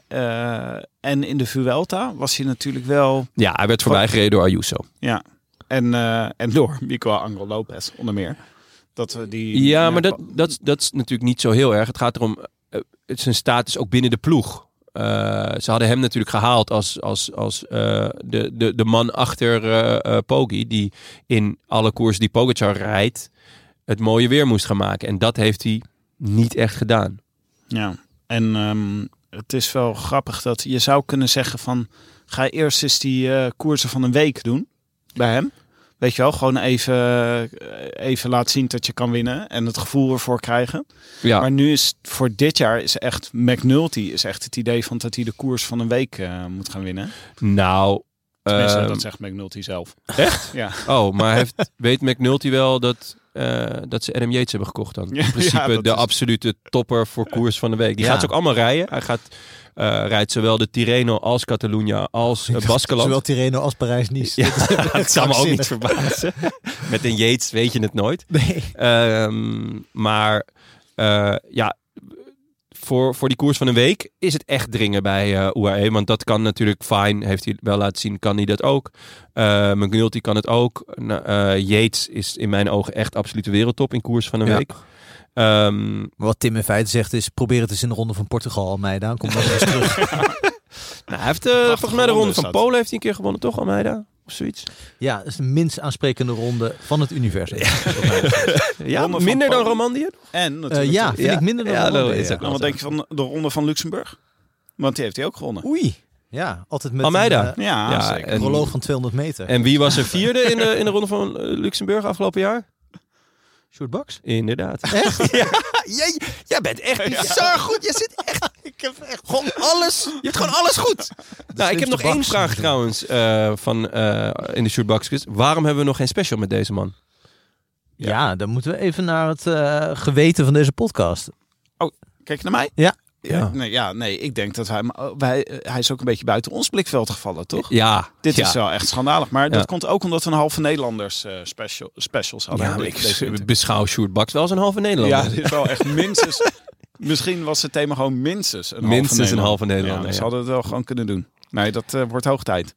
[SPEAKER 3] eh, eh, en in de Vuelta was hij natuurlijk wel...
[SPEAKER 1] Ja, hij werd voorbij gereden door Ayuso.
[SPEAKER 3] Ja. En, eh, en door Miguel Angel Lopez, onder meer. Dat we die...
[SPEAKER 1] Ja, maar dat, dat, dat is natuurlijk niet zo heel erg. Het gaat erom eh, het zijn status ook binnen de ploeg. Eh, ze hadden hem natuurlijk gehaald als, als, als eh, de, de, de man achter eh eh, Poggi. Die in alle koersen die Pogacar rijdt, het mooie weer moest gaan maken. En dat heeft hij niet echt gedaan.
[SPEAKER 3] Ja, en ehm, het is wel grappig dat je zou kunnen zeggen van... ga eerst eens die eh, koersen van een week doen bij hem. Weet je wel, gewoon even, eh, even laten zien dat je kan winnen en het gevoel ervoor krijgen.
[SPEAKER 1] Ja,
[SPEAKER 3] Maar nu is het- voor dit jaar is echt McNulty is echt het idee van dat hij de koers van een week eh, moet gaan winnen.
[SPEAKER 1] nou...
[SPEAKER 3] Tenminste,
[SPEAKER 1] ehm,
[SPEAKER 3] dat zegt McNulty zelf.
[SPEAKER 1] Echt?
[SPEAKER 3] Ja.
[SPEAKER 1] Oh, maar heeft, *laughs* weet McNulty wel dat, eh, dat ze Adam Yates hebben gekocht dan?
[SPEAKER 3] *laughs* Ja,
[SPEAKER 1] In
[SPEAKER 3] ja,
[SPEAKER 1] principe
[SPEAKER 3] dat
[SPEAKER 1] de
[SPEAKER 3] is-
[SPEAKER 1] absolute topper voor koers van de week. Die
[SPEAKER 2] Ja.
[SPEAKER 1] gaat ze ook allemaal rijden. Hij gaat, eh, rijdt zowel de Tirreno als Catalunya als eh, Baskeland.
[SPEAKER 2] Zowel Tirreno als
[SPEAKER 1] *laughs*
[SPEAKER 2] Parijs-Nice.
[SPEAKER 1] Ja,
[SPEAKER 2] Dat is *laughs* echt
[SPEAKER 1] Het zou me ook niet
[SPEAKER 2] krankzinnig.
[SPEAKER 1] verbazen. Met een Yates weet je het nooit.
[SPEAKER 2] Nee.
[SPEAKER 1] Ehm, maar eh, ja, voor, voor die koers van een week is het echt dringen bij eh UAE. Want dat kan natuurlijk fijn. Heeft hij wel laten zien, kan hij dat ook. Eh McNulty kan het ook. Nou, eh, Yates is in mijn ogen echt absolute wereldtop in koers van een
[SPEAKER 2] Ja.
[SPEAKER 1] week. Ehm,
[SPEAKER 2] Wat Tim in feite zegt is, probeer het eens in de ronde van Portugal, Almeida. Dan komt dat weer eens terug.
[SPEAKER 1] nou, hij heeft eh, volgens mij de
[SPEAKER 3] ronde
[SPEAKER 1] ronde
[SPEAKER 3] is
[SPEAKER 1] van
[SPEAKER 3] dat.
[SPEAKER 1] Polen heeft hij een keer gewonnen, toch Almeida? Of zoiets.
[SPEAKER 2] *laughs* Ja, dat is de minst aansprekende ronde van het universum.
[SPEAKER 1] Ja,
[SPEAKER 3] Ronde van
[SPEAKER 1] minder dan
[SPEAKER 3] Polen.
[SPEAKER 1] Romandie.
[SPEAKER 3] En natuurlijk...
[SPEAKER 2] Eh, ja,
[SPEAKER 3] de-
[SPEAKER 2] vind ik minder dan
[SPEAKER 1] Ja,
[SPEAKER 2] de ronde,
[SPEAKER 1] dat is ook
[SPEAKER 2] ja.
[SPEAKER 3] En wat denk je van de ronde van Luxemburg? Want die heeft hij ook gewonnen.
[SPEAKER 2] Oei. Ja, altijd met
[SPEAKER 1] Almeida.
[SPEAKER 2] een
[SPEAKER 3] Ja,
[SPEAKER 1] Ja,
[SPEAKER 3] zeker.
[SPEAKER 2] eh,
[SPEAKER 1] en-
[SPEAKER 2] proloog van 200 meter.
[SPEAKER 1] En wie
[SPEAKER 3] *laughs*
[SPEAKER 1] was er vierde in de, in de ronde van eh, Luxemburg afgelopen jaar?
[SPEAKER 2] Short Bucks?
[SPEAKER 1] Inderdaad.
[SPEAKER 2] Echt?
[SPEAKER 1] Jij, jij bent echt bizar goed. Je zit
[SPEAKER 2] *laughs*
[SPEAKER 1] echt... Ik heb echt gewoon alles... Je hebt gewoon alles goed. Nou, ik heb
[SPEAKER 2] slimste
[SPEAKER 1] nog één
[SPEAKER 2] baks
[SPEAKER 1] vraag
[SPEAKER 2] moeten.
[SPEAKER 1] trouwens eh, van, eh, in de shootbox quiz. Waarom hebben we nog geen special met deze man?
[SPEAKER 2] Ja. dan moeten we even naar het eh, geweten van deze podcast.
[SPEAKER 1] Dus
[SPEAKER 3] Kijk je naar mij?
[SPEAKER 2] Ja.
[SPEAKER 3] Ja. Nee, ja, nee, ik denk dat hij... maar, oh, wij, eh, hij is ook een beetje buiten ons blikveld gevallen, toch?
[SPEAKER 1] Ja.
[SPEAKER 3] Dit
[SPEAKER 1] ja.
[SPEAKER 3] is wel echt schandalig. Maar dat
[SPEAKER 1] Ja.
[SPEAKER 3] komt ook omdat we een halve Nederlanders eh, special, specials hadden.
[SPEAKER 1] Ja, maar
[SPEAKER 3] Dit- deze
[SPEAKER 1] ik
[SPEAKER 3] winter.
[SPEAKER 1] beschouw Shootbox wel als een halve Nederlander.
[SPEAKER 3] ja, dit is wel echt minstens... misschien was het thema gewoon minstens een halve
[SPEAKER 1] Minstens een
[SPEAKER 3] Nederlander.
[SPEAKER 1] halve
[SPEAKER 3] Ja, dus
[SPEAKER 1] Nederlander.
[SPEAKER 3] ze
[SPEAKER 1] ja.
[SPEAKER 3] hadden het wel gewoon kunnen doen. Nee, dat eh, wordt hoog tijd.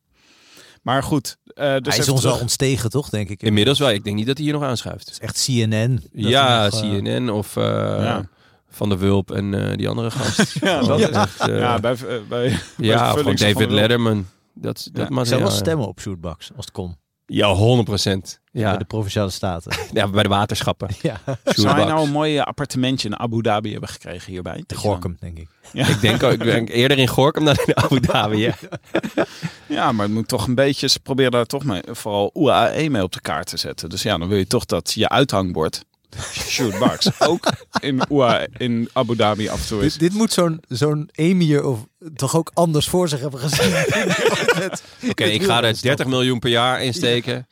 [SPEAKER 3] Maar goed. eh, dus
[SPEAKER 2] Hij is
[SPEAKER 3] even
[SPEAKER 2] ons al
[SPEAKER 3] terug.
[SPEAKER 2] ontstegen, toch, denk ik? Het
[SPEAKER 1] Inmiddels wel. Ik denk niet dat hij hier nog aanschuift.
[SPEAKER 2] is echt CNN. dat
[SPEAKER 1] ja,
[SPEAKER 2] er nog, eh,
[SPEAKER 1] CNN of eh,
[SPEAKER 3] Ja.
[SPEAKER 1] Van der Wulp en eh, die andere gast.
[SPEAKER 3] *laughs* Ja, dat
[SPEAKER 1] ja.
[SPEAKER 3] is- ja, bij, eh, bij,
[SPEAKER 1] Ja,
[SPEAKER 3] Bij de
[SPEAKER 1] van
[SPEAKER 3] Vullings of
[SPEAKER 1] David
[SPEAKER 3] van Wil-
[SPEAKER 1] Letterman. Dat, dat
[SPEAKER 3] Ja,
[SPEAKER 2] Ik
[SPEAKER 1] materiaal,
[SPEAKER 2] zou wel
[SPEAKER 1] ja.
[SPEAKER 2] stemmen op Short Bucks, als het kon.
[SPEAKER 1] Ja, 100 procent.
[SPEAKER 2] Bij
[SPEAKER 1] Ja.
[SPEAKER 2] de Provinciale Staten.
[SPEAKER 1] *laughs* ja, bij de waterschappen.
[SPEAKER 2] ja,
[SPEAKER 3] zou hij
[SPEAKER 1] Shoebox.
[SPEAKER 3] nou een mooi eh, appartementje in Abu Dhabi hebben gekregen hierbij?
[SPEAKER 2] in Gorkum, denk ik.
[SPEAKER 1] Ik denk, ook- ik denk eerder in Gorkum dan in Abu Dhabi. Ja.
[SPEAKER 3] Ja, maar het moet toch een beetje... Ze proberen daar toch mee, vooral UAE mee op de kaart te zetten. Dus ja, dan wil je toch dat je uithangbord... *laughs* Shoot Bucks. ook in, UAE, in Abu Dhabi af en toe is.
[SPEAKER 2] Dit, dit moet zo'n zo'n emir of toch ook anders voor zich hebben gezien. Oké,
[SPEAKER 1] Oké, ik ga er 30 miljoen per jaar in steken.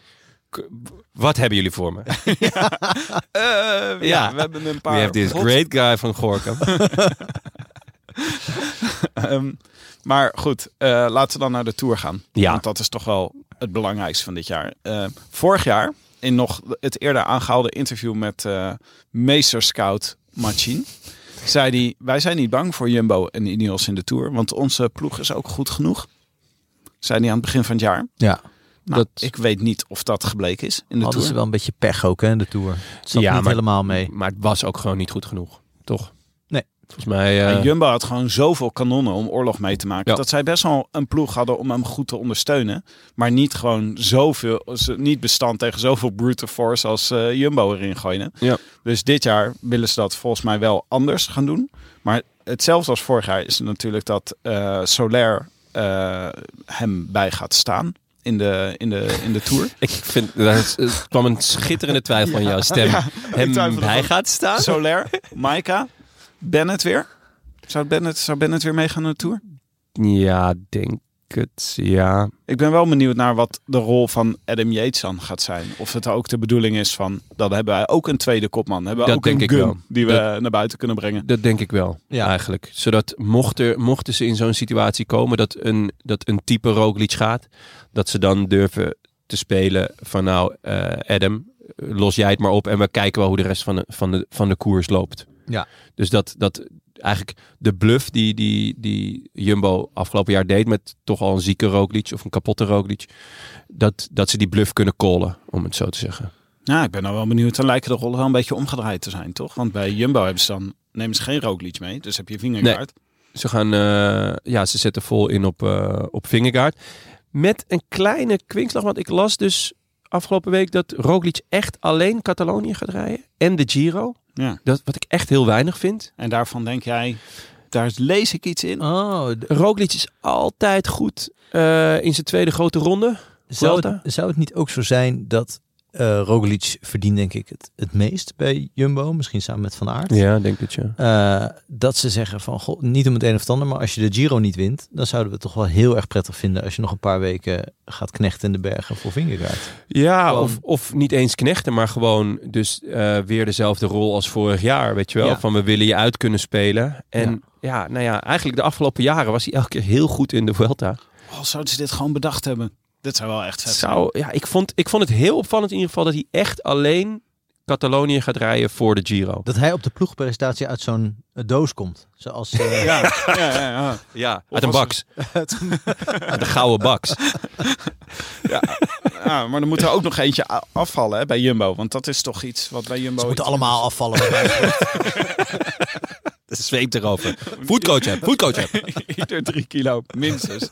[SPEAKER 1] K- Wat hebben jullie voor me?
[SPEAKER 3] Eh,
[SPEAKER 1] Ja.
[SPEAKER 3] we hebben een
[SPEAKER 1] We
[SPEAKER 3] paar...
[SPEAKER 1] have this
[SPEAKER 3] hot-
[SPEAKER 1] great guy van Gorkum.
[SPEAKER 3] Ehm, maar goed, eh, laten we dan naar de Tour gaan.
[SPEAKER 1] *laughs* Ja.
[SPEAKER 3] Want dat is toch wel het belangrijkste van dit jaar. Eh, vorig jaar, in nog het eerder aangehaalde interview met eh meester scout Machin... zei hij, wij zijn niet bang voor Jumbo en Ineos in de Tour... want onze ploeg is ook goed genoeg. Zei hij aan het begin van het jaar.
[SPEAKER 2] Ja,
[SPEAKER 3] Nou,
[SPEAKER 1] Dat-
[SPEAKER 3] Ik weet niet of dat gebleken is in de
[SPEAKER 2] hadden ze
[SPEAKER 3] Tour.
[SPEAKER 2] wel een beetje pech ook, hè, in de Tour. Het zat
[SPEAKER 1] Ja,
[SPEAKER 2] niet
[SPEAKER 1] maar-
[SPEAKER 2] helemaal mee.
[SPEAKER 1] Maar het was ook gewoon niet goed genoeg, toch?
[SPEAKER 2] Nee.
[SPEAKER 1] Volgens mij... eh,
[SPEAKER 3] En Jumbo had gewoon zoveel kanonnen om oorlog mee te maken.
[SPEAKER 1] Ja.
[SPEAKER 3] Dat zij best wel een ploeg hadden om hem goed te ondersteunen. Maar niet gewoon zoveel, ze- niet bestand tegen zoveel brute force als eh, Jumbo erin gooien.
[SPEAKER 1] Ja.
[SPEAKER 3] Dus dit jaar willen ze dat volgens mij wel anders gaan doen. Maar hetzelfde als vorig jaar is natuurlijk dat eh, Soler eh, hem bij gaat staan. In de, in de, in de Tour.
[SPEAKER 1] ik vind, daar is- er kwam een schitterende twijfel aan jouw stem. Hem,
[SPEAKER 3] twijfelde
[SPEAKER 1] hij
[SPEAKER 3] van-
[SPEAKER 1] gaat staan?
[SPEAKER 3] Soler, Maika, Bennett weer. Zou Bennett, zou Bennett weer meegaan naar de Tour?
[SPEAKER 1] Ja, denk denk het, ja.
[SPEAKER 3] Ik ben wel benieuwd naar wat de rol van Adam Yates dan gaat zijn. Of het ook de bedoeling is van, dan hebben wij ook een tweede kopman. Hebben we
[SPEAKER 1] Dat
[SPEAKER 3] ook een
[SPEAKER 1] denk ik
[SPEAKER 3] gun
[SPEAKER 1] wel.
[SPEAKER 3] die we
[SPEAKER 1] Dat-
[SPEAKER 3] naar buiten kunnen brengen.
[SPEAKER 1] Dat denk ik wel,
[SPEAKER 2] Ja.
[SPEAKER 1] eigenlijk. Zodat mocht er, mochten ze in zo'n situatie komen dat een, dat een type Roglic gaat, dat ze dan durven te spelen van nou, eh, Adam, los jij het maar op en we kijken wel hoe de rest van de, van de, van de koers loopt.
[SPEAKER 2] Ja.
[SPEAKER 1] Dus dat, dat eigenlijk de bluff die, die, die Jumbo afgelopen jaar deed met toch al een zieke Roglic of een kapotte Roglic, dat, dat ze die bluff kunnen callen, om het zo te zeggen.
[SPEAKER 3] Ja, ik ben nou wel benieuwd. Dan lijken de rollen wel een beetje omgedraaid te zijn, toch? Want bij Jumbo hebben ze dan, nemen ze geen rookliedje mee. Dus heb je vingerkaart.
[SPEAKER 1] Ze gaan, eh, ja, ze zetten vol in op, eh op Vingegaard. Met een kleine kwinkslag, want ik las dus afgelopen week dat Roglic echt alleen Catalonië gaat rijden. En de Giro.
[SPEAKER 3] Ja.
[SPEAKER 1] Dat, wat ik echt heel weinig vind.
[SPEAKER 3] En daarvan denk jij, daar lees ik iets in.
[SPEAKER 2] Oh, d-
[SPEAKER 1] Roglic is altijd goed eh, in zijn tweede grote ronde.
[SPEAKER 2] zou
[SPEAKER 1] Vuelta?
[SPEAKER 2] het, zou het niet ook zo zijn dat eh Roglic verdient denk ik het, het meest bij Jumbo? Misschien samen met Van Aert.
[SPEAKER 1] Ja, denk dat ja.
[SPEAKER 2] Eh, dat ze zeggen van, goh, niet om het een of het ander, maar als je de Giro niet wint, dan zouden we het toch wel heel erg prettig vinden als je nog een paar weken gaat knechten in de bergen voor Vingegaard.
[SPEAKER 1] Ja,
[SPEAKER 2] Gewoon-
[SPEAKER 1] of, of niet eens knechten, maar gewoon dus eh, weer dezelfde rol als vorig jaar, weet je wel.
[SPEAKER 2] Ja.
[SPEAKER 1] Van we willen je uit kunnen spelen. En ja. nou ja, eigenlijk de afgelopen jaren was hij elke keer heel goed in de Vuelta.
[SPEAKER 3] Oh, zouden ze dit gewoon bedacht hebben? Dit zou wel echt vet zijn.
[SPEAKER 1] Zou, ja, ik, vond, ik vond het heel opvallend in ieder geval dat hij echt alleen Catalonië gaat rijden voor de Giro.
[SPEAKER 2] Dat hij op de ploegpresentatie uit zo'n eh, doos komt. Zoals eh,
[SPEAKER 3] Ja, ja, ja, ja.
[SPEAKER 1] Ja,
[SPEAKER 3] Of
[SPEAKER 1] uit een
[SPEAKER 3] als-
[SPEAKER 1] baks. Uit de gouden baks.
[SPEAKER 3] Ja, maar dan moet er ook nog eentje a- afvallen hè, bij Jumbo. Want dat is toch iets wat bij
[SPEAKER 2] ze
[SPEAKER 3] Jumbo...
[SPEAKER 2] moeten allemaal afvallen.
[SPEAKER 1] Zweep erover. Foodcoach heb, foodcoach heb.
[SPEAKER 3] *laughs* Ieder drie kilo, minstens.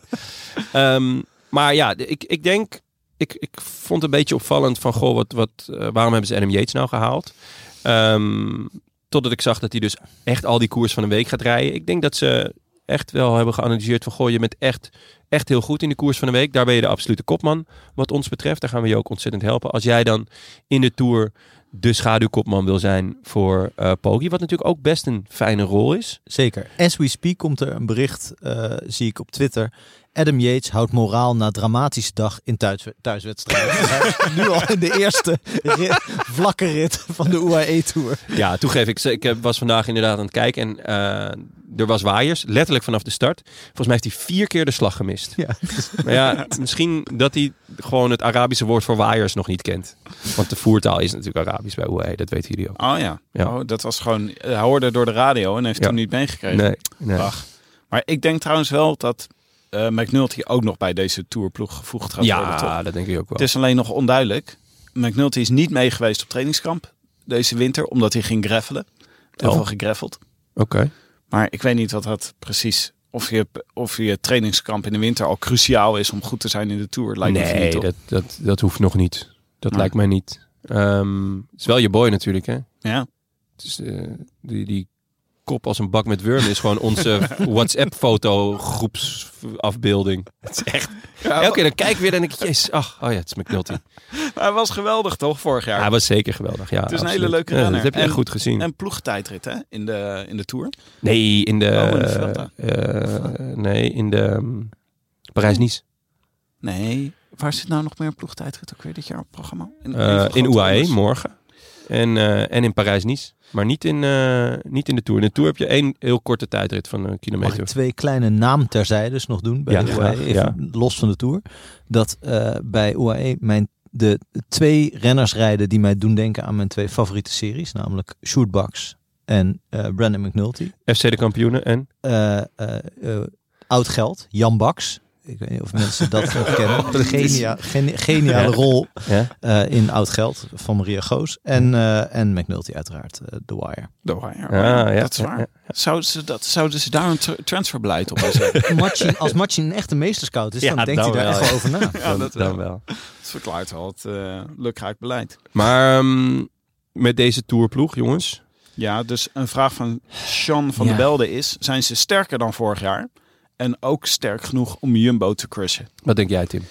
[SPEAKER 1] Ehm, maar ja, de- ik, ik denk, ik, ik vond het een beetje opvallend van, goh, wat, wat, eh, waarom hebben ze Adam Yates nou gehaald? Ehm, totdat ik zag dat hij dus echt al die koers van een week gaat rijden. Ik denk dat ze echt wel hebben geanalyseerd van, goh, je bent echt, echt heel goed in de koers van een week. Daar ben je de absolute kopman wat ons betreft. Daar gaan we je ook ontzettend helpen. Als jij dan in de Tour de schaduwkopman wil zijn voor eh Poggi, wat natuurlijk ook best een fijne rol is.
[SPEAKER 2] Zeker. As we speak komt er een bericht, eh, zie ik op Twitter. Adam Yates houdt moraal na dramatische dag in thuis, thuiswedstrijd. Dus hij is nu al in de eerste rit, vlakke rit van de E UAE-tour.
[SPEAKER 1] Ja, toegeef ik. Ik eh, was vandaag inderdaad aan het kijken en eh, er was waaiers, letterlijk vanaf de start. Volgens mij heeft hij vier keer de slag gemist.
[SPEAKER 2] Ja.
[SPEAKER 1] Maar ja, misschien dat hij gewoon het Arabische woord voor waaiers nog niet kent. Want de voertaal is natuurlijk Arabisch bij UAE, dat weten jullie ook.
[SPEAKER 3] Oh ja.
[SPEAKER 1] Ja.
[SPEAKER 3] Oh, dat was gewoon... Hij hoorde door de radio en heeft
[SPEAKER 1] Ja.
[SPEAKER 3] toen niet meegekregen.
[SPEAKER 1] Nee, nee.
[SPEAKER 3] Ach. Maar ik denk trouwens wel dat eh McNulty ook nog bij deze tourploeg gevoegd gaat worden. toch?
[SPEAKER 1] Ja, dat denk ik ook
[SPEAKER 3] Het
[SPEAKER 1] wel.
[SPEAKER 3] is alleen nog onduidelijk. McNulty is niet meegeweest op trainingskamp deze winter, omdat hij ging greffelen. Heel
[SPEAKER 1] Oh.
[SPEAKER 3] veel gegreffeld.
[SPEAKER 1] Oké.
[SPEAKER 3] Maar ik weet niet wat dat precies... Of je, of je trainingskamp in de winter al cruciaal is om goed te zijn in de Tour. Lijkt me
[SPEAKER 1] nee,
[SPEAKER 3] niet, toch?
[SPEAKER 1] dat, dat, dat hoeft nog niet. Dat
[SPEAKER 3] Nee.
[SPEAKER 1] lijkt mij niet. Ehm, het is wel je boy natuurlijk, hè?
[SPEAKER 3] Ja.
[SPEAKER 1] Het is, eh, die, die kop als een bak met wurmen is gewoon
[SPEAKER 3] *laughs*
[SPEAKER 1] onze WhatsApp-foto groepsafbeelding. Het is echt...
[SPEAKER 3] Oh.
[SPEAKER 1] Elke keer dan kijk ik weer en denk ik, jezus, ach, oh ja, het is McNulty.
[SPEAKER 3] Maar Hij was geweldig toch, vorig jaar?
[SPEAKER 1] Hij was zeker geweldig, ja.
[SPEAKER 3] Het is een
[SPEAKER 1] absoluut.
[SPEAKER 3] hele leuke
[SPEAKER 1] Ja,
[SPEAKER 3] renner.
[SPEAKER 1] Dat heb je echt
[SPEAKER 3] En-
[SPEAKER 1] goed gezien.
[SPEAKER 3] En ploegtijdrit hè, in de, in de Tour.
[SPEAKER 1] nee, in de...
[SPEAKER 3] Oh, in de Vuelta.
[SPEAKER 1] eh, eh, nee, in de... ehm, Parijs-Nice.
[SPEAKER 3] Nee, waar zit nou nog meer een ploegtijdrit ook weer dit jaar op het programma? In,
[SPEAKER 1] Eh, in UAE, morgen. En, eh, en in Parijs-Nice. Maar niet in, eh, niet in de Tour. In de Tour heb je één heel korte tijdrit van een
[SPEAKER 2] Mag
[SPEAKER 1] kilometer.
[SPEAKER 2] ik twee kleine naam terzijdes nog doen bij
[SPEAKER 1] Ja,
[SPEAKER 2] de
[SPEAKER 1] graag,
[SPEAKER 2] UAE, even los van de Tour. Dat eh, bij UAE mijn, de twee renners rijden die mij doen denken aan mijn twee favoriete series. Namelijk Sjoerd Baks en eh, Brandon McNulty.
[SPEAKER 1] FC de kampioenen en...
[SPEAKER 2] Eh, eh, eh, oud geld, Jan Baks. Ik weet niet of
[SPEAKER 1] *laughs*
[SPEAKER 2] mensen dat nog kennen. Genia, geni- geniale rol
[SPEAKER 1] Ja?
[SPEAKER 2] eh, in Oud Geld van Maria Goos. En, eh, en McNulty uiteraard, eh, The
[SPEAKER 1] *laughs*
[SPEAKER 2] Wire.
[SPEAKER 3] De Wire.
[SPEAKER 1] Ah, ja,
[SPEAKER 3] dat is
[SPEAKER 1] ja,
[SPEAKER 3] waar.
[SPEAKER 1] ja.
[SPEAKER 3] Zouden, ze dat, zouden ze daar een tra- transferbeleid op
[SPEAKER 1] *laughs*
[SPEAKER 3] zetten?
[SPEAKER 2] Machin, als Machin een echte meesterscout is,
[SPEAKER 1] Ja,
[SPEAKER 2] dan denkt
[SPEAKER 1] dan
[SPEAKER 2] hij daar
[SPEAKER 1] wel,
[SPEAKER 2] echt wel over na.
[SPEAKER 3] ja, dat,
[SPEAKER 1] dan wel.
[SPEAKER 3] dat verklaart wel het eh lukraak beleid.
[SPEAKER 1] Maar ehm, met deze tourploeg, jongens.
[SPEAKER 3] Ja, dus een vraag van Sean van
[SPEAKER 1] Ja.
[SPEAKER 3] der Belde is, zijn ze sterker dan vorig jaar? En ook sterk genoeg om Jumbo te crushen?
[SPEAKER 1] Wat denk jij, Tim?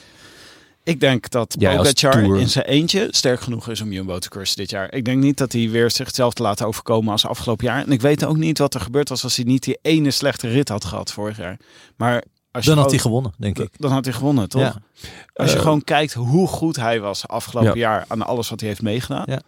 [SPEAKER 3] Ik denk dat
[SPEAKER 1] Jij als
[SPEAKER 3] Pogacar
[SPEAKER 1] Tour.
[SPEAKER 3] in zijn eentje sterk genoeg is om Jumbo te cursen dit jaar. Ik denk niet dat hij weer zichzelf te laten overkomen als afgelopen jaar. En ik weet ook niet wat er gebeurd was als hij niet die ene slechte rit had gehad vorig jaar. Maar Als je
[SPEAKER 2] Dan had hij
[SPEAKER 3] ook-
[SPEAKER 2] gewonnen, denk ik.
[SPEAKER 3] dan had hij gewonnen, toch?
[SPEAKER 2] Ja.
[SPEAKER 3] Als je
[SPEAKER 1] Eh,
[SPEAKER 3] gewoon kijkt hoe goed hij was afgelopen jaar aan alles wat hij heeft meegedaan.
[SPEAKER 2] Ja.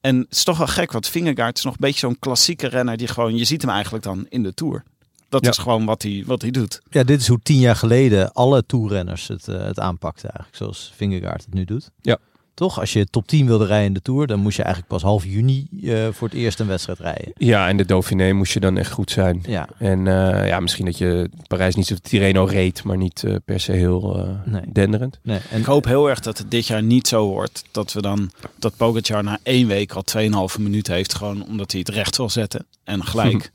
[SPEAKER 3] En het is toch wel gek, want Vingegaard is nog een beetje zo'n klassieke renner die gewoon, je ziet hem eigenlijk dan in de Tour. Dat
[SPEAKER 1] Ja.
[SPEAKER 3] is gewoon wat hij, wat hij doet.
[SPEAKER 2] Ja, dit is hoe tien jaar geleden alle toerrenners het, eh, het aanpakten eigenlijk. Zoals Vingegaard het nu doet.
[SPEAKER 1] Ja.
[SPEAKER 2] Toch? Als je top 10 wilde rijden in de Tour, dan moest je eigenlijk pas half juni eh, voor het eerst een wedstrijd rijden.
[SPEAKER 1] Ja, en de Dauphiné moest je dan echt goed zijn.
[SPEAKER 2] Ja.
[SPEAKER 1] En eh, ja, misschien dat je Parijs niet zo Tireno reed, maar niet eh, per se heel eh,
[SPEAKER 2] Nee.
[SPEAKER 1] denderend.
[SPEAKER 2] Nee, en
[SPEAKER 3] Ik hoop heel erg dat het dit jaar niet zo wordt dat we dan, dat Pogacar na één week al 2,5 minuten heeft, gewoon omdat hij het recht wil zetten. En gelijk.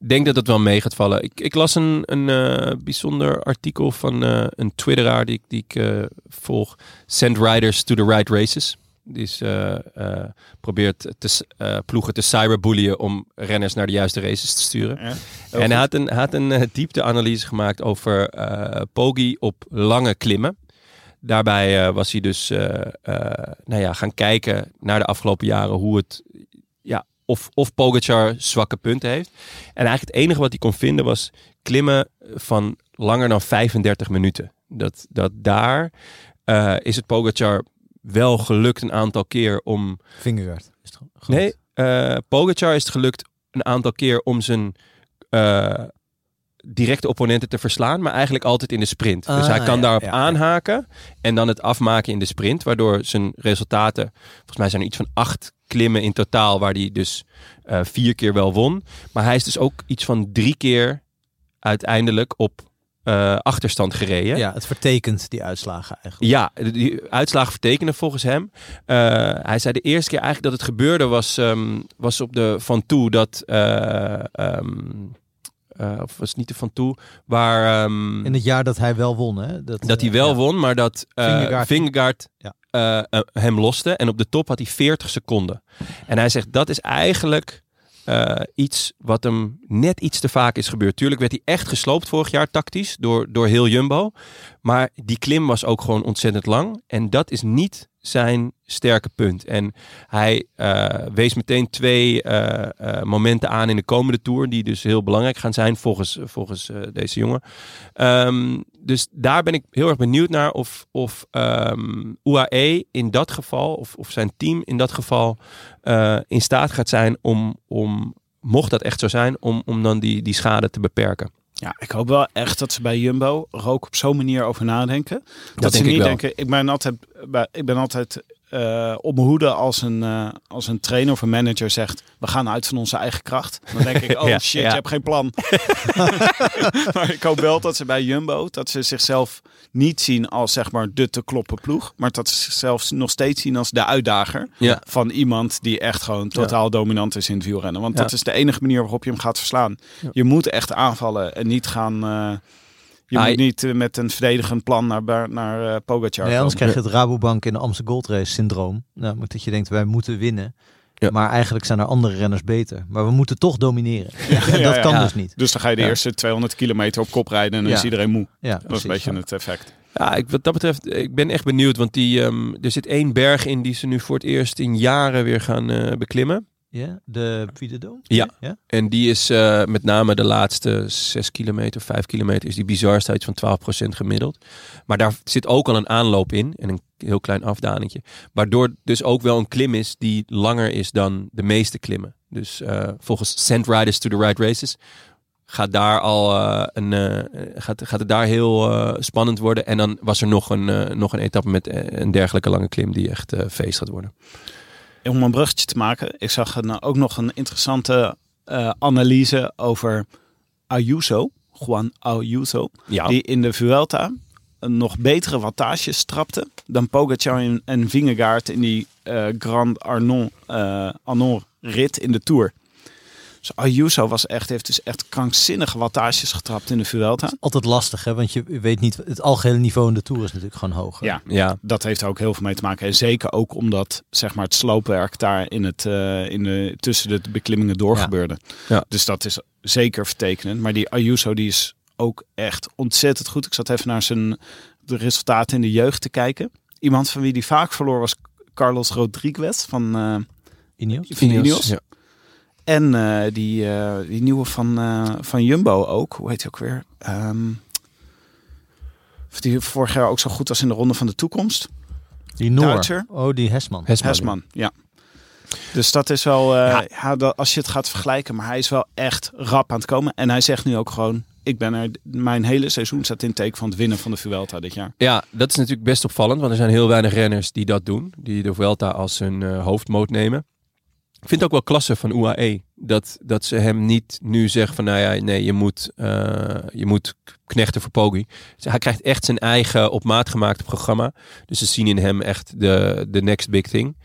[SPEAKER 1] Ik denk dat dat wel mee gaat vallen. Ik, ik las een, een eh, bijzonder artikel van eh, een twitteraar die, ik- die ik eh, volg. Send riders to the right races. Die is, eh, eh, probeert te, s- eh, ploegen te cyberbulliën om renners naar de juiste races te sturen.
[SPEAKER 3] Ja, heel
[SPEAKER 1] En hij
[SPEAKER 3] goed.
[SPEAKER 1] had een, hij had een eh, diepteanalyse gemaakt over eh Poggi op lange klimmen. Daarbij eh, was hij dus eh, eh, nou ja, gaan kijken naar de afgelopen jaren hoe het. Ja, of, of Pogacar zwakke punten heeft. En eigenlijk het enige wat hij kon vinden was klimmen van langer dan 35 minuten. Dat, dat daar eh, is het Pogacar wel gelukt een aantal keer om
[SPEAKER 2] Vingegaard is het goed.
[SPEAKER 1] Nee, eh Pogacar is het gelukt een aantal keer om zijn eh, directe opponenten te verslaan, maar eigenlijk altijd in de sprint. dus
[SPEAKER 2] Ah,
[SPEAKER 1] hij kan
[SPEAKER 2] ja,
[SPEAKER 1] daarop
[SPEAKER 2] ja, ja.
[SPEAKER 1] aanhaken en dan het afmaken in de sprint, waardoor zijn resultaten, volgens mij zijn er iets van acht klimmen in totaal, waar hij dus eh, vier keer wel won. Maar hij is dus ook iets van drie keer uiteindelijk op eh, achterstand gereden.
[SPEAKER 2] Ja, het vertekent die uitslagen eigenlijk.
[SPEAKER 1] Ja, de- die uitslagen vertekenen volgens hem. Eh, hij zei de eerste keer eigenlijk dat het gebeurde was, ehm, was op de Van Toe dat... eh, ehm, eh, of was het niet de Van Toe? Waar, ehm,
[SPEAKER 2] In het jaar dat hij wel won, hè?
[SPEAKER 1] dat hij wel
[SPEAKER 2] ja.
[SPEAKER 1] won, maar dat eh
[SPEAKER 2] Vingegaard-
[SPEAKER 1] Vingegaard,
[SPEAKER 2] Ja.
[SPEAKER 1] eh, eh, hem loste. En op de top had hij 40 seconden. En hij zegt, dat is eigenlijk eh, iets wat hem net iets te vaak is gebeurd. Tuurlijk werd hij echt gesloopt vorig jaar tactisch door, door heel Jumbo. Maar die klim was ook gewoon ontzettend lang. En dat is niet zijn sterke punt. En hij eh, wees meteen twee eh, eh, momenten aan in de komende Tour... die dus heel belangrijk gaan zijn volgens, volgens eh, deze jongen. Ehm, dus daar ben ik heel erg benieuwd naar of, of ehm, UAE in dat geval, of, of zijn team in dat geval, eh, in staat gaat zijn om, om, mocht dat echt zo zijn, om, om dan die, die schade te beperken.
[SPEAKER 3] Ja, ik hoop wel echt dat ze bij Jumbo er ook op zo'n manier over nadenken. Dat,
[SPEAKER 1] denk
[SPEAKER 3] ze
[SPEAKER 1] ik
[SPEAKER 3] niet
[SPEAKER 1] wel.
[SPEAKER 3] denken, ik ben altijd, bij- ik ben altijd eh, op mijn hoede als een, eh, als een trainer of een manager zegt, we gaan uit van onze eigen kracht. Dan denk
[SPEAKER 1] *laughs*
[SPEAKER 3] ik, oh
[SPEAKER 1] Ja,
[SPEAKER 3] shit,
[SPEAKER 1] ja.
[SPEAKER 3] je hebt geen plan. *laughs* maar ik hoop wel dat ze bij Jumbo, dat ze zichzelf niet zien als zeg maar de te kloppen ploeg. Maar dat ze zichzelf nog steeds zien als de uitdager
[SPEAKER 1] Ja.
[SPEAKER 3] van iemand die echt gewoon totaal dominant is in het wielrennen. Want
[SPEAKER 1] Ja.
[SPEAKER 3] dat is de enige manier waarop je hem gaat verslaan. Je moet echt aanvallen en niet gaan. eh, je
[SPEAKER 2] Nou,
[SPEAKER 1] Ah,
[SPEAKER 3] moet
[SPEAKER 1] je-
[SPEAKER 3] niet eh, met een verdedigend plan naar, Bar- naar eh, Pogacar.
[SPEAKER 2] Nee, anders
[SPEAKER 3] komen.
[SPEAKER 2] krijg je het Rabobank in de Amsterdam Gold Race syndroom. Namelijk dat je denkt, wij moeten winnen.
[SPEAKER 1] Ja.
[SPEAKER 2] Maar eigenlijk zijn er andere renners beter. Maar we moeten toch domineren. en dat
[SPEAKER 3] *laughs* ja,
[SPEAKER 2] kan
[SPEAKER 1] ja.
[SPEAKER 2] dus niet.
[SPEAKER 3] Dus dan ga je de
[SPEAKER 1] Ja.
[SPEAKER 3] eerste 200 kilometer op kop rijden en dan
[SPEAKER 2] Ja.
[SPEAKER 3] is iedereen moe.
[SPEAKER 2] Ja,
[SPEAKER 3] Dat is
[SPEAKER 2] precies.
[SPEAKER 3] een beetje het effect.
[SPEAKER 1] Ja, ik, wat dat betreft, ik ben echt benieuwd, want die, ehm, er zit één berg in die ze nu voor het eerst in jaren weer gaan eh, beklimmen.
[SPEAKER 2] Ja, de Piederdom?
[SPEAKER 1] Ja.
[SPEAKER 2] ja.
[SPEAKER 1] En die is eh, met name de laatste 6 kilometer, 5 kilometer, is die bizar iets van 12% gemiddeld. Maar daar zit ook al een aanloop in en een heel klein afdalingetje. Waardoor dus ook wel een klim is die langer is dan de meeste klimmen. Dus eh, volgens Send Riders to the Right Races gaat, daar al, eh, een, eh, gaat, gaat het daar heel eh, spannend worden. En dan was er nog een, eh, nog een etappe met eh, een dergelijke lange klim die echt eh, feest gaat worden.
[SPEAKER 3] Om een bruggetje te maken, ik zag een, ook nog een interessante eh, analyse over Ayuso, Juan Ayuso,
[SPEAKER 1] Ja,
[SPEAKER 3] die in de Vuelta een nog betere wattage strapte dan Pogacar en- en Vingegaard in die eh Grand Arnon, eh, Arnon rit in de Tour. Dus Ayuso was echt, heeft dus echt krankzinnige wattages getrapt in de Vuelta.
[SPEAKER 2] Altijd lastig, hè? Want je weet niet, het algehele niveau in de Tour is natuurlijk gewoon hoger.
[SPEAKER 3] Ja,
[SPEAKER 1] ja.
[SPEAKER 3] dat heeft er ook heel veel mee te maken. En zeker ook omdat zeg maar, het sloopwerk daar in het, eh, in de, tussen de beklimmingen door
[SPEAKER 2] Ja.
[SPEAKER 3] gebeurde.
[SPEAKER 1] Ja.
[SPEAKER 3] Dus dat is zeker vertekenend. Maar die Ayuso die is ook echt ontzettend goed. Ik zat even naar zijn de resultaten in de jeugd te kijken. Iemand van wie die vaak verloor was Carlos Rodriguez van, eh
[SPEAKER 2] Ineos?
[SPEAKER 3] van Ineos.
[SPEAKER 1] Ja.
[SPEAKER 3] En eh, die, eh, die nieuwe van, eh, van Jumbo ook. Hoe heet hij ook weer? Ehm, Of die vorig jaar ook zo goed was in de Ronde van de Toekomst.
[SPEAKER 2] Die Noor.
[SPEAKER 3] Duitser.
[SPEAKER 2] Oh, die Hesman.
[SPEAKER 1] Hesman.
[SPEAKER 3] Hesman, ja. Dus dat is wel, eh, ja, dat, als je het gaat vergelijken, maar hij is wel echt rap aan het komen. En hij zegt nu ook gewoon, ik ben er, mijn hele seizoen staat in teken van het winnen van de Vuelta dit jaar.
[SPEAKER 1] Ja, dat is natuurlijk best opvallend, want er zijn heel weinig renners die dat doen. Die de Vuelta als hun eh, hoofdmoot nemen. Ik vind het ook wel klasse van UAE dat, dat ze hem niet nu zeggen van nou ja, nee, je moet, eh, je moet knechten voor Poggi. Dus hij krijgt echt zijn eigen op maat gemaakt programma. Dus ze zien in hem echt de, de next big thing.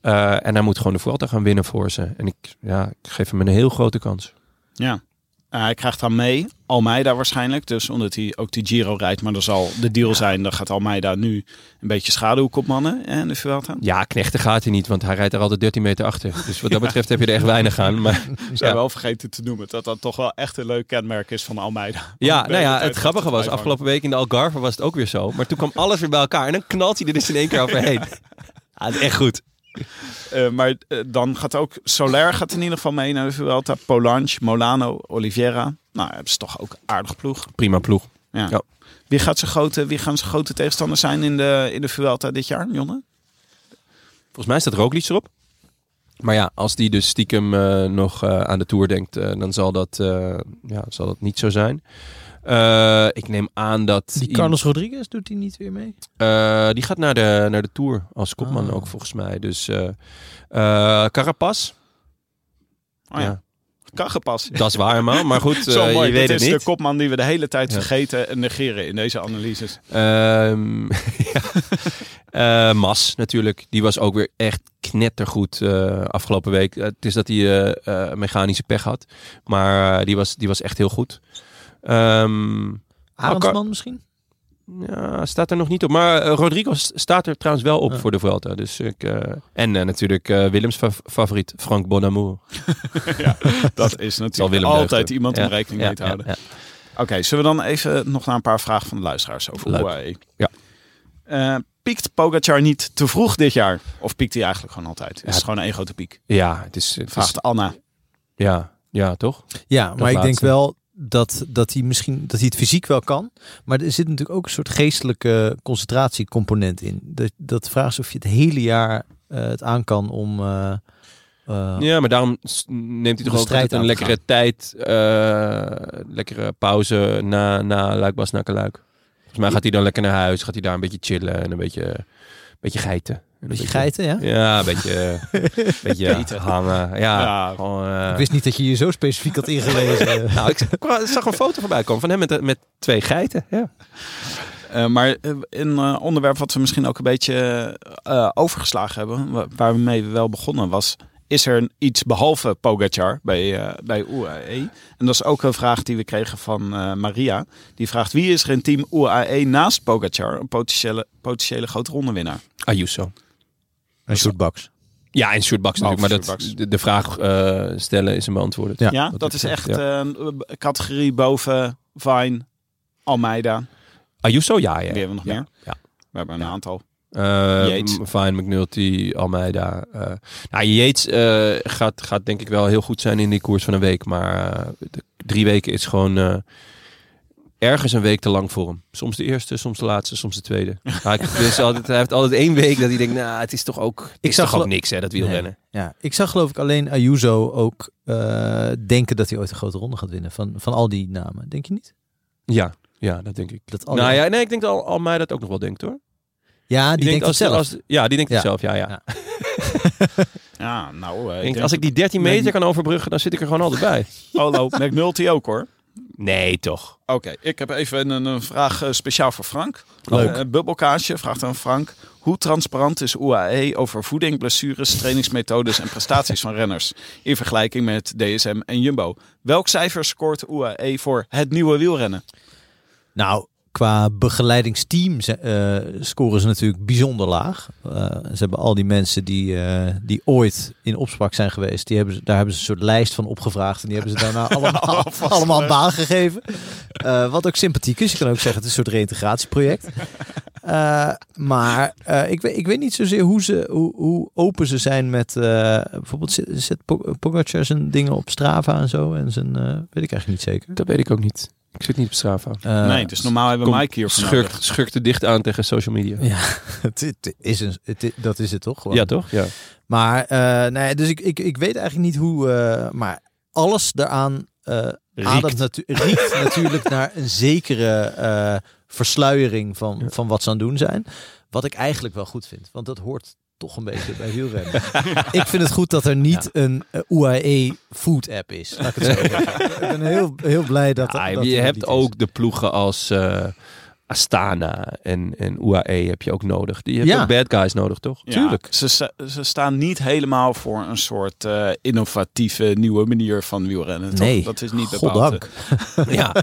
[SPEAKER 1] Eh, en hij moet gewoon de Vuelta gaan winnen voor ze. En ik, ja, ik geef hem een heel grote kans.
[SPEAKER 3] Ja. Eh, hij krijgt dan mee, Almeida waarschijnlijk. Dus omdat hij ook die Giro rijdt, maar dat zal de deal zijn. Dan gaat Almeida nu een beetje schaduwkopmannen eh, in de Vuelta.
[SPEAKER 1] Ja, knechten gaat hij niet, want hij rijdt er altijd 13 meter achter. Dus *laughs* wat dat betreft heb je er echt weinig aan. Maar
[SPEAKER 3] Ik zou
[SPEAKER 1] Ja.
[SPEAKER 3] wel vergeten te noemen dat dat toch wel echt een leuk kenmerk is van Almeida.
[SPEAKER 1] Ja,
[SPEAKER 3] ben
[SPEAKER 1] nou
[SPEAKER 3] de
[SPEAKER 1] ja,
[SPEAKER 3] tijd
[SPEAKER 1] het grappige
[SPEAKER 3] achter
[SPEAKER 1] was,
[SPEAKER 3] te blijven
[SPEAKER 1] afgelopen week in de Algarve was het ook weer zo. Maar toen kwam alles weer bij elkaar en dan knalt hij er dus in één keer overheen. *laughs* Ja, het is echt goed.
[SPEAKER 3] Eh, maar eh, dan gaat ook Soler gaat in ieder geval mee naar de Vuelta. Polange, Molano, Oliveira. Nou, dat is toch ook een aardig ploeg.
[SPEAKER 1] Prima ploeg.
[SPEAKER 3] Ja.
[SPEAKER 1] Ja.
[SPEAKER 3] Wie, gaat zijn grote, wie gaan zijn grote tegenstanders zijn in de, in de Vuelta dit jaar, Jonne?
[SPEAKER 1] Volgens mij staat Roglic erop. Maar ja, als die dus stiekem eh, nog eh, aan de Tour denkt, eh, dan zal dat, eh, ja, zal dat niet zo zijn. Eh, ik neem aan dat...
[SPEAKER 2] Die Carlos Rodriguez doet hij niet weer mee?
[SPEAKER 1] Eh, die gaat naar de, naar de Tour als kopman
[SPEAKER 2] Ah.
[SPEAKER 1] ook volgens mij. Dus eh eh, Carapaz,
[SPEAKER 3] Oh ja,
[SPEAKER 1] ja.
[SPEAKER 3] *laughs* Kagepas.
[SPEAKER 1] dat is waar helemaal. Maar goed,
[SPEAKER 3] *laughs* Zo
[SPEAKER 1] eh,
[SPEAKER 3] mooi.
[SPEAKER 1] je weet
[SPEAKER 3] Dit
[SPEAKER 1] het
[SPEAKER 3] is
[SPEAKER 1] niet.
[SPEAKER 3] de kopman die we de hele tijd
[SPEAKER 1] Ja.
[SPEAKER 3] vergeten en negeren in deze analyses.
[SPEAKER 1] Ehm *laughs* ja. Eh, Mas natuurlijk, die was ook weer echt knettergoed eh, afgelopen week. Eh, het is dat hij eh, eh, mechanische pech had, maar eh, die, was, die was echt heel goed. Ehm,
[SPEAKER 2] Ah, Arendsman misschien?
[SPEAKER 1] ja, staat er nog niet op. Maar eh, Rodrigo s- staat er trouwens wel op
[SPEAKER 2] Ja.
[SPEAKER 1] voor de Vuelta. Dus ik, eh, en eh, natuurlijk eh, Willems fa- favoriet, Frank Bonamour.
[SPEAKER 3] *laughs* Dat is
[SPEAKER 1] Zal
[SPEAKER 3] natuurlijk
[SPEAKER 1] Willem
[SPEAKER 3] altijd
[SPEAKER 1] deugden.
[SPEAKER 3] iemand om
[SPEAKER 1] Ja,
[SPEAKER 3] rekening
[SPEAKER 1] ja,
[SPEAKER 3] mee te
[SPEAKER 1] ja,
[SPEAKER 3] houden.
[SPEAKER 1] ja.
[SPEAKER 3] Oké, zullen we dan even nog naar een paar vragen van de luisteraars over
[SPEAKER 1] Leuk.
[SPEAKER 3] UAE?
[SPEAKER 1] Ja.
[SPEAKER 3] Eh, piekt Pogacar niet te vroeg dit jaar? Of piekt hij eigenlijk gewoon altijd? Is
[SPEAKER 1] Ja.
[SPEAKER 3] het gewoon één grote piek?
[SPEAKER 1] Ja, het is... Het is
[SPEAKER 3] Vraagt Anna.
[SPEAKER 1] ja, ja, toch?
[SPEAKER 2] Ja, maar ik denk
[SPEAKER 1] laatste.
[SPEAKER 2] wel dat, dat hij misschien dat hij het fysiek wel kan. Maar er zit natuurlijk ook een soort geestelijke concentratiecomponent in. Dat, dat de vraag is of je het hele jaar eh, het aan kan om. eh, eh,
[SPEAKER 1] Ja, maar daarom s- neemt hij
[SPEAKER 2] de
[SPEAKER 1] toch ook
[SPEAKER 2] strijd
[SPEAKER 1] altijd
[SPEAKER 2] aan
[SPEAKER 1] een
[SPEAKER 2] te
[SPEAKER 1] lekkere tijd, eh, lekkere pauze na, na Luikbas naar Luik. Volgens mij gaat hij dan lekker naar huis, gaat hij daar een beetje chillen en een beetje, een beetje geiten. En Een
[SPEAKER 2] beetje geiten, ja.
[SPEAKER 1] Ja, een
[SPEAKER 2] *laughs*
[SPEAKER 1] beetje, een beetje hangen. Ja,
[SPEAKER 3] Ja.
[SPEAKER 1] gewoon, eh,
[SPEAKER 2] Ik wist niet dat je je zo specifiek had
[SPEAKER 3] *laughs*
[SPEAKER 2] ingelezen.
[SPEAKER 1] nou, ik zag- ik zag een foto voorbij komen van hem met, met twee geiten. Ja.
[SPEAKER 3] Eh, maar eh, een eh, onderwerp wat we misschien ook een beetje eh, overgeslagen hebben, wa- waar we mee wel begonnen, was: is er een- iets behalve Pogacar bij, eh, bij UAE? En dat is ook een vraag die we kregen van eh, Maria. Die vraagt: wie is er in team UAE naast Pogacar een potentiële, potentiële grote rondewinnaar?
[SPEAKER 1] Ayuso.
[SPEAKER 2] Een shootbox.
[SPEAKER 1] Ja, en Sjoerd Baks natuurlijk.
[SPEAKER 3] Behalve
[SPEAKER 1] Maar
[SPEAKER 3] Sjoerd
[SPEAKER 1] dat,
[SPEAKER 3] Baks.
[SPEAKER 1] de, de vraag eh, stellen is hem beantwoord.
[SPEAKER 2] Ja.
[SPEAKER 3] Ja, dat, is echt
[SPEAKER 1] ja.
[SPEAKER 3] eh, een eh, categorie boven Vine, Almeida.
[SPEAKER 1] Ayuso, ja, ja.
[SPEAKER 3] Wie hebben we nog meer?
[SPEAKER 1] ja.
[SPEAKER 3] We hebben een aantal.
[SPEAKER 1] Eh,
[SPEAKER 3] Yates.
[SPEAKER 1] M- Fine, McNulty, Almeida. eh nou, Yates eh, gaat, gaat denk ik wel heel goed zijn in die koers van een week. Maar eh, de- drie weken is gewoon eh, ergens een week te lang voor hem. Soms de eerste, soms de laatste, soms de *laughs* tweede. Hij, dus altijd, hij heeft altijd één week dat hij denkt, nou, het is toch ook, het is
[SPEAKER 2] zag
[SPEAKER 1] toch ook
[SPEAKER 2] wel-
[SPEAKER 1] niks hè, dat wielrennen.
[SPEAKER 2] Ja, ik zag geloof ik alleen Ayuso ook eh, denken dat hij ooit een grote ronde gaat winnen. Van, van al die namen, denk je niet?
[SPEAKER 1] Ja, ja, dat denk ik.
[SPEAKER 2] Dat al die-
[SPEAKER 1] Nou ja, nee, ik denk dat Al- Almeida dat ook nog wel denkt hoor.
[SPEAKER 2] ja, die, denkt
[SPEAKER 1] als,
[SPEAKER 2] vanzelf.
[SPEAKER 1] als- ja, die denkt
[SPEAKER 2] Ja.
[SPEAKER 1] het zelf, ja, ja.
[SPEAKER 2] Ja.
[SPEAKER 3] Ja, nou, eh,
[SPEAKER 1] Ik
[SPEAKER 3] ik
[SPEAKER 1] denk,
[SPEAKER 3] denk
[SPEAKER 1] als ik die 13
[SPEAKER 3] Nee,
[SPEAKER 1] meter kan overbruggen, dan zit ik er gewoon altijd bij.
[SPEAKER 3] Polo
[SPEAKER 1] *laughs*
[SPEAKER 3] McNulty ook hoor.
[SPEAKER 1] Nee, toch.
[SPEAKER 3] Oké, ik heb even een, een vraag eh, speciaal voor Frank.
[SPEAKER 2] Leuk.
[SPEAKER 3] Eh, bubbelkaasje vraagt aan Frank. Hoe transparant is UAE over voeding, blessures, trainingsmethodes en prestaties van renners? In vergelijking met DSM en Jumbo. Welk cijfer scoort UAE voor het nieuwe wielrennen?
[SPEAKER 2] Nou, qua begeleidingsteam ze- eh, scoren ze natuurlijk bijzonder laag. Eh, ze hebben al die mensen die, eh, die ooit in opspraak zijn geweest, die hebben, ze- daar hebben ze een soort lijst van opgevraagd. En die hebben ze daarna allemaal, *laughs* allemaal een baan gegeven. Eh, wat ook sympathiek is. Je kan ook zeggen, het is een soort reïntegratieproject. Eh, maar eh, ik, weet, ik weet niet zozeer hoe, ze, hoe, hoe open ze zijn met... eh, bijvoorbeeld zet, zet Po- Pogacar zijn dingen op Strava en zo. En zijn, eh, weet ik eigenlijk niet zeker.
[SPEAKER 1] Dat weet ik ook niet. Ik Ik zit niet op Strava.
[SPEAKER 2] Eh,
[SPEAKER 3] nee, dus normaal hebben we
[SPEAKER 1] kom,
[SPEAKER 3] Mike hier voor
[SPEAKER 1] Schurkt,
[SPEAKER 3] nodig.
[SPEAKER 1] schurkt er dicht aan tegen social media.
[SPEAKER 2] het, het is een, het is- dat is het toch? Gewoon.
[SPEAKER 1] Ja, toch? Ja.
[SPEAKER 2] Maar, eh, nee, dus ik, ik, ik weet eigenlijk niet hoe... eh, maar alles daaraan eh ademt natu- riekt *laughs* natuurlijk naar een zekere eh, versluiering van, van wat ze aan het doen zijn. Wat ik eigenlijk wel goed vind, want dat hoort toch een beetje bij
[SPEAKER 1] *laughs*
[SPEAKER 2] wielrennen. ik vind het goed dat er niet een eh, UAE food app is. Laat ik, het zo zeggen. ik ben heel, heel blij dat,
[SPEAKER 1] Ah,
[SPEAKER 2] dat
[SPEAKER 1] je
[SPEAKER 2] er
[SPEAKER 1] hebt
[SPEAKER 2] niet is.
[SPEAKER 1] ook de ploegen als eh, Astana en, en UAE heb je ook nodig. Die hebben
[SPEAKER 2] Ja.
[SPEAKER 1] ook bad guys nodig, toch?
[SPEAKER 3] Ja, Ze, sta- ze staan niet helemaal voor een soort eh, innovatieve nieuwe manier van wielrennen. toch?
[SPEAKER 2] Nee,
[SPEAKER 1] dus
[SPEAKER 3] dat is niet bepaald. eh,
[SPEAKER 2] goddank.
[SPEAKER 1] eh. ja.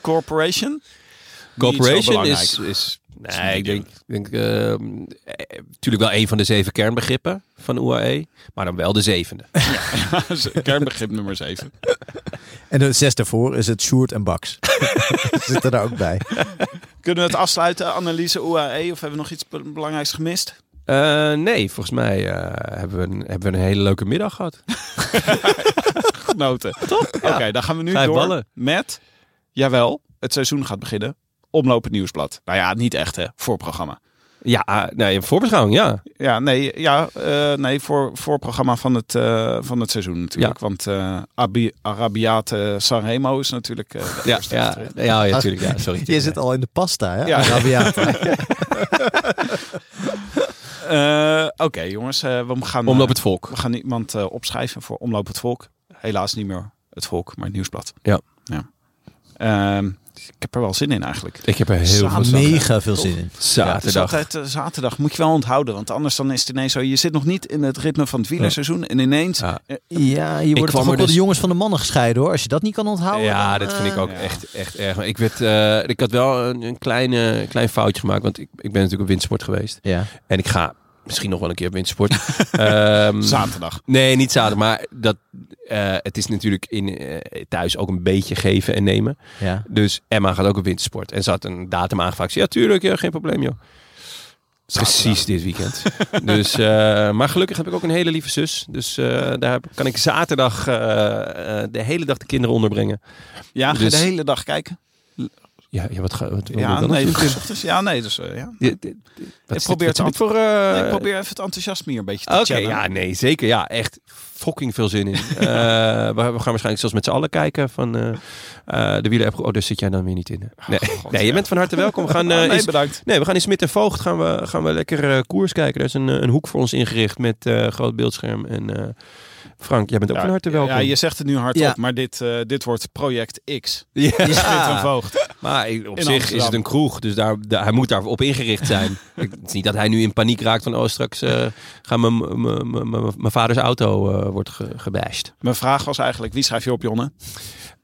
[SPEAKER 3] Corporation? Niet zo
[SPEAKER 1] Corporation
[SPEAKER 3] belangrijk.
[SPEAKER 1] is, is...
[SPEAKER 3] niet
[SPEAKER 1] Nee, ik denk... denk ehm, eh, natuurlijk wel een van de zeven kernbegrippen van UAE. Maar dan wel de *laughs* zevende.
[SPEAKER 3] *laughs* Kernbegrip nummer 7.
[SPEAKER 2] En de zes daarvoor is het Sjoerd en *laughs* Baks. Zitten daar ook bij.
[SPEAKER 3] Kunnen we het afsluiten, analyse UAE? Of hebben we nog iets be- belangrijks gemist?
[SPEAKER 1] Eh, nee, volgens mij eh, hebben, we een, hebben we een hele leuke middag gehad. *laughs*
[SPEAKER 3] Genoten. Toch? Oké, dan gaan we nu
[SPEAKER 1] Vijf
[SPEAKER 3] door
[SPEAKER 1] ballen.
[SPEAKER 3] met, jawel, het seizoen gaat beginnen. Omlopend nieuwsblad. Nou ja, niet echt hè, voorprogramma.
[SPEAKER 1] Ja, eh, nee, een voorbeschouwing, ja.
[SPEAKER 3] Ja, nee, ja, eh, nee voor, voorprogramma van het, eh, van het seizoen natuurlijk. Want eh Abi, Arabiate Sanremo is natuurlijk eh, de
[SPEAKER 1] Ja,
[SPEAKER 3] eerste
[SPEAKER 1] ja,
[SPEAKER 3] wedstrijd.
[SPEAKER 1] ja, ja, tuurlijk, *laughs* ja sorry.
[SPEAKER 2] *laughs* Je zit al in de pasta, hè?
[SPEAKER 3] Ja.
[SPEAKER 2] Arabiata.
[SPEAKER 3] Eh, Oké jongens, eh, we gaan...
[SPEAKER 1] Omloop het volk.
[SPEAKER 3] We gaan iemand eh, opschrijven voor Omloop het Volk. Helaas niet meer het Volk, maar het Nieuwsblad.
[SPEAKER 1] Ja.
[SPEAKER 3] ja. Ehm, ik heb er wel zin in eigenlijk.
[SPEAKER 1] Ik heb er heel
[SPEAKER 3] Samen-
[SPEAKER 1] veel zin in.
[SPEAKER 2] Mega veel zin in.
[SPEAKER 3] Het is
[SPEAKER 1] Zaterdag.
[SPEAKER 3] altijd eh, zaterdag. Moet je wel onthouden, want anders dan is het ineens zo. Je zit nog niet in het ritme van het wielerseizoen en ineens...
[SPEAKER 1] Ja.
[SPEAKER 2] Ja, je wordt
[SPEAKER 1] kwam
[SPEAKER 2] toch
[SPEAKER 1] er
[SPEAKER 2] ook wel de
[SPEAKER 1] dus-
[SPEAKER 2] jongens van de mannen gescheiden hoor. Als je dat niet kan onthouden.
[SPEAKER 1] Ja,
[SPEAKER 2] dan,
[SPEAKER 1] dat vind ik
[SPEAKER 2] eh,
[SPEAKER 1] ook
[SPEAKER 3] ja.
[SPEAKER 1] echt, echt erg. Maar Ik, werd, eh, ik had wel een, een kleine, klein foutje gemaakt, want ik, ik ben natuurlijk op windsport geweest.
[SPEAKER 2] Ja.
[SPEAKER 1] En ik ga misschien nog wel een keer op *laughs* windsport. Ehm,
[SPEAKER 3] Zaterdag.
[SPEAKER 1] nee, niet zaterdag, maar dat, eh, het is natuurlijk in, eh, thuis ook een beetje geven en nemen.
[SPEAKER 2] ja.
[SPEAKER 1] Dus Emma gaat ook op wintersport. En ze had een datum aangevraagd. Ik zei, Ja, tuurlijk, ja, geen probleem joh. Precies dit weekend. *laughs* dus, eh, maar gelukkig heb ik ook een hele lieve zus. Dus eh, daar heb- kan ik zaterdag eh, eh, de hele dag de kinderen onderbrengen.
[SPEAKER 3] Ja, ga je
[SPEAKER 1] Dus-
[SPEAKER 3] de hele dag kijken.
[SPEAKER 1] Ja, ja wat, ga- wat wil ik
[SPEAKER 3] Ja,
[SPEAKER 1] dan *laughs*
[SPEAKER 3] nee,
[SPEAKER 1] nog doen?
[SPEAKER 3] dus, dus- ja, nee, dus eh, ja.
[SPEAKER 1] Dit- dit- dit- wat
[SPEAKER 3] Ik
[SPEAKER 1] is
[SPEAKER 3] probeer
[SPEAKER 1] dit-
[SPEAKER 3] het
[SPEAKER 1] wat heb ik voor... eh,
[SPEAKER 3] ik probeer even het enthousiasme hier een beetje te
[SPEAKER 1] Oké,
[SPEAKER 3] channelen.
[SPEAKER 1] ja, nee, zeker. Ja, echt fucking veel
[SPEAKER 3] *laughs*
[SPEAKER 1] zin in. Eh, we, we gaan waarschijnlijk zelfs met z'n allen kijken van eh eh de wielen. Oh, daar zit jij dan weer niet in. hè? Nee,
[SPEAKER 3] Oh, God,
[SPEAKER 1] nee je
[SPEAKER 3] ja.
[SPEAKER 1] bent van harte welkom. We gaan
[SPEAKER 3] Ah,
[SPEAKER 1] eh,
[SPEAKER 3] nee,
[SPEAKER 1] eens-
[SPEAKER 3] bedankt.
[SPEAKER 1] Nee, we gaan in Smit en Voogd gaan we, gaan we lekker eh, koers kijken. Er is een, eh, een hoek voor ons ingericht met eh, groot beeldscherm. En eh, Frank, jij bent ook
[SPEAKER 3] Ja,
[SPEAKER 1] van harte welkom.
[SPEAKER 3] Ja, je zegt het nu hardop,
[SPEAKER 2] Ja.
[SPEAKER 3] maar dit, eh, dit wordt project X.
[SPEAKER 1] Ja,
[SPEAKER 3] Schitterend voogd.
[SPEAKER 1] maar ik- op
[SPEAKER 3] In
[SPEAKER 1] zich
[SPEAKER 3] Amsterdam.
[SPEAKER 1] is het een kroeg, dus daar, daar- hij moet daarop ingericht
[SPEAKER 3] *laughs*
[SPEAKER 1] zijn. Ik- het is niet dat hij nu in paniek raakt van, oh straks eh, gaan mijn- mijn- mijn- mijn mijn- mijn vaders auto eh wordt ge, gebashed.
[SPEAKER 3] Mijn vraag was eigenlijk, wie schrijf je op, Jonne?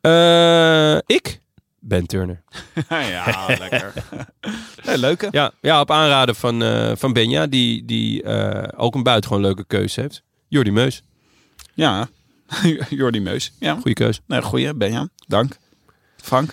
[SPEAKER 1] Eh, ik? Ben Turner.
[SPEAKER 3] Ah, *laughs* ja, lekker. Nee, leuke.
[SPEAKER 1] Ja, ja op aanraden van, eh, van Benja, die, die eh, ook een buitengewoon leuke keuze heeft. Jordi Meus,
[SPEAKER 3] Ja, *laughs* Jordi Meus. Ja,
[SPEAKER 1] goede keuze.
[SPEAKER 3] nee, goeie. Benja, dank. Frank.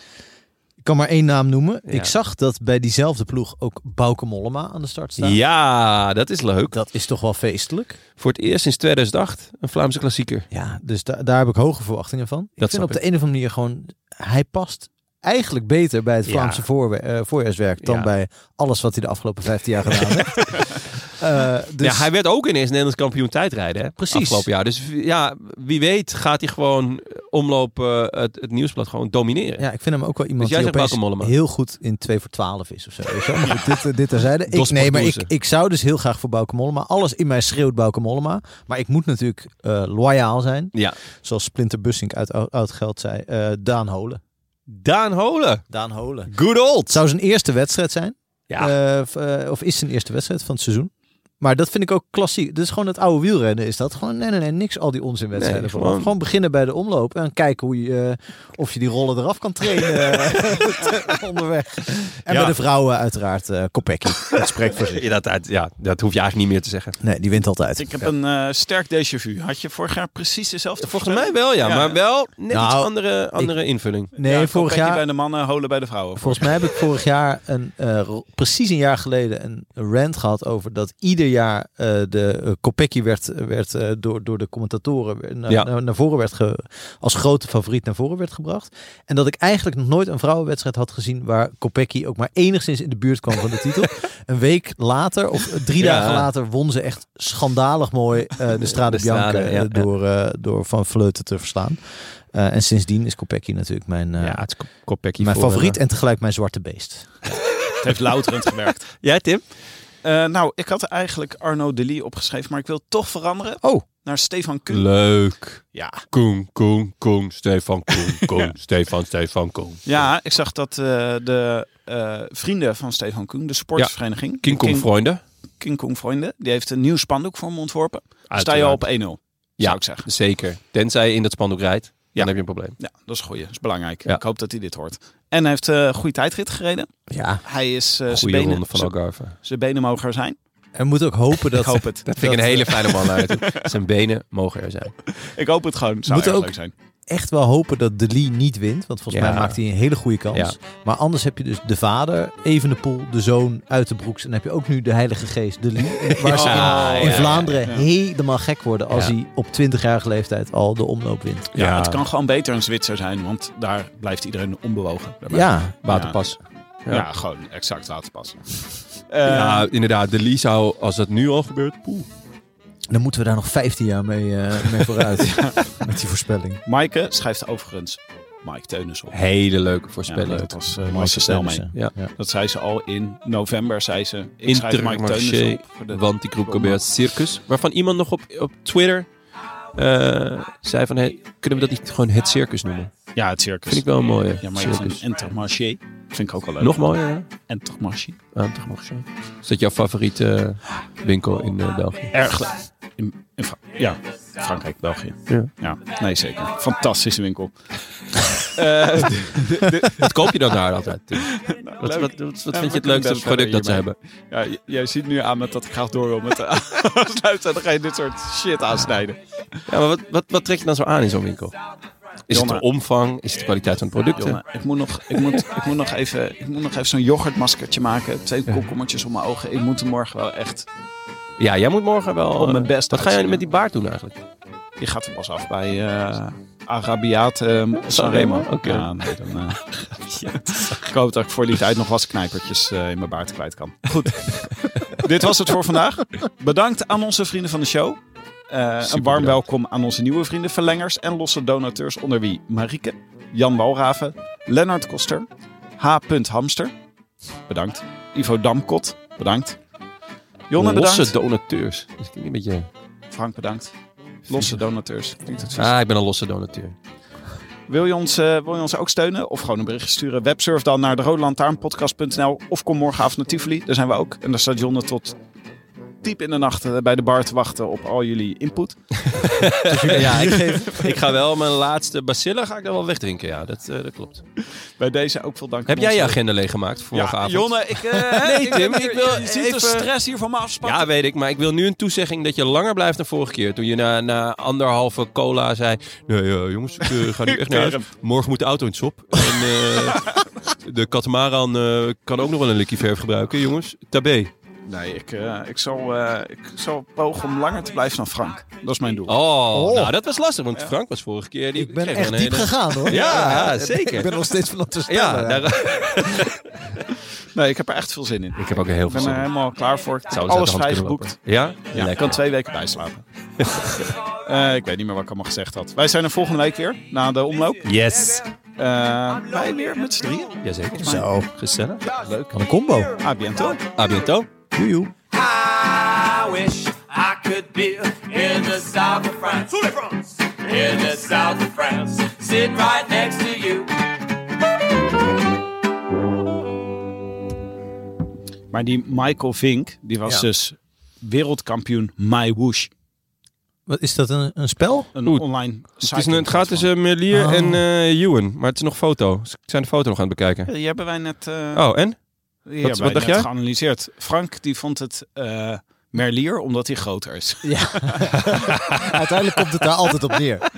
[SPEAKER 2] Ik kan maar één naam noemen.
[SPEAKER 1] Ja.
[SPEAKER 2] Ik zag dat bij diezelfde ploeg ook Bouke Mollema aan de start staat.
[SPEAKER 1] Ja, dat is leuk.
[SPEAKER 2] Dat is toch wel feestelijk.
[SPEAKER 1] Voor het eerst sinds 2008 een Vlaamse klassieker.
[SPEAKER 2] Ja, dus da- daar heb ik hoge verwachtingen van.
[SPEAKER 1] Dat
[SPEAKER 2] ik vind
[SPEAKER 1] snap
[SPEAKER 2] op de een of andere manier gewoon... Hij past eigenlijk beter bij het
[SPEAKER 1] Ja.
[SPEAKER 2] Vlaamse voorwe- eh, voorjaarswerk... dan
[SPEAKER 1] Ja.
[SPEAKER 2] bij alles wat hij de afgelopen 15 jaar gedaan
[SPEAKER 1] *laughs*
[SPEAKER 2] heeft. Eh, dus
[SPEAKER 1] ja, hij werd ook ineens Nederlands kampioen tijdrijden. Hè?
[SPEAKER 2] Precies.
[SPEAKER 1] Afgelopen jaar. Dus ja, wie weet gaat hij gewoon omlopen het, het nieuwsblad gewoon domineren.
[SPEAKER 2] Ja, ik vind hem ook wel iemand
[SPEAKER 1] Dus jij
[SPEAKER 2] die
[SPEAKER 1] zegt
[SPEAKER 2] opeens
[SPEAKER 1] Bauke Mollema.
[SPEAKER 2] heel goed in 2 voor 12 is of zo. Weet je? wel. Maar goed, dit, eh, dit terzijde.
[SPEAKER 1] *laughs*
[SPEAKER 2] Ik,
[SPEAKER 1] Dos
[SPEAKER 2] nee, maar ik,
[SPEAKER 1] Portuguese.
[SPEAKER 2] ik zou dus heel graag voor Bauke Mollema. Alles in mij schreeuwt Bauke Mollema. Maar ik moet natuurlijk eh, loyaal zijn.
[SPEAKER 1] Ja.
[SPEAKER 2] Zoals Splinter Bussink uit Oud- Oud-Geld zei. eh, Daan Holen.
[SPEAKER 1] Daan Holen.
[SPEAKER 2] Daan Holen.
[SPEAKER 1] Good old.
[SPEAKER 2] Het zou zijn eerste wedstrijd zijn.
[SPEAKER 1] Ja.
[SPEAKER 2] Eh, of, eh, of is zijn eerste wedstrijd van het seizoen. Maar dat vind ik ook klassiek. Dus gewoon het oude wielrennen is dat. Gewoon nee, nee, nee. Niks al die onzinwedstrijden.
[SPEAKER 1] Nee,
[SPEAKER 2] vooraf.
[SPEAKER 1] gewoon-
[SPEAKER 2] gewoon beginnen bij de omloop. En kijken hoe je, eh, of je die rollen eraf kan trainen eh, *laughs* onderweg. En
[SPEAKER 1] Ja.
[SPEAKER 2] bij de vrouwen uiteraard eh Kopecky. Dat spreekt voor zich.
[SPEAKER 1] Ja, dat, dat- ja, dat hoef je eigenlijk niet meer te zeggen.
[SPEAKER 2] Nee, die wint altijd.
[SPEAKER 3] Ik heb een eh, sterk déjà vu. Had je vorig jaar precies dezelfde
[SPEAKER 1] Volgens mij wel, ja.
[SPEAKER 3] Ja.
[SPEAKER 1] Maar wel net
[SPEAKER 2] Nou,
[SPEAKER 1] iets andere, andere invulling.
[SPEAKER 2] Nee, vorig jaar...
[SPEAKER 3] bij de mannen, holen bij de vrouwen.
[SPEAKER 2] Volgens mij heb ik vorig jaar, een, eh, ro- precies een jaar geleden, een rant gehad over dat ieder jaar eh, de uh, werd, werd eh, door, door de commentatoren weer naar,
[SPEAKER 1] Ja.
[SPEAKER 2] naar, naar voren werd ge, als grote favoriet naar voren werd gebracht. En dat ik eigenlijk nog nooit een vrouwenwedstrijd had gezien waar Kopecky ook maar enigszins in de buurt kwam van de
[SPEAKER 1] *laughs*
[SPEAKER 2] titel. een week later of drie
[SPEAKER 1] Ja.
[SPEAKER 2] dagen later won ze echt schandalig mooi eh, de Strade
[SPEAKER 1] De
[SPEAKER 2] Bianca
[SPEAKER 1] Strade,
[SPEAKER 2] eh,
[SPEAKER 1] ja, ja.
[SPEAKER 2] door, eh, door Van Vleuten te verslaan. Eh, en sindsdien is Kopecky natuurlijk mijn, eh,
[SPEAKER 1] ja, het is kop- koppekkie
[SPEAKER 2] mijn
[SPEAKER 1] voor,
[SPEAKER 2] favoriet
[SPEAKER 1] eh,
[SPEAKER 2] en tegelijk mijn zwarte beest.
[SPEAKER 3] Het heeft louterend gewerkt.
[SPEAKER 1] jij, Tim?
[SPEAKER 3] *laughs* Eh, nou, ik had eigenlijk Arno Delis opgeschreven, maar ik wil toch veranderen
[SPEAKER 2] Oh.
[SPEAKER 3] naar Stefan Kuhn.
[SPEAKER 1] Leuk.
[SPEAKER 3] Ja.
[SPEAKER 1] Koen, Koen, Koen, Stefan, Koen, *laughs* Koen, Stefan, Stefan, Koen.
[SPEAKER 3] Ja, ik zag dat eh, de eh, vrienden van Stefan Koen, de sportsvereniging,
[SPEAKER 1] King Kong Freunde.
[SPEAKER 3] King Kong Vrienden, die heeft een nieuw spandoek voor hem ontworpen. Sta je al op 1-0,
[SPEAKER 1] Ja.
[SPEAKER 3] zou ik zeggen.
[SPEAKER 1] Zeker. Tenzij je in dat spandoek rijdt, dan
[SPEAKER 3] Ja. Eh,
[SPEAKER 1] heb je een probleem.
[SPEAKER 3] Ja, dat is goed. Dat is belangrijk.
[SPEAKER 1] Ja.
[SPEAKER 3] Ik hoop dat hij dit hoort. En hij heeft eh, een goede tijdrit gereden.
[SPEAKER 2] Ja,
[SPEAKER 3] Hij is eh, zijn
[SPEAKER 1] Goede
[SPEAKER 3] benen,
[SPEAKER 1] ronde van
[SPEAKER 3] zijn-
[SPEAKER 1] Algarve.
[SPEAKER 3] zijn benen mogen er zijn.
[SPEAKER 2] en we moeten ook
[SPEAKER 1] *laughs*
[SPEAKER 2] hopen dat...
[SPEAKER 3] Ik hoop het.
[SPEAKER 1] Dat vind ik een hele fijne man
[SPEAKER 3] *laughs*
[SPEAKER 1] uit. Zijn benen mogen er zijn.
[SPEAKER 3] Ik hoop het gewoon. Zou
[SPEAKER 2] Moet
[SPEAKER 3] erg
[SPEAKER 2] ook-
[SPEAKER 3] leuk zijn.
[SPEAKER 2] echt wel hopen dat De Lee niet wint. Want volgens
[SPEAKER 1] Ja.
[SPEAKER 2] mij maakt hij een hele goede kans.
[SPEAKER 1] Ja.
[SPEAKER 2] Maar anders heb je dus de vader, Evenepoel, de zoon uit de broeks. En dan heb je ook nu de Heilige Geest, De Lee. Waar
[SPEAKER 1] *laughs*
[SPEAKER 2] ze
[SPEAKER 1] Ja,
[SPEAKER 2] in
[SPEAKER 1] ja,
[SPEAKER 2] Vlaanderen
[SPEAKER 3] ja.
[SPEAKER 2] helemaal gek worden als
[SPEAKER 1] Ja.
[SPEAKER 2] hij op 20-jarige leeftijd al de omloop wint.
[SPEAKER 3] Ja,
[SPEAKER 1] Ja.
[SPEAKER 3] Het kan gewoon beter een Zwitser zijn, want daar blijft iedereen onbewogen. Daarbij.
[SPEAKER 2] Ja,
[SPEAKER 1] Waterpas.
[SPEAKER 3] Ja,
[SPEAKER 1] Ja.
[SPEAKER 3] gewoon exact laten passen. Eh,
[SPEAKER 1] Ja, inderdaad. De Lee zou, als dat nu al gebeurt, poeh.
[SPEAKER 2] dan moeten we daar nog 15 jaar mee, eh, mee
[SPEAKER 1] *laughs*
[SPEAKER 2] vooruit. Met die voorspelling.
[SPEAKER 3] Maaike schrijft overigens Mike Teunis op.
[SPEAKER 1] Hele leuke
[SPEAKER 3] Ja,
[SPEAKER 1] voorspeller.
[SPEAKER 3] dat was eh, was
[SPEAKER 2] Maaike
[SPEAKER 3] ze snel
[SPEAKER 2] Teunissen.
[SPEAKER 3] mee.
[SPEAKER 1] Ja.
[SPEAKER 3] Dat zei ze al in november, zei ze. Ik schrijf Mike Teunis
[SPEAKER 1] Intermarché,
[SPEAKER 3] op. voor de-
[SPEAKER 1] want die groep probeert circus. Waarvan iemand nog op, op Twitter eh, zei van, hey, kunnen we dat niet gewoon het circus noemen?
[SPEAKER 3] Ja, het circus.
[SPEAKER 1] Vind ik wel een mooie.
[SPEAKER 3] ja, maar je
[SPEAKER 1] circus.
[SPEAKER 3] van Intermarché vind ik ook al leuk.
[SPEAKER 1] Nog mooier, hè?
[SPEAKER 3] Intermarché.
[SPEAKER 1] Ah, toch nog zo. Is dat jouw favoriete eh, winkel in eh, België?
[SPEAKER 3] *laughs* Erg leuk. In, in Fra- ja, Frankrijk, België.
[SPEAKER 1] Ja.
[SPEAKER 3] nee zeker. Fantastische winkel.
[SPEAKER 1] Wat koop je dan daar altijd? Tim? Wat,
[SPEAKER 3] Nou, leuk.
[SPEAKER 1] wat, wat, wat
[SPEAKER 3] we
[SPEAKER 1] vind je het
[SPEAKER 3] kunnen
[SPEAKER 1] leukste
[SPEAKER 3] best
[SPEAKER 1] product
[SPEAKER 3] verder
[SPEAKER 1] dat ze hebben?
[SPEAKER 3] Ja, j- jij ziet nu aan met dat ik graag door wil *laughs* met de afsluit. En dan ga je dit soort shit aansnijden.
[SPEAKER 1] Ja, maar wat, wat, wat trek je dan zo aan in zo'n winkel? Is
[SPEAKER 3] Jonne.
[SPEAKER 1] het de omvang? Is het de kwaliteit van de producten?
[SPEAKER 3] Jongen, ik moet nog, ik moet, ik moet nog even, ik moet nog even zo'n yoghurtmaskertje maken. Twee komkommertjes om mijn ogen. Ik moet er morgen wel echt...
[SPEAKER 1] Ja, jij moet morgen wel...
[SPEAKER 3] Op mijn
[SPEAKER 1] eh,
[SPEAKER 3] best
[SPEAKER 1] Wat ga jij
[SPEAKER 3] uitzien.
[SPEAKER 1] met die baard doen eigenlijk?
[SPEAKER 3] Je gaat er pas af bij eh, Arabiaat ehm Sanremo.
[SPEAKER 1] oké.
[SPEAKER 3] Ja, nee, dan, eh, ik hoop dat ik voor die tijd nog wat knijpertjes eh, in mijn baard kwijt kan. Goed, dit was het voor vandaag. Bedankt aan onze vrienden van de show. Eh, een warm
[SPEAKER 1] bedankt.
[SPEAKER 3] welkom aan onze nieuwe vrienden, verlengers en losse donateurs, onder wie Marieke, Jan Walraven, Lennart Koster, H. Hamster, bedankt. Ivo Damkot, bedankt. Jonne, bedankt.
[SPEAKER 1] Losse donateurs. Dus ik een beetje...
[SPEAKER 3] Frank, bedankt. Losse donateurs. Klinkt het vies?
[SPEAKER 1] Ah, ik ben een losse donateur.
[SPEAKER 3] Wil je, ons, eh, wil je ons ook steunen? Of gewoon een bericht sturen? Websurf dan naar de of kom morgenavond naar Tivoli. Daar zijn we ook. En daar staat Jonne tot diep in de nacht eh, bij de bar te wachten op al jullie input.
[SPEAKER 1] ja, ik, *laughs* geef- ik ga wel mijn laatste bacillen ga ik dan wel wegdrinken. Ja, dat, eh, dat klopt.
[SPEAKER 3] Bij deze ook veel dank.
[SPEAKER 1] Heb
[SPEAKER 3] aan
[SPEAKER 1] jij
[SPEAKER 3] onze-
[SPEAKER 1] je agenda leeggemaakt voor
[SPEAKER 3] Ja,
[SPEAKER 1] morgenavond?
[SPEAKER 3] Jonne, ik...
[SPEAKER 1] *laughs*
[SPEAKER 3] eh,
[SPEAKER 1] Nee, Tim,
[SPEAKER 3] ben
[SPEAKER 1] ik
[SPEAKER 3] hier-
[SPEAKER 1] wil
[SPEAKER 3] Je ziet
[SPEAKER 1] even-
[SPEAKER 3] de stress hier van me afspannen.
[SPEAKER 1] Ja, weet ik. Maar ik wil nu een toezegging dat je langer blijft dan vorige keer. Toen je na, na anderhalve cola zei... Nee, eh, jongens, ik eh, ga *laughs* nu echt naar huis. Morgen moet de auto in het sop. En *laughs* eh, de katamaran eh, kan ook nog wel een likje verf gebruiken, jongens. Tabé.
[SPEAKER 3] Nee, ik, eh, ik, zal, eh, ik zal pogen om langer te blijven dan Frank. Dat is mijn doel.
[SPEAKER 1] Oh,
[SPEAKER 2] Oh.
[SPEAKER 1] nou dat was lastig. Want Frank was vorige keer... Die
[SPEAKER 2] Ik ben
[SPEAKER 1] kreeg
[SPEAKER 2] echt
[SPEAKER 1] een
[SPEAKER 2] diep
[SPEAKER 1] hele-
[SPEAKER 2] gegaan hoor. *laughs*
[SPEAKER 1] Ja,
[SPEAKER 2] Ik
[SPEAKER 1] zeker.
[SPEAKER 2] ben nog steeds van dat te
[SPEAKER 1] Ja,
[SPEAKER 2] stellen.
[SPEAKER 1] daar...
[SPEAKER 3] Nee, ik heb er echt veel zin in.
[SPEAKER 1] ik heb ook heel
[SPEAKER 3] Ik ben
[SPEAKER 2] eh,
[SPEAKER 3] er helemaal klaar voor. Ik heb
[SPEAKER 1] Zou
[SPEAKER 3] alles
[SPEAKER 1] eens uit de hand kunnen
[SPEAKER 3] vrijgeboekt.
[SPEAKER 1] lopen. Ja?
[SPEAKER 3] Ja, ik
[SPEAKER 1] Lekker.
[SPEAKER 3] kan twee weken bijslapen. *laughs* Eh, ik weet niet meer wat ik allemaal gezegd had. Wij zijn er volgende week weer, na de omloop.
[SPEAKER 1] Yes.
[SPEAKER 3] Eh, wij weer met z'n drieën. Ah,
[SPEAKER 1] Jazeker.
[SPEAKER 2] Zo,
[SPEAKER 1] Gezellig.
[SPEAKER 2] wat een combo.
[SPEAKER 3] A bientôt.
[SPEAKER 1] A bientôt.
[SPEAKER 2] Joe, joe.
[SPEAKER 4] I wish I could be in the south of France. In the south of France. Sitting right next to you.
[SPEAKER 3] Maar die Michael Vink, die was
[SPEAKER 2] Ja.
[SPEAKER 3] dus wereldkampioen My Woosh.
[SPEAKER 2] Wat is dat, een, een spel?
[SPEAKER 3] Een
[SPEAKER 1] Oeh,
[SPEAKER 3] online site.
[SPEAKER 1] Het, is een, het gaat dus, tussen Melier
[SPEAKER 2] Oh.
[SPEAKER 1] en eh Ewan, maar het is nog foto. Ze zijn de foto nog aan het bekijken.
[SPEAKER 3] Die hebben wij net, eh,
[SPEAKER 1] Oh, en?
[SPEAKER 3] die
[SPEAKER 1] wat
[SPEAKER 3] hebben
[SPEAKER 1] dacht
[SPEAKER 3] wij net
[SPEAKER 1] jij?
[SPEAKER 3] geanalyseerd. Frank die vond het eh, Merlier omdat hij groter is.
[SPEAKER 2] Ja. Uiteindelijk komt het daar altijd op neer.